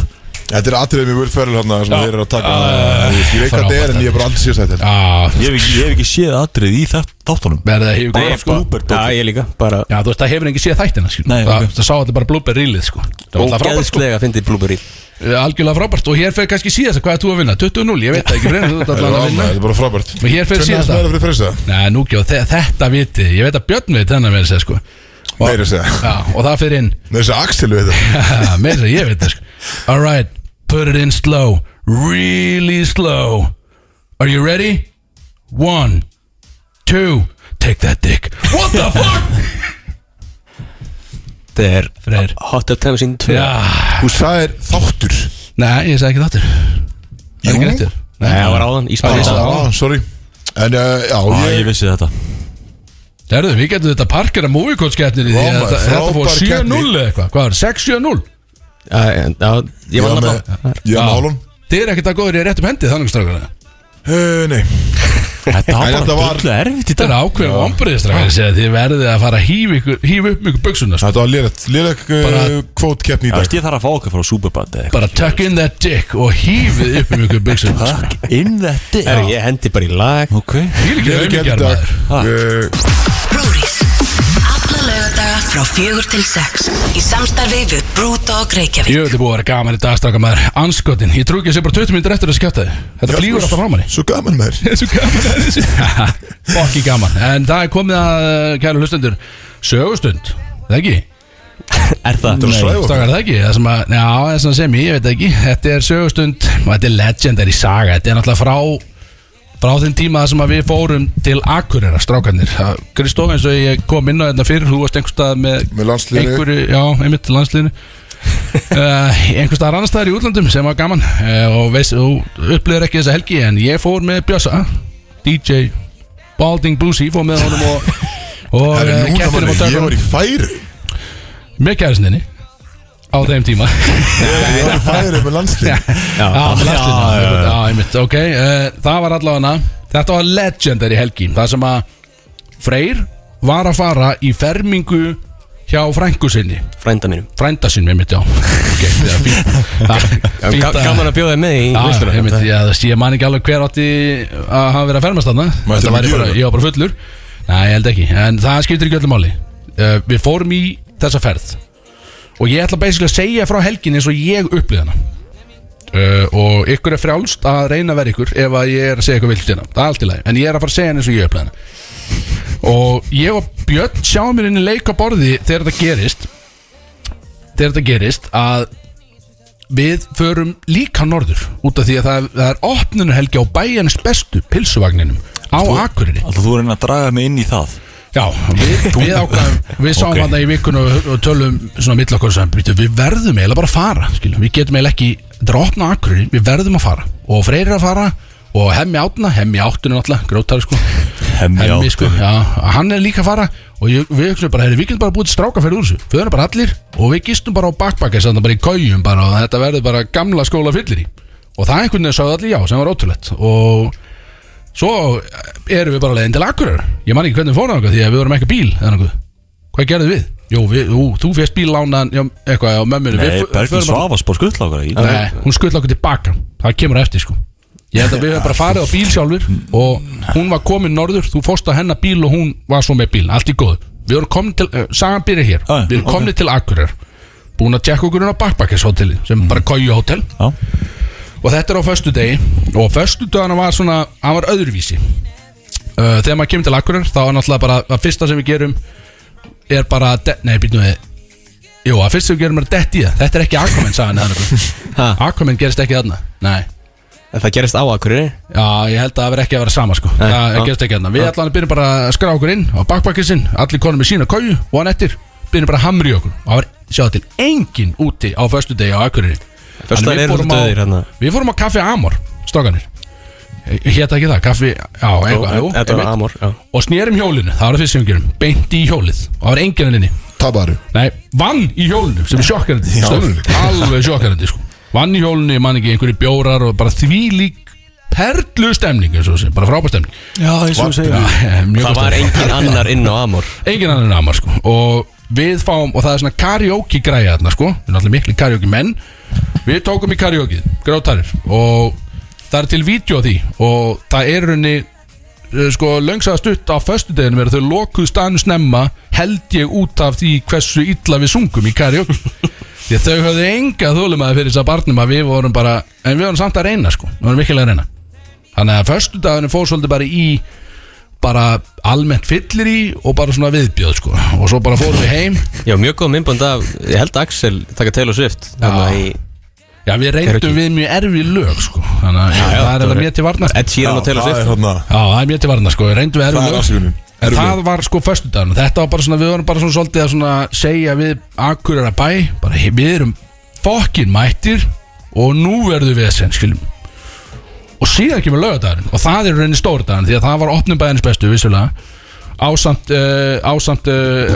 Speaker 2: Þetta er atriðið með Will Ferrell hann sem
Speaker 4: Já. Ah.
Speaker 2: þeir eru að taka Þú veist, Ég veit hvað þetta er en ég er bara aldrei sér þetta
Speaker 4: Já,
Speaker 5: Ég hef ekki, ég hef ekki séð atrið í þátt- þáttunum
Speaker 4: Ah, verða hefur góð sko
Speaker 3: Já, ég líka Bara
Speaker 4: Já, þú veist, það hefur engi séð þættina, skil
Speaker 5: Nei,
Speaker 4: það,
Speaker 5: ok.
Speaker 4: það sá allir bara blúber rílið, sko Það var alltaf frábært, sko
Speaker 3: Ógeðslega fyndið blúberi
Speaker 4: Algjörlega frábært Og hér fer kannski síðast hvað er þú að vinna? 20-0, ég veit það ekki Brynjar, þú ert
Speaker 2: Þetta
Speaker 4: allan
Speaker 2: er amma,
Speaker 4: að vinna
Speaker 2: þetta er bara frábært
Speaker 4: Og hér fer
Speaker 2: Tvenna
Speaker 4: síðasta.
Speaker 2: aðeins meðra fyrir freysa
Speaker 4: Nei, nú ekki, og þe- þetta viti Ég veit að Björn veit þennan verið sér, sko og,
Speaker 2: Meira að segja.
Speaker 4: Já, og það fyrir inn
Speaker 2: Með þessi Axel við þetta
Speaker 4: Meira, segja, ég veit það, sko All right, put it in slow Really slow Are you ready? One Two Take that dick What the fuck?
Speaker 3: Þetta er
Speaker 4: Freyr
Speaker 3: Hot Tub Tennessee 2
Speaker 4: Já
Speaker 2: Þú sagðir þáttur
Speaker 4: Nei, ég sagði ekki þáttur Það er ekki réttur
Speaker 3: Nei, það var áðan Eastbound
Speaker 2: Ég
Speaker 3: in
Speaker 2: sagði
Speaker 3: down
Speaker 2: það, ah, sorry En uh,
Speaker 5: Já,
Speaker 2: já,
Speaker 5: Ah, ég
Speaker 2: ég
Speaker 5: vissi þetta
Speaker 4: Herðu, við getum þetta parkera móvíkótskeppnir í því
Speaker 2: Vá,
Speaker 4: að
Speaker 2: maður,
Speaker 4: þetta- þetta fór
Speaker 2: frábær
Speaker 4: 7-0 eða eitthvað Hvað var það? 6-7-0
Speaker 3: Já, já, ég
Speaker 2: Ég
Speaker 3: var
Speaker 2: var
Speaker 3: hann
Speaker 2: með Ég var með hálun
Speaker 4: Þið er ekkert að góður í réttum hendi þannig strákana
Speaker 2: Eh, Nei
Speaker 5: Þetta
Speaker 2: En
Speaker 5: var
Speaker 2: þetta
Speaker 5: bara
Speaker 2: var-
Speaker 5: drullu erfitt í
Speaker 4: Þetta
Speaker 5: dag
Speaker 4: er ákveðin vombriði strákana Þegar þið verðið að fara að hýfa ykkur- hýfa upp mjög buksuna sko.
Speaker 2: Þetta var lélegt Lélegt eh,
Speaker 4: Bara-
Speaker 2: kvótkeppni í
Speaker 5: Já,
Speaker 2: dag
Speaker 5: veist, Ég þarf að fá okkar frá Superbad eða
Speaker 4: Bara tuck in that dick og hýfið upp mjög buksuna sko.
Speaker 5: eitthvað In that dick
Speaker 3: Herru, ég hendi bara í lag
Speaker 5: Ok
Speaker 4: Ég er ekki
Speaker 2: Lélegt keppni
Speaker 4: auðvitað
Speaker 2: í dag
Speaker 4: maður
Speaker 2: Eh,
Speaker 6: Brúris Alla lögadaga frá fjögur til sex Í samstarfi við Brúdog Reykjavík
Speaker 4: Ég veit að búið að vera gaman í dag strákana maður Anskotin, ég trú ekki að sé bara 20 minnir eftir þessi kjátaði Þetta flýgur alltaf frá manni
Speaker 2: Svo gaman með þér
Speaker 4: Þessu gaman að þessu Fokki gaman En það er komið að, eh, kæru hlustendur Sögustund, það ekki?
Speaker 5: Er það?
Speaker 2: Þetta var svæfa
Speaker 4: Stakar það ekki? Það sem að, já, það sem að sem ég, ég veit það ekki Þetta er sögustund og þetta er legendary saga Þetta er náttúrulega frá frá þeim tíma þar sem að við fórum til Akureyra strákarnir Kristóf eins og ég kom inn á þetta fyrir þú varst einhver stað með,
Speaker 2: Með landsliðinu.
Speaker 4: einhverju, já, einmitt landsliðinu uh, einhver staðar annar staðar í útlandum sem var gaman uh, og veist, þú upplifir ekki þessa helgi en ég fór með Bjössa DJ Balding Bluesy fór með honum og, og
Speaker 2: Það
Speaker 4: eh,
Speaker 2: er núna
Speaker 4: kettinum
Speaker 2: manni
Speaker 4: og
Speaker 2: Ég
Speaker 4: tökunum
Speaker 2: var í færi
Speaker 4: með kærisninni á þeim tíma
Speaker 2: Ég var í færi með landslið
Speaker 4: já, með lastinu. já, einmitt, ok uh, það var allavega þetta var legendary helgi það sem að Freyr var að fara í fermingu hjá frængu sinni
Speaker 3: Frænda mínum
Speaker 4: frænda sinni, einmitt, já ok, það er fínt Það- fínt
Speaker 3: Ga- Gaman að bjóða þig með í
Speaker 4: Já,
Speaker 3: veisluna.
Speaker 4: einmitt, já, þú veist, ég man ekki alveg hver átti að hafa verið að fermast þarna
Speaker 2: Mættu
Speaker 4: Þetta
Speaker 2: ekki
Speaker 4: var ég
Speaker 2: gera
Speaker 4: bara,
Speaker 2: það?
Speaker 4: ég var bara fullur Nei, ég held ekki, en það skiptir ekki öllu máli uh, Við fórum í þessa ferð Og ég ætla basically að segja frá helginni eins og ég upplýði hana uh, Og ykkur er frjálst að reyna að vera ykkur Ef að ég er að segja eitthvað vilt hérna Það er allt í lagi, en ég er að fara að segja hana eins og ég upplýði hana Og ég og Björn sjáum mér inn í leikaborði Þegar þetta gerist Þegar þetta gerist að við förum líka norður út af því að það, það er opninu helgi á bæjarnes bestu pilsuvagninum á Akureyri
Speaker 5: Alltaf þú er að reyna að draga mig inn í það
Speaker 4: Já, við, við ákvæðum, við sáum
Speaker 5: Ok.
Speaker 4: okay. þarna í vikun og, og tölum svona mill okkur sem "Bíddu, við verðum eiginlega bara að fara, skilum, við getum eiginlega ekki þetta er að opna akkurri, við verðum að fara og Freyr er að fara og hemmi átna, hemmi áttunum alltaf, grótari sko
Speaker 5: Hemmi Árni.
Speaker 4: sko, já, hann er líka að fara og ég, við hugsaum bara, heyrðu, við getum bara búið til stráka fyrir úr þessu, við erum bara allir og við gistum bara á bakbakka, þannig bara í kójum bara og þetta verður bara gamla skóla fyllir í og það einhvern veginn sagði allir já, sem var ótrúlegt og svo erum við bara leiðin til Akureyrar ég man ekki hvernig við fórum þangað því að við vorum ekki á bíl eða nokkuð hvað gerðum við? Jó, við, ú, þú férst bíl lánaðan já, eitthvað á mömmunum
Speaker 5: Nei, Berglind Svavas bara skuttla okkar í
Speaker 4: Nei, hún skull okkur tilbaka það kemur á eftir sko ég held að við höfum bara farið á bíl sjálfur og hún var komin norður, þú fórst á hennar bíl og hún var svo með bíl, allt í góð við vorum komin til, uh, sagan byrja hér
Speaker 5: Já, já,
Speaker 4: við erum
Speaker 5: ok.
Speaker 4: komin til Akureyrar búin að tjekka okkur inn á Backpackers hotelli sem er bara kóju hótel
Speaker 5: Já.
Speaker 4: og þetta er á föstu degi og föstu dagana var svona, hann var öðruvísi uh, þegar maður kemur til Akureyrar þá er náttúrulega bara, að fyrsta sem við gerum er bara, að de- nei, býtum við jú, að fyrsta sem við gerum er að detti í það þetta er ekki Aquaman sagan eða
Speaker 3: Ha.
Speaker 4: nefnir Aquaman gerist ekki þarna, nei
Speaker 3: En það gerist á Akureyri
Speaker 4: Já, ég held að það verði ekki að vera sama sko
Speaker 3: Nei,
Speaker 4: Það
Speaker 3: já.
Speaker 4: gerist ekki hérna Við allan byrjum bara að skrá okkur inn á bakbakkisinn Allir konum með sína kóju og hann eftir Byrjum bara að hamri okkur Og það var, sjáðu til, engin úti á föstu degi á Akureyri
Speaker 3: Föstudagar
Speaker 4: Þannig við
Speaker 3: eru
Speaker 4: fórum
Speaker 3: svolítið dauðir
Speaker 4: á-
Speaker 3: hérna.
Speaker 4: Við fórum á Kaffi Amor, stokkanir Hétta ekki það, Kaffi, já, eitthvað jú,
Speaker 3: Þetta var
Speaker 4: einmitt.
Speaker 3: Amor já.
Speaker 4: Og snérum hjólinu, það var það fyrst sem við gerum Beint í hjólið, og það var enginn enninni
Speaker 2: Tabaru
Speaker 4: Nei, vann í hjólinu sem er sjokkarandi stöfnur, alveg sjokkarandi sko. vann í hjólinu, ég man ekki einhverju bjórar og bara því lík perlu stemning eins og þessi, bara frábær stemning
Speaker 5: Já, eins og segja
Speaker 4: Já, mjög
Speaker 3: Það
Speaker 4: gott
Speaker 3: var
Speaker 4: að-
Speaker 3: engin annar inn á Amor
Speaker 4: engin annan en Amar sko. og við fáum, og það er svona karaoke græja þarna sko, við erum allir miklu karaoke menn við tókum í karaoke grátarir og það er til vídeo af því og það er runni sko löngsaða stutt á föstudeginum er að þau lokuð stanu snemma held ég út af því hversu illa við sungum í karaoke því að þau höfðu enga þólum fyrir þess að barnum að við vorum bara en við vorum samt að reyna sko, við vorum virkilega að reyna þannig að föstudaginu fór svolítið bara í bara almennt fyllir í og bara svona viðbjöð sko og svo bara fórum við heim
Speaker 3: Já, mjög góð myndband af Ég held að Axel taka Taylor Swift þarna í-
Speaker 4: já við
Speaker 3: Karaoke.
Speaker 4: reyndum við mjög erfið lög sko þannig að
Speaker 3: já,
Speaker 4: það er
Speaker 3: þetta
Speaker 4: þetta
Speaker 3: var-
Speaker 4: mér til sko. varna já
Speaker 3: Ed Sheeran og Taylor
Speaker 2: það er
Speaker 3: Swift
Speaker 2: þarna
Speaker 4: það er mér til varna sko við reyndum við
Speaker 2: Það er
Speaker 4: erfið lög
Speaker 2: afsökunin
Speaker 4: en
Speaker 2: Erfið
Speaker 4: það var sko föstudagun þetta var bara svona við vorum bara svona svolítið að svona segja við akkurir að bæ bara "Hey, við erum fokkin mættir og nú verðum við að sen skiljum og síðan kemur lögadagurinn og það er í rauninni stórdagurinn því að það var opnum bæðins bestu vissulega ásamt, uh, ásamt uh,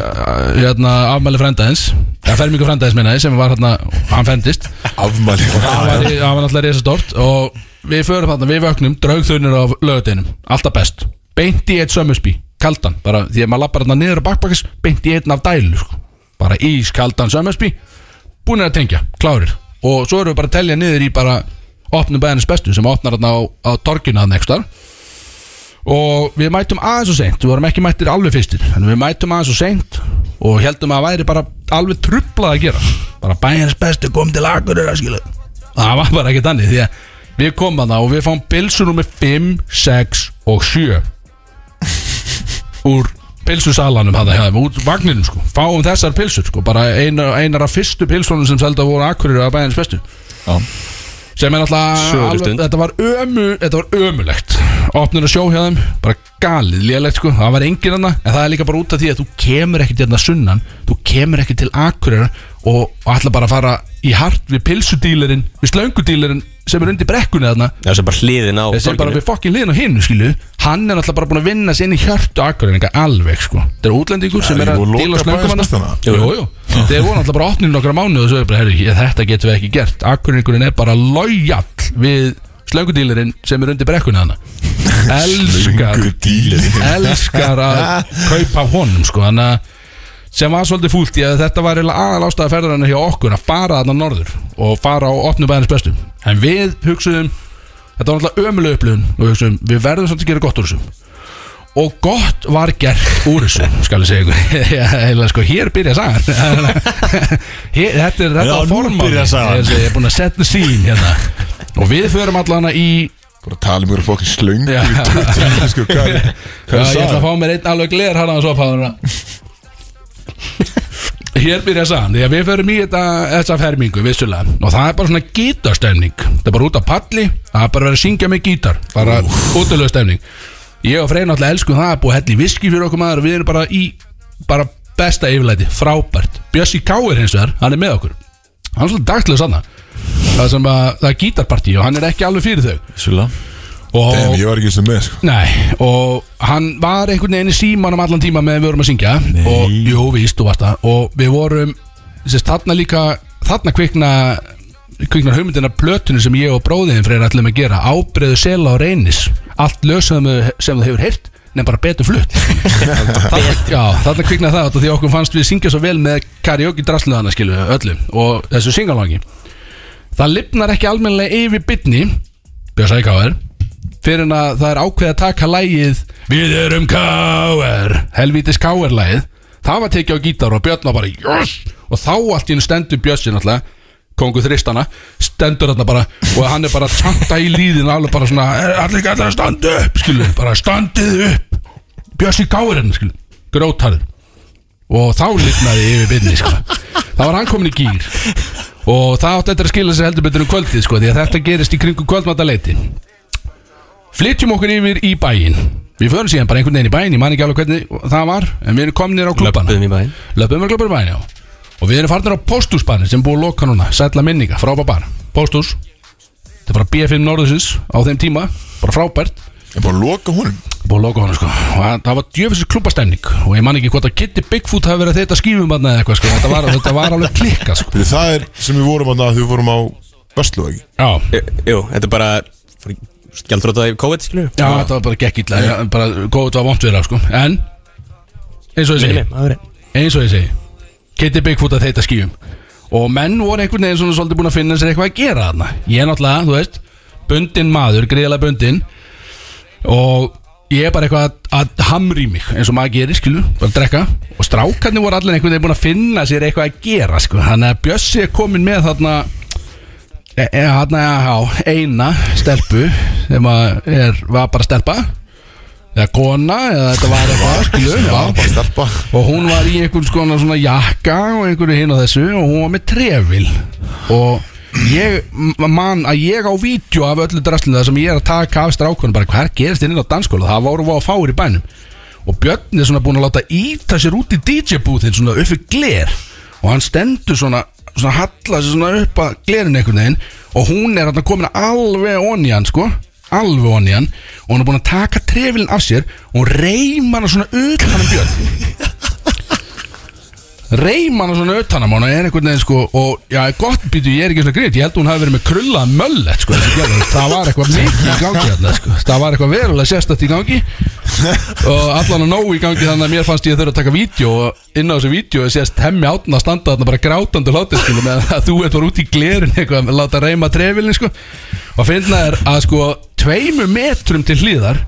Speaker 4: hérna, afmæli frændaðins eða fermingu frændaðins minnaði sem var hérna hann fendist
Speaker 2: Afmæli
Speaker 4: það var, það var náttúrulega risastort og við förum þarna, við vöknum draugþunir á lögadeinum, alltaf best beint í eitt sömmusbí, kaldan bara því að maður lappar þarna niður á bakbakkis beint í einn af dælu sko. bara ískaldan sömmusbí búinir að tengja, klárir og svo erum við bara að telja niður í bara opnum bæðanins bestu sem opnar þarna á, á torkinu þarna ekstar og við mætum aðeins og seint við vorum ekki mættir alveg fyrstir en við mætum aðeins og seint og heldum að væri bara alveg trublað að gera bara bæðanins bestu kom til agurir að skilja það var bara ekki þannig því að við komum þarna og við fáum bilsunum með 5, 6 og 7 úr pilsusalanum hann hefðum, út vagninum sko fáum þessar pilsur sko, bara einar, einar af fyrstu pilsunum sem selda voru akkurir að bæðins bestu
Speaker 5: Já.
Speaker 4: sem er náttúrulega
Speaker 3: Söguleg
Speaker 4: alveg,
Speaker 3: stund.
Speaker 4: þetta var ömu þetta var ömulegt, opnur að sjó hjá þeim bara galið, lélegt sko, það var engin hann en það er líka bara út af því að þú kemur ekki til þarna sunnan, þú kemur ekki til akkurir og, og ætla bara að fara í hart við pilsudílarinn, við slöngudílarinn sem er undir brekkunni þarna
Speaker 3: Já, sem bara hliðin á
Speaker 4: þessi er bara
Speaker 3: torginu.
Speaker 4: við fokkin liðin á hinu skilu hann er náttúrulega bara búin að vinna sér inn í hjörtu akkurreininga alveg sko þetta er útlendingur sem
Speaker 2: er
Speaker 4: er að
Speaker 2: ekki búið að
Speaker 4: díla
Speaker 2: loka
Speaker 4: slöngum
Speaker 2: bæjarins
Speaker 4: hana
Speaker 2: besta
Speaker 4: jú, jú, jú. þeir voru náttúrulega bara opninu nokkra mánuð og svo er bara, herri, ég- þetta getum við ekki gert akkurreyningurinn er bara lojall við slöngudílarinn sem er undir brekkuna hana elskar
Speaker 2: díli
Speaker 4: elskar að kaupa af honum sko, þannig að sem var svolítið fúlt í að þetta var eiginlega aðal ástæða ferðarinn hjá okkur að fara þarna norður og fara á opnum bæðins bestu en við hugsuðum þetta var náttúrulega ömuleg upplifun og við hugsuðum við verðum svolítið að gera gott úr þessu og gott var gert úr þessu skal ég segja ykkur Já, eiginlega sko hér byrja sagan Hérna, Hér- þetta er þetta
Speaker 5: Já, nú
Speaker 4: formáli.
Speaker 5: byrjar sagan.
Speaker 4: Ég- ég er búin að setja sín hérna og við förum allana í
Speaker 2: Bara tala mér um fokkin slöng
Speaker 4: Já.
Speaker 2: Í 20 mínútur, sko, Hvað er
Speaker 4: Já,
Speaker 2: hvað er
Speaker 4: ég ætla að
Speaker 2: það?
Speaker 4: fá mér einn alveg gler hann aðeins ophaðuna Hér byrja sagan Því að við förum í þetta, þessa fermingu vissulega Og það er bara svona gítarstemning Það er bara út á palli Það er bara verið að syngja með gítar Bara útilega stemning Ég og Freyr náttúrulega elskum það Búið að hella í viski fyrir okkur maður og Við erum bara í bara besta yfirlæti Frábært Bjössi Káir hins vegar Hann er með okkur Hann er svolítið dagtlega sanna það, sem að, það er gítarpartí og hann er ekki alveg fyrir þau
Speaker 5: Sjöla
Speaker 4: og,
Speaker 2: Damn, ég var ekki eins og með sko.
Speaker 4: Nei, og hann var einhvern veginn í símanum allan tíma meðan við vorum að syngja Nei. og jú, víst, þú varst það og við vorum, sérst, þarna líka þarna kvikna kviknar hugmyndina plötunu sem ég og bróðin fyrir ætlum að gera, ábreiðu sela og reynis allt lösum sem þú hefur heyrt nefn bara betur flutt Þarna- Já, þarna kviknaði það út af því að okkur fannst við syngja svo vel með karaoke drasluðana skilu öllum og þessu syngalangi Það lifnar ekki almennilega yfir bytni Björn Sækáður fyrir en að það er ákveð að taka lægið Við erum K.R. Helvítis K.R. lægið Það var tekið á gítar og Björn var bara yes! Og þá allt í hennu stendur Björn sér náttúrulega Kongu þristana Stendur þarna bara Og hann er bara að tanta í líðin Alveg bara svona "Er Allir kallar að standa upp Skilu Bara standið upp Björn K.R. Skilu Grótarður hérna, Og þá lifnaði yfir byrni sko. Það var hann komin í gýr Og það átti eftir að skila sér heldur betur um kvöldið sko, Því að þetta gerist í kringum kvöldmataleiti Flytjum okkur yfir í bæinn Við förum síðan bara einhvern veginn í bæinn Ég man ekki alveg hvernig það var En við erum komnir á klubbana
Speaker 3: Löppuðum í bæinn.
Speaker 4: Löpum við klubbana í bæinn, já Og við erum farnir á póstúsbarnir sem er búið að loka núna Sætla minninga, frábær bar Póstús, þetta er bara BFM Norðursins Á þeim tíma, bara frábært
Speaker 2: Ég er bara að loka honum
Speaker 4: búið að loka honum sko og hann- það var djöfisir klubbastemning og ég man ekki hvort að Kitty Bigfoot hafi verið að þetta skýfum hann eða eitthvað sko þetta var, þetta var alveg klikka sko
Speaker 2: Fyrir það er sem við vorum að því við vorum á Vestló ekki
Speaker 4: já,
Speaker 7: Jú, þetta er bara Gjaldrótað í COVID, skilur
Speaker 4: já þetta var bara gekk illa ja. bara góðið var vont við það sko en eins og ég segi eins og ég segi Kitty Bigfoot að þetta skýfum og menn voru einhvern veginn svona svolítið búin að finna sér eitthvað að gera þarna ég er náttúrulega, þú veist, bundin maður greiðlega bundin og ég er bara eitthvað að, að hamri mig eins og maður gerir, skilu, bara að drekka og strákarnir voru allir einhvern veginn búin að finna sér eitthvað að gera, sko, þannig að Bjössi er komin með þarna e, e, þarna, já, eina stelpu sem að er, var bara stelpa eða kona, eða þetta var eitthvað, skilu já.
Speaker 2: Það var bara að stelpa
Speaker 4: Og hún var í einhvern skona svona jakka og einhverju hinn og þessu og hún var með trefil og ég, m- man að ég á vídeo af öllu drastlinu það sem ég er að taka af strákunum bara hvað gerist inn á danskóla það voru að fáir í bænum og Björn er svona búin að láta íta sér út í DJ-búðin svona upp fyrir gler og hann stendur svona, svona hallar sér svona upp að glerinu einhvern veginn og hún er hann komin alveg onni hann sko alveg onni hann og hún er búin að taka trefilin af sér og hún reymar hann svona utan um Björn reymana svona utanum hann og er einhvern veginn sko og já, gott býtu, ég er ekki svona greit ég held að hún hafi verið með krulla möllet sko, þessi gæla. það var eitthvað mikið í gangi hérna, sko. það var eitthvað verulega sérstætt í gangi og allan að nógu í gangi þannig að mér fannst ég þurfa að taka vídeo og inn á þessu vídeo sést hemmi átna að standa þarna bara grátandi hlátti sko, með að þú ert bara út í glerun eitthvað að láta reyma trefilin sko og finna er að sko tveimu metrum til hlýðar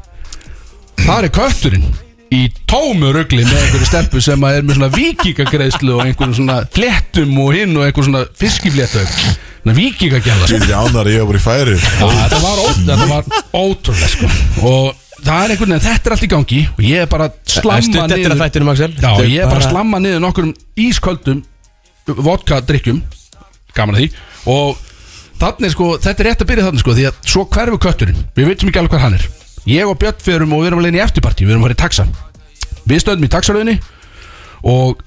Speaker 4: þar er kötturinn í tómu rugli með einhverju steppu sem að er með svona vikingagreðslu og einhverjum svona flettum og hinn og einhverjum svona fiskiflétta svona vikingagjala
Speaker 2: Ég
Speaker 4: sko.
Speaker 2: er ekki ánar að ég var bara í færi
Speaker 4: Já, þetta var, ó, þetta var ótrúlega sko. og það er einhvern veginn þetta er allt í gangi og ég er bara að
Speaker 3: Stutt
Speaker 4: slamma
Speaker 3: eftir að
Speaker 4: niður
Speaker 3: þættinum, Axel
Speaker 4: Já,
Speaker 3: Þetta
Speaker 4: ég er bara að slamma niður nokkur ísköldum vodka drikkjum gaman að því og þannig sko, þetta er rétt að byrja þannig sko því að svo hverfu kötturinn, við veitum ekki alveg hvað hann er ég og Björn ferum og við erum alveg í eftirparti við erum að fara í taxa við stöndum í taxaröðinni og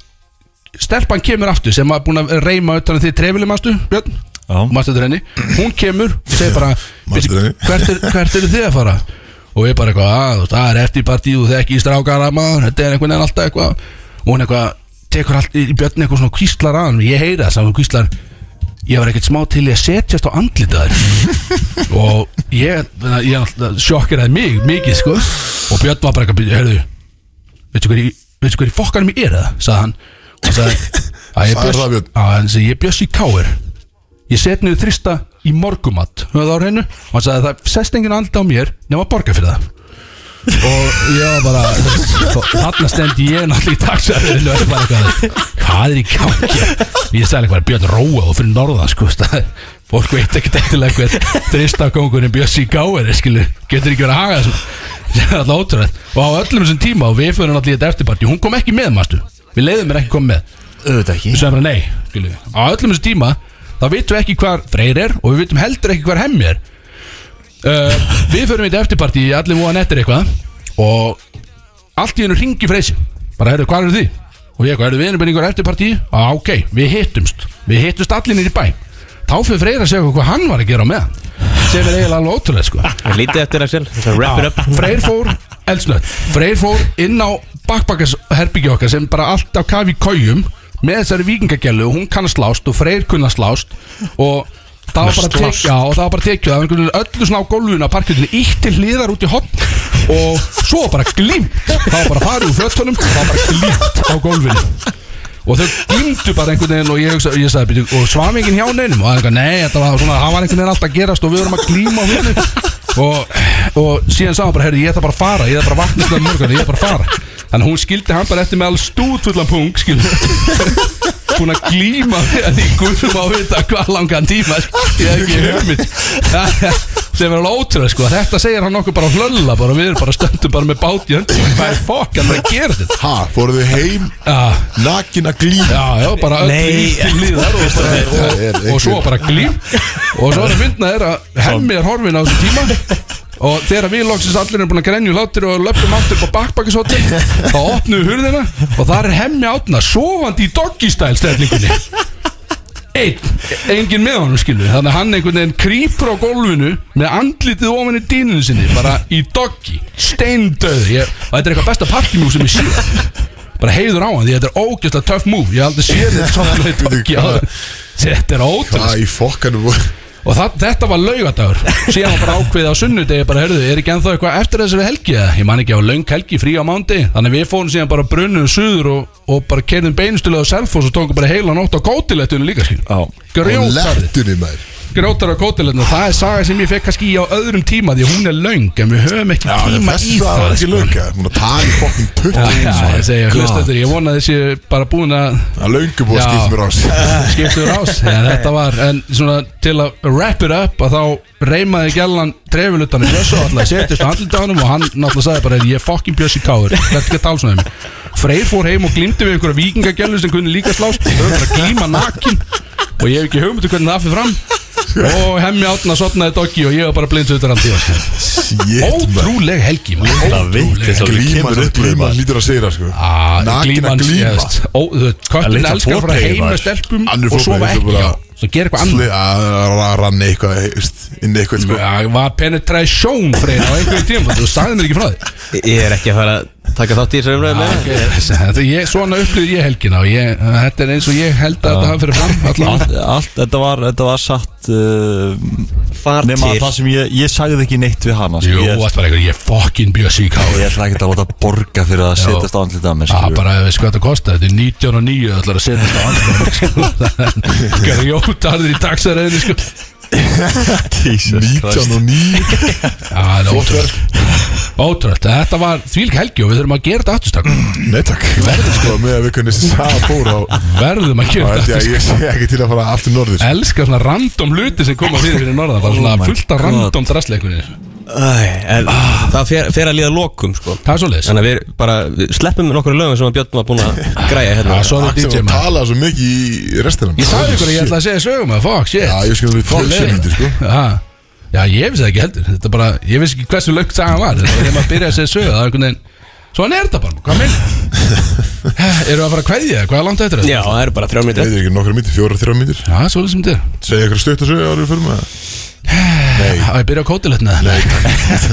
Speaker 4: stelpan kemur aftur sem var búin að reyma utan að þið trefili mástu Björn,
Speaker 5: Já.
Speaker 4: mástu þetta henni hún kemur og segir bara
Speaker 2: Manstu
Speaker 4: "Bíddu,
Speaker 2: henni?"
Speaker 4: hvert, er, hvert eru þið að fara og ég bara eitthvað, að þú veist, það er eftirpartíð og þekki í strákara maður, þetta er einhvern veginn alltaf eitthvað og hún eitthvað, tekur allt í í Björn eitthvað svona og kvíslar að hann, ég heyra þess að hún kvíslar ég var ekkert smá til í að setjast á andlitaður og ég, ég náttúrulega sjokkeraði mig mikið sko og Björn var bara eitthvað, heyrðu veitu hver, í- veistu hver í fokkanum ég er eða sagði hann og sagði að ég
Speaker 2: Sagði það,
Speaker 4: bjöss
Speaker 2: Björn?
Speaker 4: að hann segi ég bjöss í káir ég set niður þrista í morgumat höfðu á reynu og hann sagði það sest enginn andli á mér nema að borga fyrir það og ég var bara þú veist, þó- þarna stend ég náttúrulega í taxaðinu og er bara eitthvað hvað er í gangi ég sagði eitthvað Björn Róa og fyrir norðan sko það- fólk veit ekkert eitthvað hver þrista kongurinn Björns í gáir skilu getur ekki verið að haga þessu það er alltaf ótrúlega og á öllum þessum tíma og við fyrir náttúrulega í þetta eftirparti hún kom ekki með maður við leiðum mér ekki koma með
Speaker 7: Auðvitað ekki
Speaker 4: við sagðum bara nei skilu. á öllum þessu tíma þá vitum við ekki hvar Freyr er og við vitum heldur ekki hvar hemmi er uh, við förum í þetta eftirparti allir múa nettir eitthvað og allt í hennu ringi Freysi bara herðu hvað eru því og ég eitthvað, herðu við erum bara í einhver eftirparti ah, ok, við hittumst við hittumst allir nýri bæ þá fyrir Freyr að segja okkur hvað hann var að gera á meðan sem er eiginlega alveg ótrúlega sko
Speaker 7: Lítið eftir Axel, þess að wrap it up
Speaker 4: Freyr fór, eldsnöð Freyr fór inn á bakbakasherbyggja okkar sem bara alltaf kafi í kójum með þessari vikingagellu, hún kann að slást og Freyr kunna að slást og það var bara að tekja og það var bara að tekja það var einhvern veginn öllu svona á gólfuna parkjöldinu ítt til hliðar út í hotn og svo bara glímt það var bara farið úr fötunum og það var bara glímt á gólfinu og þau glýmdu bara einhvern veginn og ég, hugsa, ég sagði, "Bíddu, og svamingin hjá neinum og það er eitthvað, nei, þetta var svona, það var einhvern veginn alltaf að gerast og við vorum að glýma á hennu og, og síðan sagði hann bara, herri, ég ætla bara að fara ég ætla bara að vakna stöðum morgun, ég ætla bara að fara þannig að hún skildi hann bara eftir með alls stútvullan pung skilur búin að glýma við að því guðum á vita hvað langan tíma sko. ég hef ekki hugmynd sem er alveg ótrúlega sko þetta segir hann okkur bara hlölla bara við erum bara stöndum bara með bát í höndum hvað er fokk hann er að gera þetta
Speaker 2: Ha, fóruðu heim
Speaker 4: ah.
Speaker 2: nakin að glýna
Speaker 4: Já, já, bara öll
Speaker 3: Nei.
Speaker 4: líf til líðar og, bara,
Speaker 2: Það
Speaker 4: og,
Speaker 2: er
Speaker 4: og, og svo bara glým Og svo er að myndna er að hemmi er horfin á þessu tíma Og þegar við loksins allir erum búin að grenju hlátur og löpum aftur upp á bakbakkishotni Þá opnum við hurðina og þar er hemmi átna sofandi í doggystæl stæðlingunni Einn, enginn með honum skilur Þannig að hann einhvern veginn krýpur á gólfinu Með andlitið ofan í dýninu sinni Bara í doggi, steindöð ég, Og þetta er eitthvað besta parkimjú sem ég sé bara heiður á hann því þetta er ógeðslega tough move ég hef aldrei séð þetta svona með doggi áður. þetta er ótrúlega
Speaker 2: Hvað í fokkanum voru
Speaker 4: og það, þetta var laugadagur síðan var bara ákveðið á sunnudegi bara herðu, er ekki ennþá eitthvað eftir þessari helgi eða? ég man ekki á löng helgi frí á mándi þannig að við fórum síðan bara brunnum suður og, og bara kerðum beinustulega á Selfoss og tókum bara heila nótt á kótilettunum líka skil
Speaker 5: Já.
Speaker 2: Og
Speaker 4: grjótarði
Speaker 2: lertunni maður
Speaker 4: grjótar á kótilegna það er saga sem ég fekk kannski í á öðrum tíma því að hún er löng en við höfum ekki tíma í
Speaker 2: Þess að
Speaker 4: það
Speaker 2: var ekki
Speaker 4: sko.
Speaker 2: lönga Hún að tala í fokkin putt
Speaker 4: Já, já, ég segja, hlust eftir, ég vona að þessi bara búin að
Speaker 2: Það löngu búið að
Speaker 4: Já.
Speaker 2: skipta mér á sig
Speaker 4: skiptuður ás en þetta var, en svona til að wrap it up að þá reymaði gellan trefulutan í Bjössu og alltaf setjast á andlita á honum og hann náttúrulega sagði bara ég er fokkin Bjössi káður, þetta er ekki að tala svona um mig." Freyr fór heim og glýmdi við einhverja vikingagellu sem kunni líka slást, þau voru bara að glíma nakin og ég hef ekki hugmyndu hvernig það fyrir fram og hemmi átna sotnaði doggi og ég var bara blindu utan hann tíu
Speaker 2: Shit maður
Speaker 4: ótrúleg helgi maður.
Speaker 5: Það veit þess að við
Speaker 2: Glíman,
Speaker 5: kemur upp í
Speaker 2: glíman
Speaker 5: maður
Speaker 2: lítur að segja það sko
Speaker 4: Ah,
Speaker 2: Nakin
Speaker 4: glíman,
Speaker 2: að
Speaker 4: ég
Speaker 2: glíma
Speaker 4: veist, sko, ó, þú veist, köttin
Speaker 5: litla
Speaker 4: elskar að fara
Speaker 5: foteyju,
Speaker 4: heim með
Speaker 5: maður.
Speaker 4: stelpum
Speaker 2: Annur
Speaker 4: og sofa
Speaker 2: fótbolti,
Speaker 4: ekki
Speaker 2: bara-
Speaker 4: já. svo gera eitthvað annað
Speaker 2: Sli- að að rann eitthvað veist, inn í eitthvað sko.
Speaker 4: Já, var penetration freyna á einhverjum tíma Þú sagði mér ekki frá því
Speaker 7: Ég er ekki að fara að taka þátt í þessari umræðu með það.
Speaker 4: Þetta ég, Svona upplýði ég helgina og ég, Þetta er eins og ég held að þetta hafi fyrir fram allan.
Speaker 5: Allt, allt, þetta var, þetta var satt uh,
Speaker 7: Far
Speaker 5: nema
Speaker 7: til.
Speaker 5: það sem ég, ég sagði ekki neitt við hana sko.
Speaker 4: Jú,
Speaker 5: ég,
Speaker 4: allt var eitthvað Ég fucking bjöð sík á
Speaker 5: ég ætla ekki að láta borga fyrir að setjast á andlita mér
Speaker 4: Já,
Speaker 5: skilur.
Speaker 4: bara ef við sko þetta kosta Þetta er 19 og 9 Það ætlar að setja þetta á andra Sko, Grjótarður í taxaræðinu sko.
Speaker 5: Jesus
Speaker 2: 19 og 9
Speaker 4: Já, það er ótrúð
Speaker 5: sko.
Speaker 4: Ótrúð, þetta var þvílík helgi og við þurfum að gera þetta afturstak
Speaker 2: Nei takk Verður sko með að við kunni þessi saga fór á
Speaker 4: Verðum að
Speaker 2: Þá
Speaker 4: gera
Speaker 2: held ég
Speaker 4: þetta
Speaker 2: að
Speaker 4: afturstak
Speaker 2: ég sé ekki til að fara aftur norður sko.
Speaker 4: Elskar svona random hluti sem koma fyrir fyrir norðan bara svona
Speaker 5: Oh my
Speaker 4: fullt af
Speaker 5: God.
Speaker 4: random drastleikunir
Speaker 7: Æ, en Það fer, fer að líða lokum sko
Speaker 4: Það er svoleiðis
Speaker 7: Þannig að við bara við sleppum nokkur lögum sem að Björn var búin að græja hérna
Speaker 4: Já, sorry
Speaker 2: Axel
Speaker 4: DJ
Speaker 2: var að
Speaker 4: maður
Speaker 2: tala svo mikið í restina
Speaker 4: Ég sagði ykkur að ég ætla að segja sögum að fuck shit
Speaker 2: Já, ég skil við
Speaker 4: Fuck,
Speaker 2: 12
Speaker 4: shit.
Speaker 2: sekundir sko
Speaker 4: Já, já, ég vissi það ekki heldur Þetta bara, ég vissi ekki hversu lögt sagan var Þetta var þegar maður byrjaði að segja sögum Það er einhvern veginn Svona er þetta bara, hvað minn Eru að fara að kveðja, hvað er langt eftir þetta?
Speaker 7: Já, það eru bara þrjá
Speaker 2: Ég
Speaker 7: mínútur
Speaker 2: veit ekki nokkra myndir, fjóra, þrjá myndir
Speaker 4: Já, svolítið sem þetta er
Speaker 2: Segja ykkur stutt að sögja árið fyrir maður Nei,
Speaker 4: Það er byrjað á kótiletna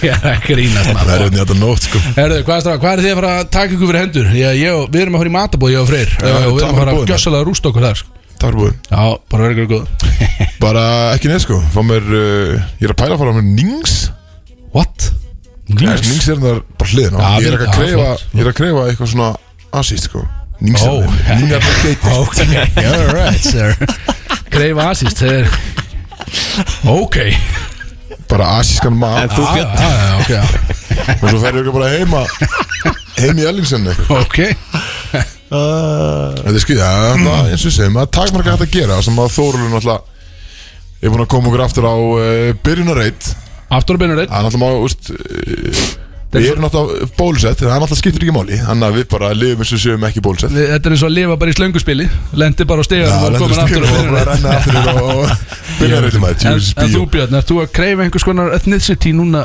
Speaker 4: Ég er að grínast
Speaker 2: það er
Speaker 4: maður
Speaker 2: einnig að þetta nótt sko
Speaker 4: Herðu, hvað er það, hvað er þið að fara að taka ykkur fyrir hendur? Ég, ég, og- við erum að fara í matabóð, ég og Freyr
Speaker 2: Já,
Speaker 4: Og við erum
Speaker 2: takk
Speaker 4: að fara
Speaker 2: fyrir
Speaker 4: að
Speaker 2: boðin.
Speaker 4: gjössalega rústa okkur þar sko.
Speaker 2: Það var búið
Speaker 4: Já, bara verið ykkur góð
Speaker 2: Bara ekki neð sko Fá mér, uh, ég er að pæla að fara með Nings
Speaker 4: What?
Speaker 2: Nings er það bara hliðin á
Speaker 4: Já,
Speaker 2: Ég er
Speaker 4: mér-
Speaker 2: ekki að
Speaker 4: já,
Speaker 2: kreifa,
Speaker 4: flott.
Speaker 2: ég er að kreifa eitthvað svona asíst sko Nings
Speaker 4: Ó.
Speaker 2: er það Nings er það
Speaker 4: Ok, alright sir Greif asist, þeir
Speaker 5: eh?
Speaker 4: Ok
Speaker 2: bara asískan mat
Speaker 7: Þú
Speaker 4: Ah,
Speaker 7: Björn
Speaker 4: ah, já, ok, já.
Speaker 2: og svo ferðu ykkur bara heima heim í Ellingsen eitthvað
Speaker 4: ok
Speaker 2: þetta er skriða
Speaker 5: Mm.
Speaker 2: þetta er eins og sem að takmarka hægt að gera sem að Þórulun alltaf er búin að koma okkur aftur á uh, byrjunarreit
Speaker 4: Aftur að byrja reitt
Speaker 2: hann alltaf má úst, uh, við erum alltaf bólusett en hann alltaf skiptir ekki máli þannig að við bara lifum eins og séum ekki bólusett
Speaker 4: Þetta er eins og að lifa bara í slönguspili Lendi bara á stegar og
Speaker 2: lendur
Speaker 4: komin aftur
Speaker 2: stíl og
Speaker 4: á
Speaker 2: bara
Speaker 4: byrja reitt
Speaker 2: renna aftur yfir á byrjunarreitin maður
Speaker 4: En,
Speaker 2: Jesus
Speaker 4: en þú
Speaker 2: bíó
Speaker 4: Björn, ert þú að kreifa einhvers konar ethnicity núna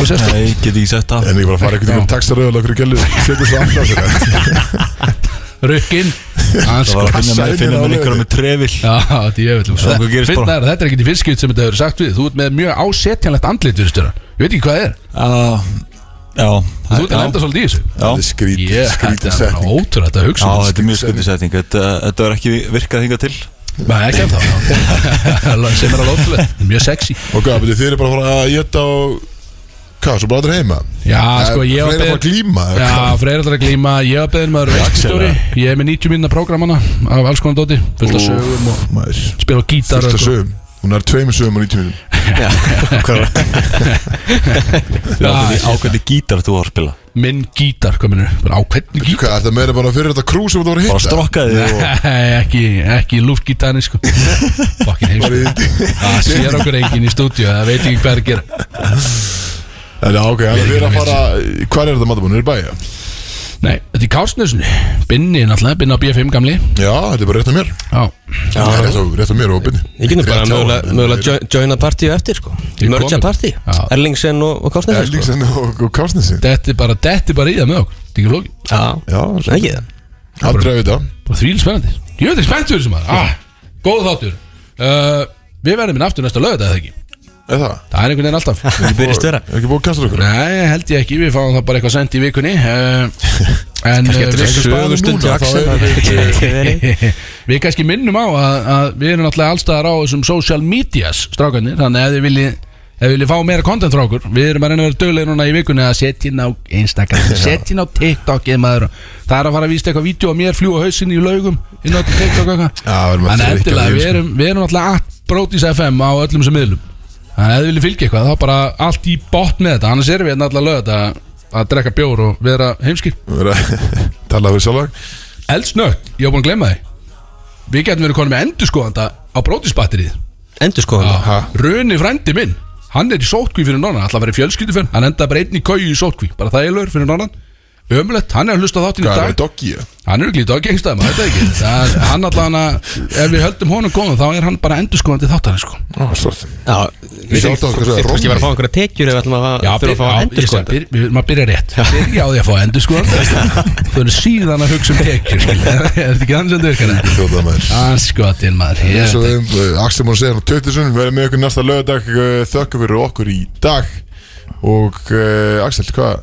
Speaker 4: Og sérstu
Speaker 5: Nei, get ekki sett það
Speaker 2: en eh. ég bara fara einhvern veginn um textaröðal okkur í gælu setja svo alltaf sér
Speaker 4: Rökk inn Hans,
Speaker 5: Það var að finna
Speaker 2: Kassa
Speaker 5: með,
Speaker 2: inn
Speaker 5: finna
Speaker 2: hérna á
Speaker 5: með einhverja
Speaker 2: lauginni.
Speaker 5: með trefil
Speaker 4: Já, þetta er jöfnlega
Speaker 5: Svo hvað gerist bara?
Speaker 4: Finnar, þetta er ekki í fyrstskipt sem þetta hefur sagt við Þú ert með mjög ásetjanlegt andlit fyrir stjóra Ég veit ekki hvað það er
Speaker 5: Já, já
Speaker 4: Þú ert að lenda
Speaker 5: Já,
Speaker 4: svolítið í þessu
Speaker 5: já.
Speaker 2: Það er skrítið, yeah, skrítið
Speaker 4: þetta er
Speaker 2: setning
Speaker 4: ótrúlega þetta að
Speaker 5: Já,
Speaker 4: hugsa um
Speaker 5: þetta er mjög skuldið setning Þetta þetta var ekki virkað hingað til
Speaker 4: þetta. Nei, ekki ennþá já. Sem er alveg ótrúlega, mjög sexy
Speaker 2: Ok, betur þið eru bara að fara að geta og Hvað, svo bara aldrei heima?
Speaker 4: Já, sko, ég
Speaker 2: var
Speaker 4: var
Speaker 2: beðið Það er að fara að
Speaker 4: beðin
Speaker 2: glíma sko. eða
Speaker 4: Já,
Speaker 2: hvað?
Speaker 4: Freyr ætlar að glíma Ég var beðin maður vextstjóri Ég er með 90 mínuna prógramana Af alls konar dóti Fullt af sögum og
Speaker 2: Maður,
Speaker 4: spila á gítar
Speaker 2: fullt
Speaker 4: og
Speaker 2: af
Speaker 4: eitthvað.
Speaker 2: sögum Hún er tveimur sögum á 90 minnum
Speaker 5: Ákveði- Ákveðni gítar þú var að spila
Speaker 4: Minn gítar, hvað minnur Á hvernig gítar?
Speaker 2: Hvað, er það meira bara fyrir þetta krú sem þú voru að
Speaker 5: Bara
Speaker 2: hitta?
Speaker 5: strokkaði og
Speaker 4: Nei, ekki, ekki lúftgítarni sko Fokkin
Speaker 2: Bara
Speaker 4: heimsko
Speaker 2: í-
Speaker 4: Það sér okkur enginn í stúdíu Það veit ekki hvað er að gera
Speaker 2: En já, ok, það er að fara Hvað er þetta matabónu? Er bæja?
Speaker 4: Nei, þetta er Kársnösnu Binni náttúrulega, Binni á BFM gamli
Speaker 2: Já, þetta er bara rétt á mér
Speaker 4: Já,
Speaker 2: Já, rétt á, rétt á mér og opinni
Speaker 3: Ég getum bara mögulega- mögulega jo- joina partíu eftir sko Mörgja
Speaker 4: komið.
Speaker 3: partí
Speaker 4: Já.
Speaker 3: Erlingsen og, og Kostnesi sko
Speaker 2: Erlingsen og, og Kásnesi
Speaker 4: þetta er bara, þetta er bara í það með okkur Þetta er ekki flókið
Speaker 3: Já,
Speaker 2: Já,
Speaker 3: það ekki það
Speaker 2: aldrei að vita
Speaker 4: Bara þvíl spennandi Ég veit ekki spennt fyrir sem maður ah, Góð þáttur uh, Við verðum inn aftur næsta lögða eða ekki
Speaker 2: Er það?
Speaker 4: Það er einhvern veginn alltaf
Speaker 5: Ég byrjist vera
Speaker 2: Er ekki búið að kasta okkur?
Speaker 4: Nei, held ég ekki, við fáum það bara eitthvað sendt í vikunni uh, En uh, við,
Speaker 2: Sögustund í Axel
Speaker 4: við kannski minnum á að, að við erum náttúrulega allstaðar á þessum social medias strákarnir Þannig að ef þið viljið Ef við viljum fá meira content frá okkur Við erum að reyna að vera döglegir núna í vikunni að setja inn á Instagram Setja inn á TikTok eða maður Það er að fara að vísta eitthvað vídeo að mér fljúa hausinn í laugum Inn á TikTok og eitthvað
Speaker 2: Já, við erum að
Speaker 4: Þannig að
Speaker 2: þreyta
Speaker 4: endilega,
Speaker 2: þig,
Speaker 4: við
Speaker 2: sko.
Speaker 4: erum, við erum alltaf að brótis FM á öllum sem miðlum Þannig að ef þið viljið fylgja eitthvað, þá bara allt í botn með þetta Annars erum við hérna alltaf lögð að, að drekka bjór og vera heimskir
Speaker 2: Talaðu fyrir sjálfag
Speaker 4: Eldsnögt, ég var búin að glemma því Við getum verið konum með endurskoðanda á brótisbatterið
Speaker 3: Endur sko
Speaker 4: Aha. Runi frændi minn, hann er í sótkví fyrir norðan Alltaf verið fjölskylduferð, hann endaði bara einn í kauju í sótkví Bara það er lögur fyrir norðan Ömulegt, hann er að hlusta á þáttinn í
Speaker 2: Hvað er
Speaker 4: dag
Speaker 2: það doggi?
Speaker 4: Hann er ekki lítið á gengstæðum, þetta ekki Það- Hann allan að, ef við höldum honum góðum Þá er hann bara endurskoðandi þáttarinn sko
Speaker 2: Já, svart
Speaker 3: Já,
Speaker 2: Við sjáum þetta, hvað er
Speaker 3: Fyrst ég var að
Speaker 2: Rómi?
Speaker 3: fá einhverja tekjur ef við ætlum að fá- þurfa að fá
Speaker 4: já,
Speaker 3: endur
Speaker 4: ég
Speaker 3: sko
Speaker 4: sagði, byr- við- maður byrja rétt Byrja á því að fá endurskoðanda Þú erum síðan að hugsa um tekjur skilur. Er þetta ekki þannig sem þetta virkar eða?
Speaker 2: Þjóðað maður
Speaker 4: Anskotin maður Ah, ég
Speaker 2: Eins og
Speaker 4: veit ekki.
Speaker 2: þeim, eh, Axel Mór segir hann 20 sunn Við erum með ykkur næsta lögadag Þökkum fyrir okkur í dag Og uh, Axel, hvað?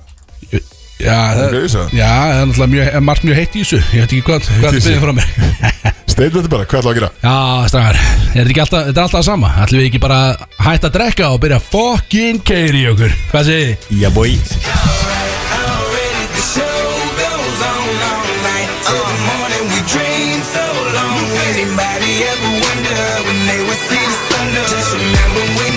Speaker 4: Já, það
Speaker 2: Ok, ég sagði.
Speaker 4: já, það er náttúrulega mjög, er margt mjög heitt í þessu Ég veit ekki hvað, hvað
Speaker 2: Heitt í
Speaker 4: það byrja
Speaker 2: þessu.
Speaker 4: frá mér
Speaker 2: Statement bara, hvað ætlaðu að gera?
Speaker 4: Já, strafar, er þetta ekki alltaf, þetta er alltaf það sama Ætlum við ekki bara að hætta að drekka og byrja að fucking keiri í okkur Hvað segið þið?
Speaker 5: Já, boi
Speaker 1: Anybody ever wonder when they would see the thunder? Just remember when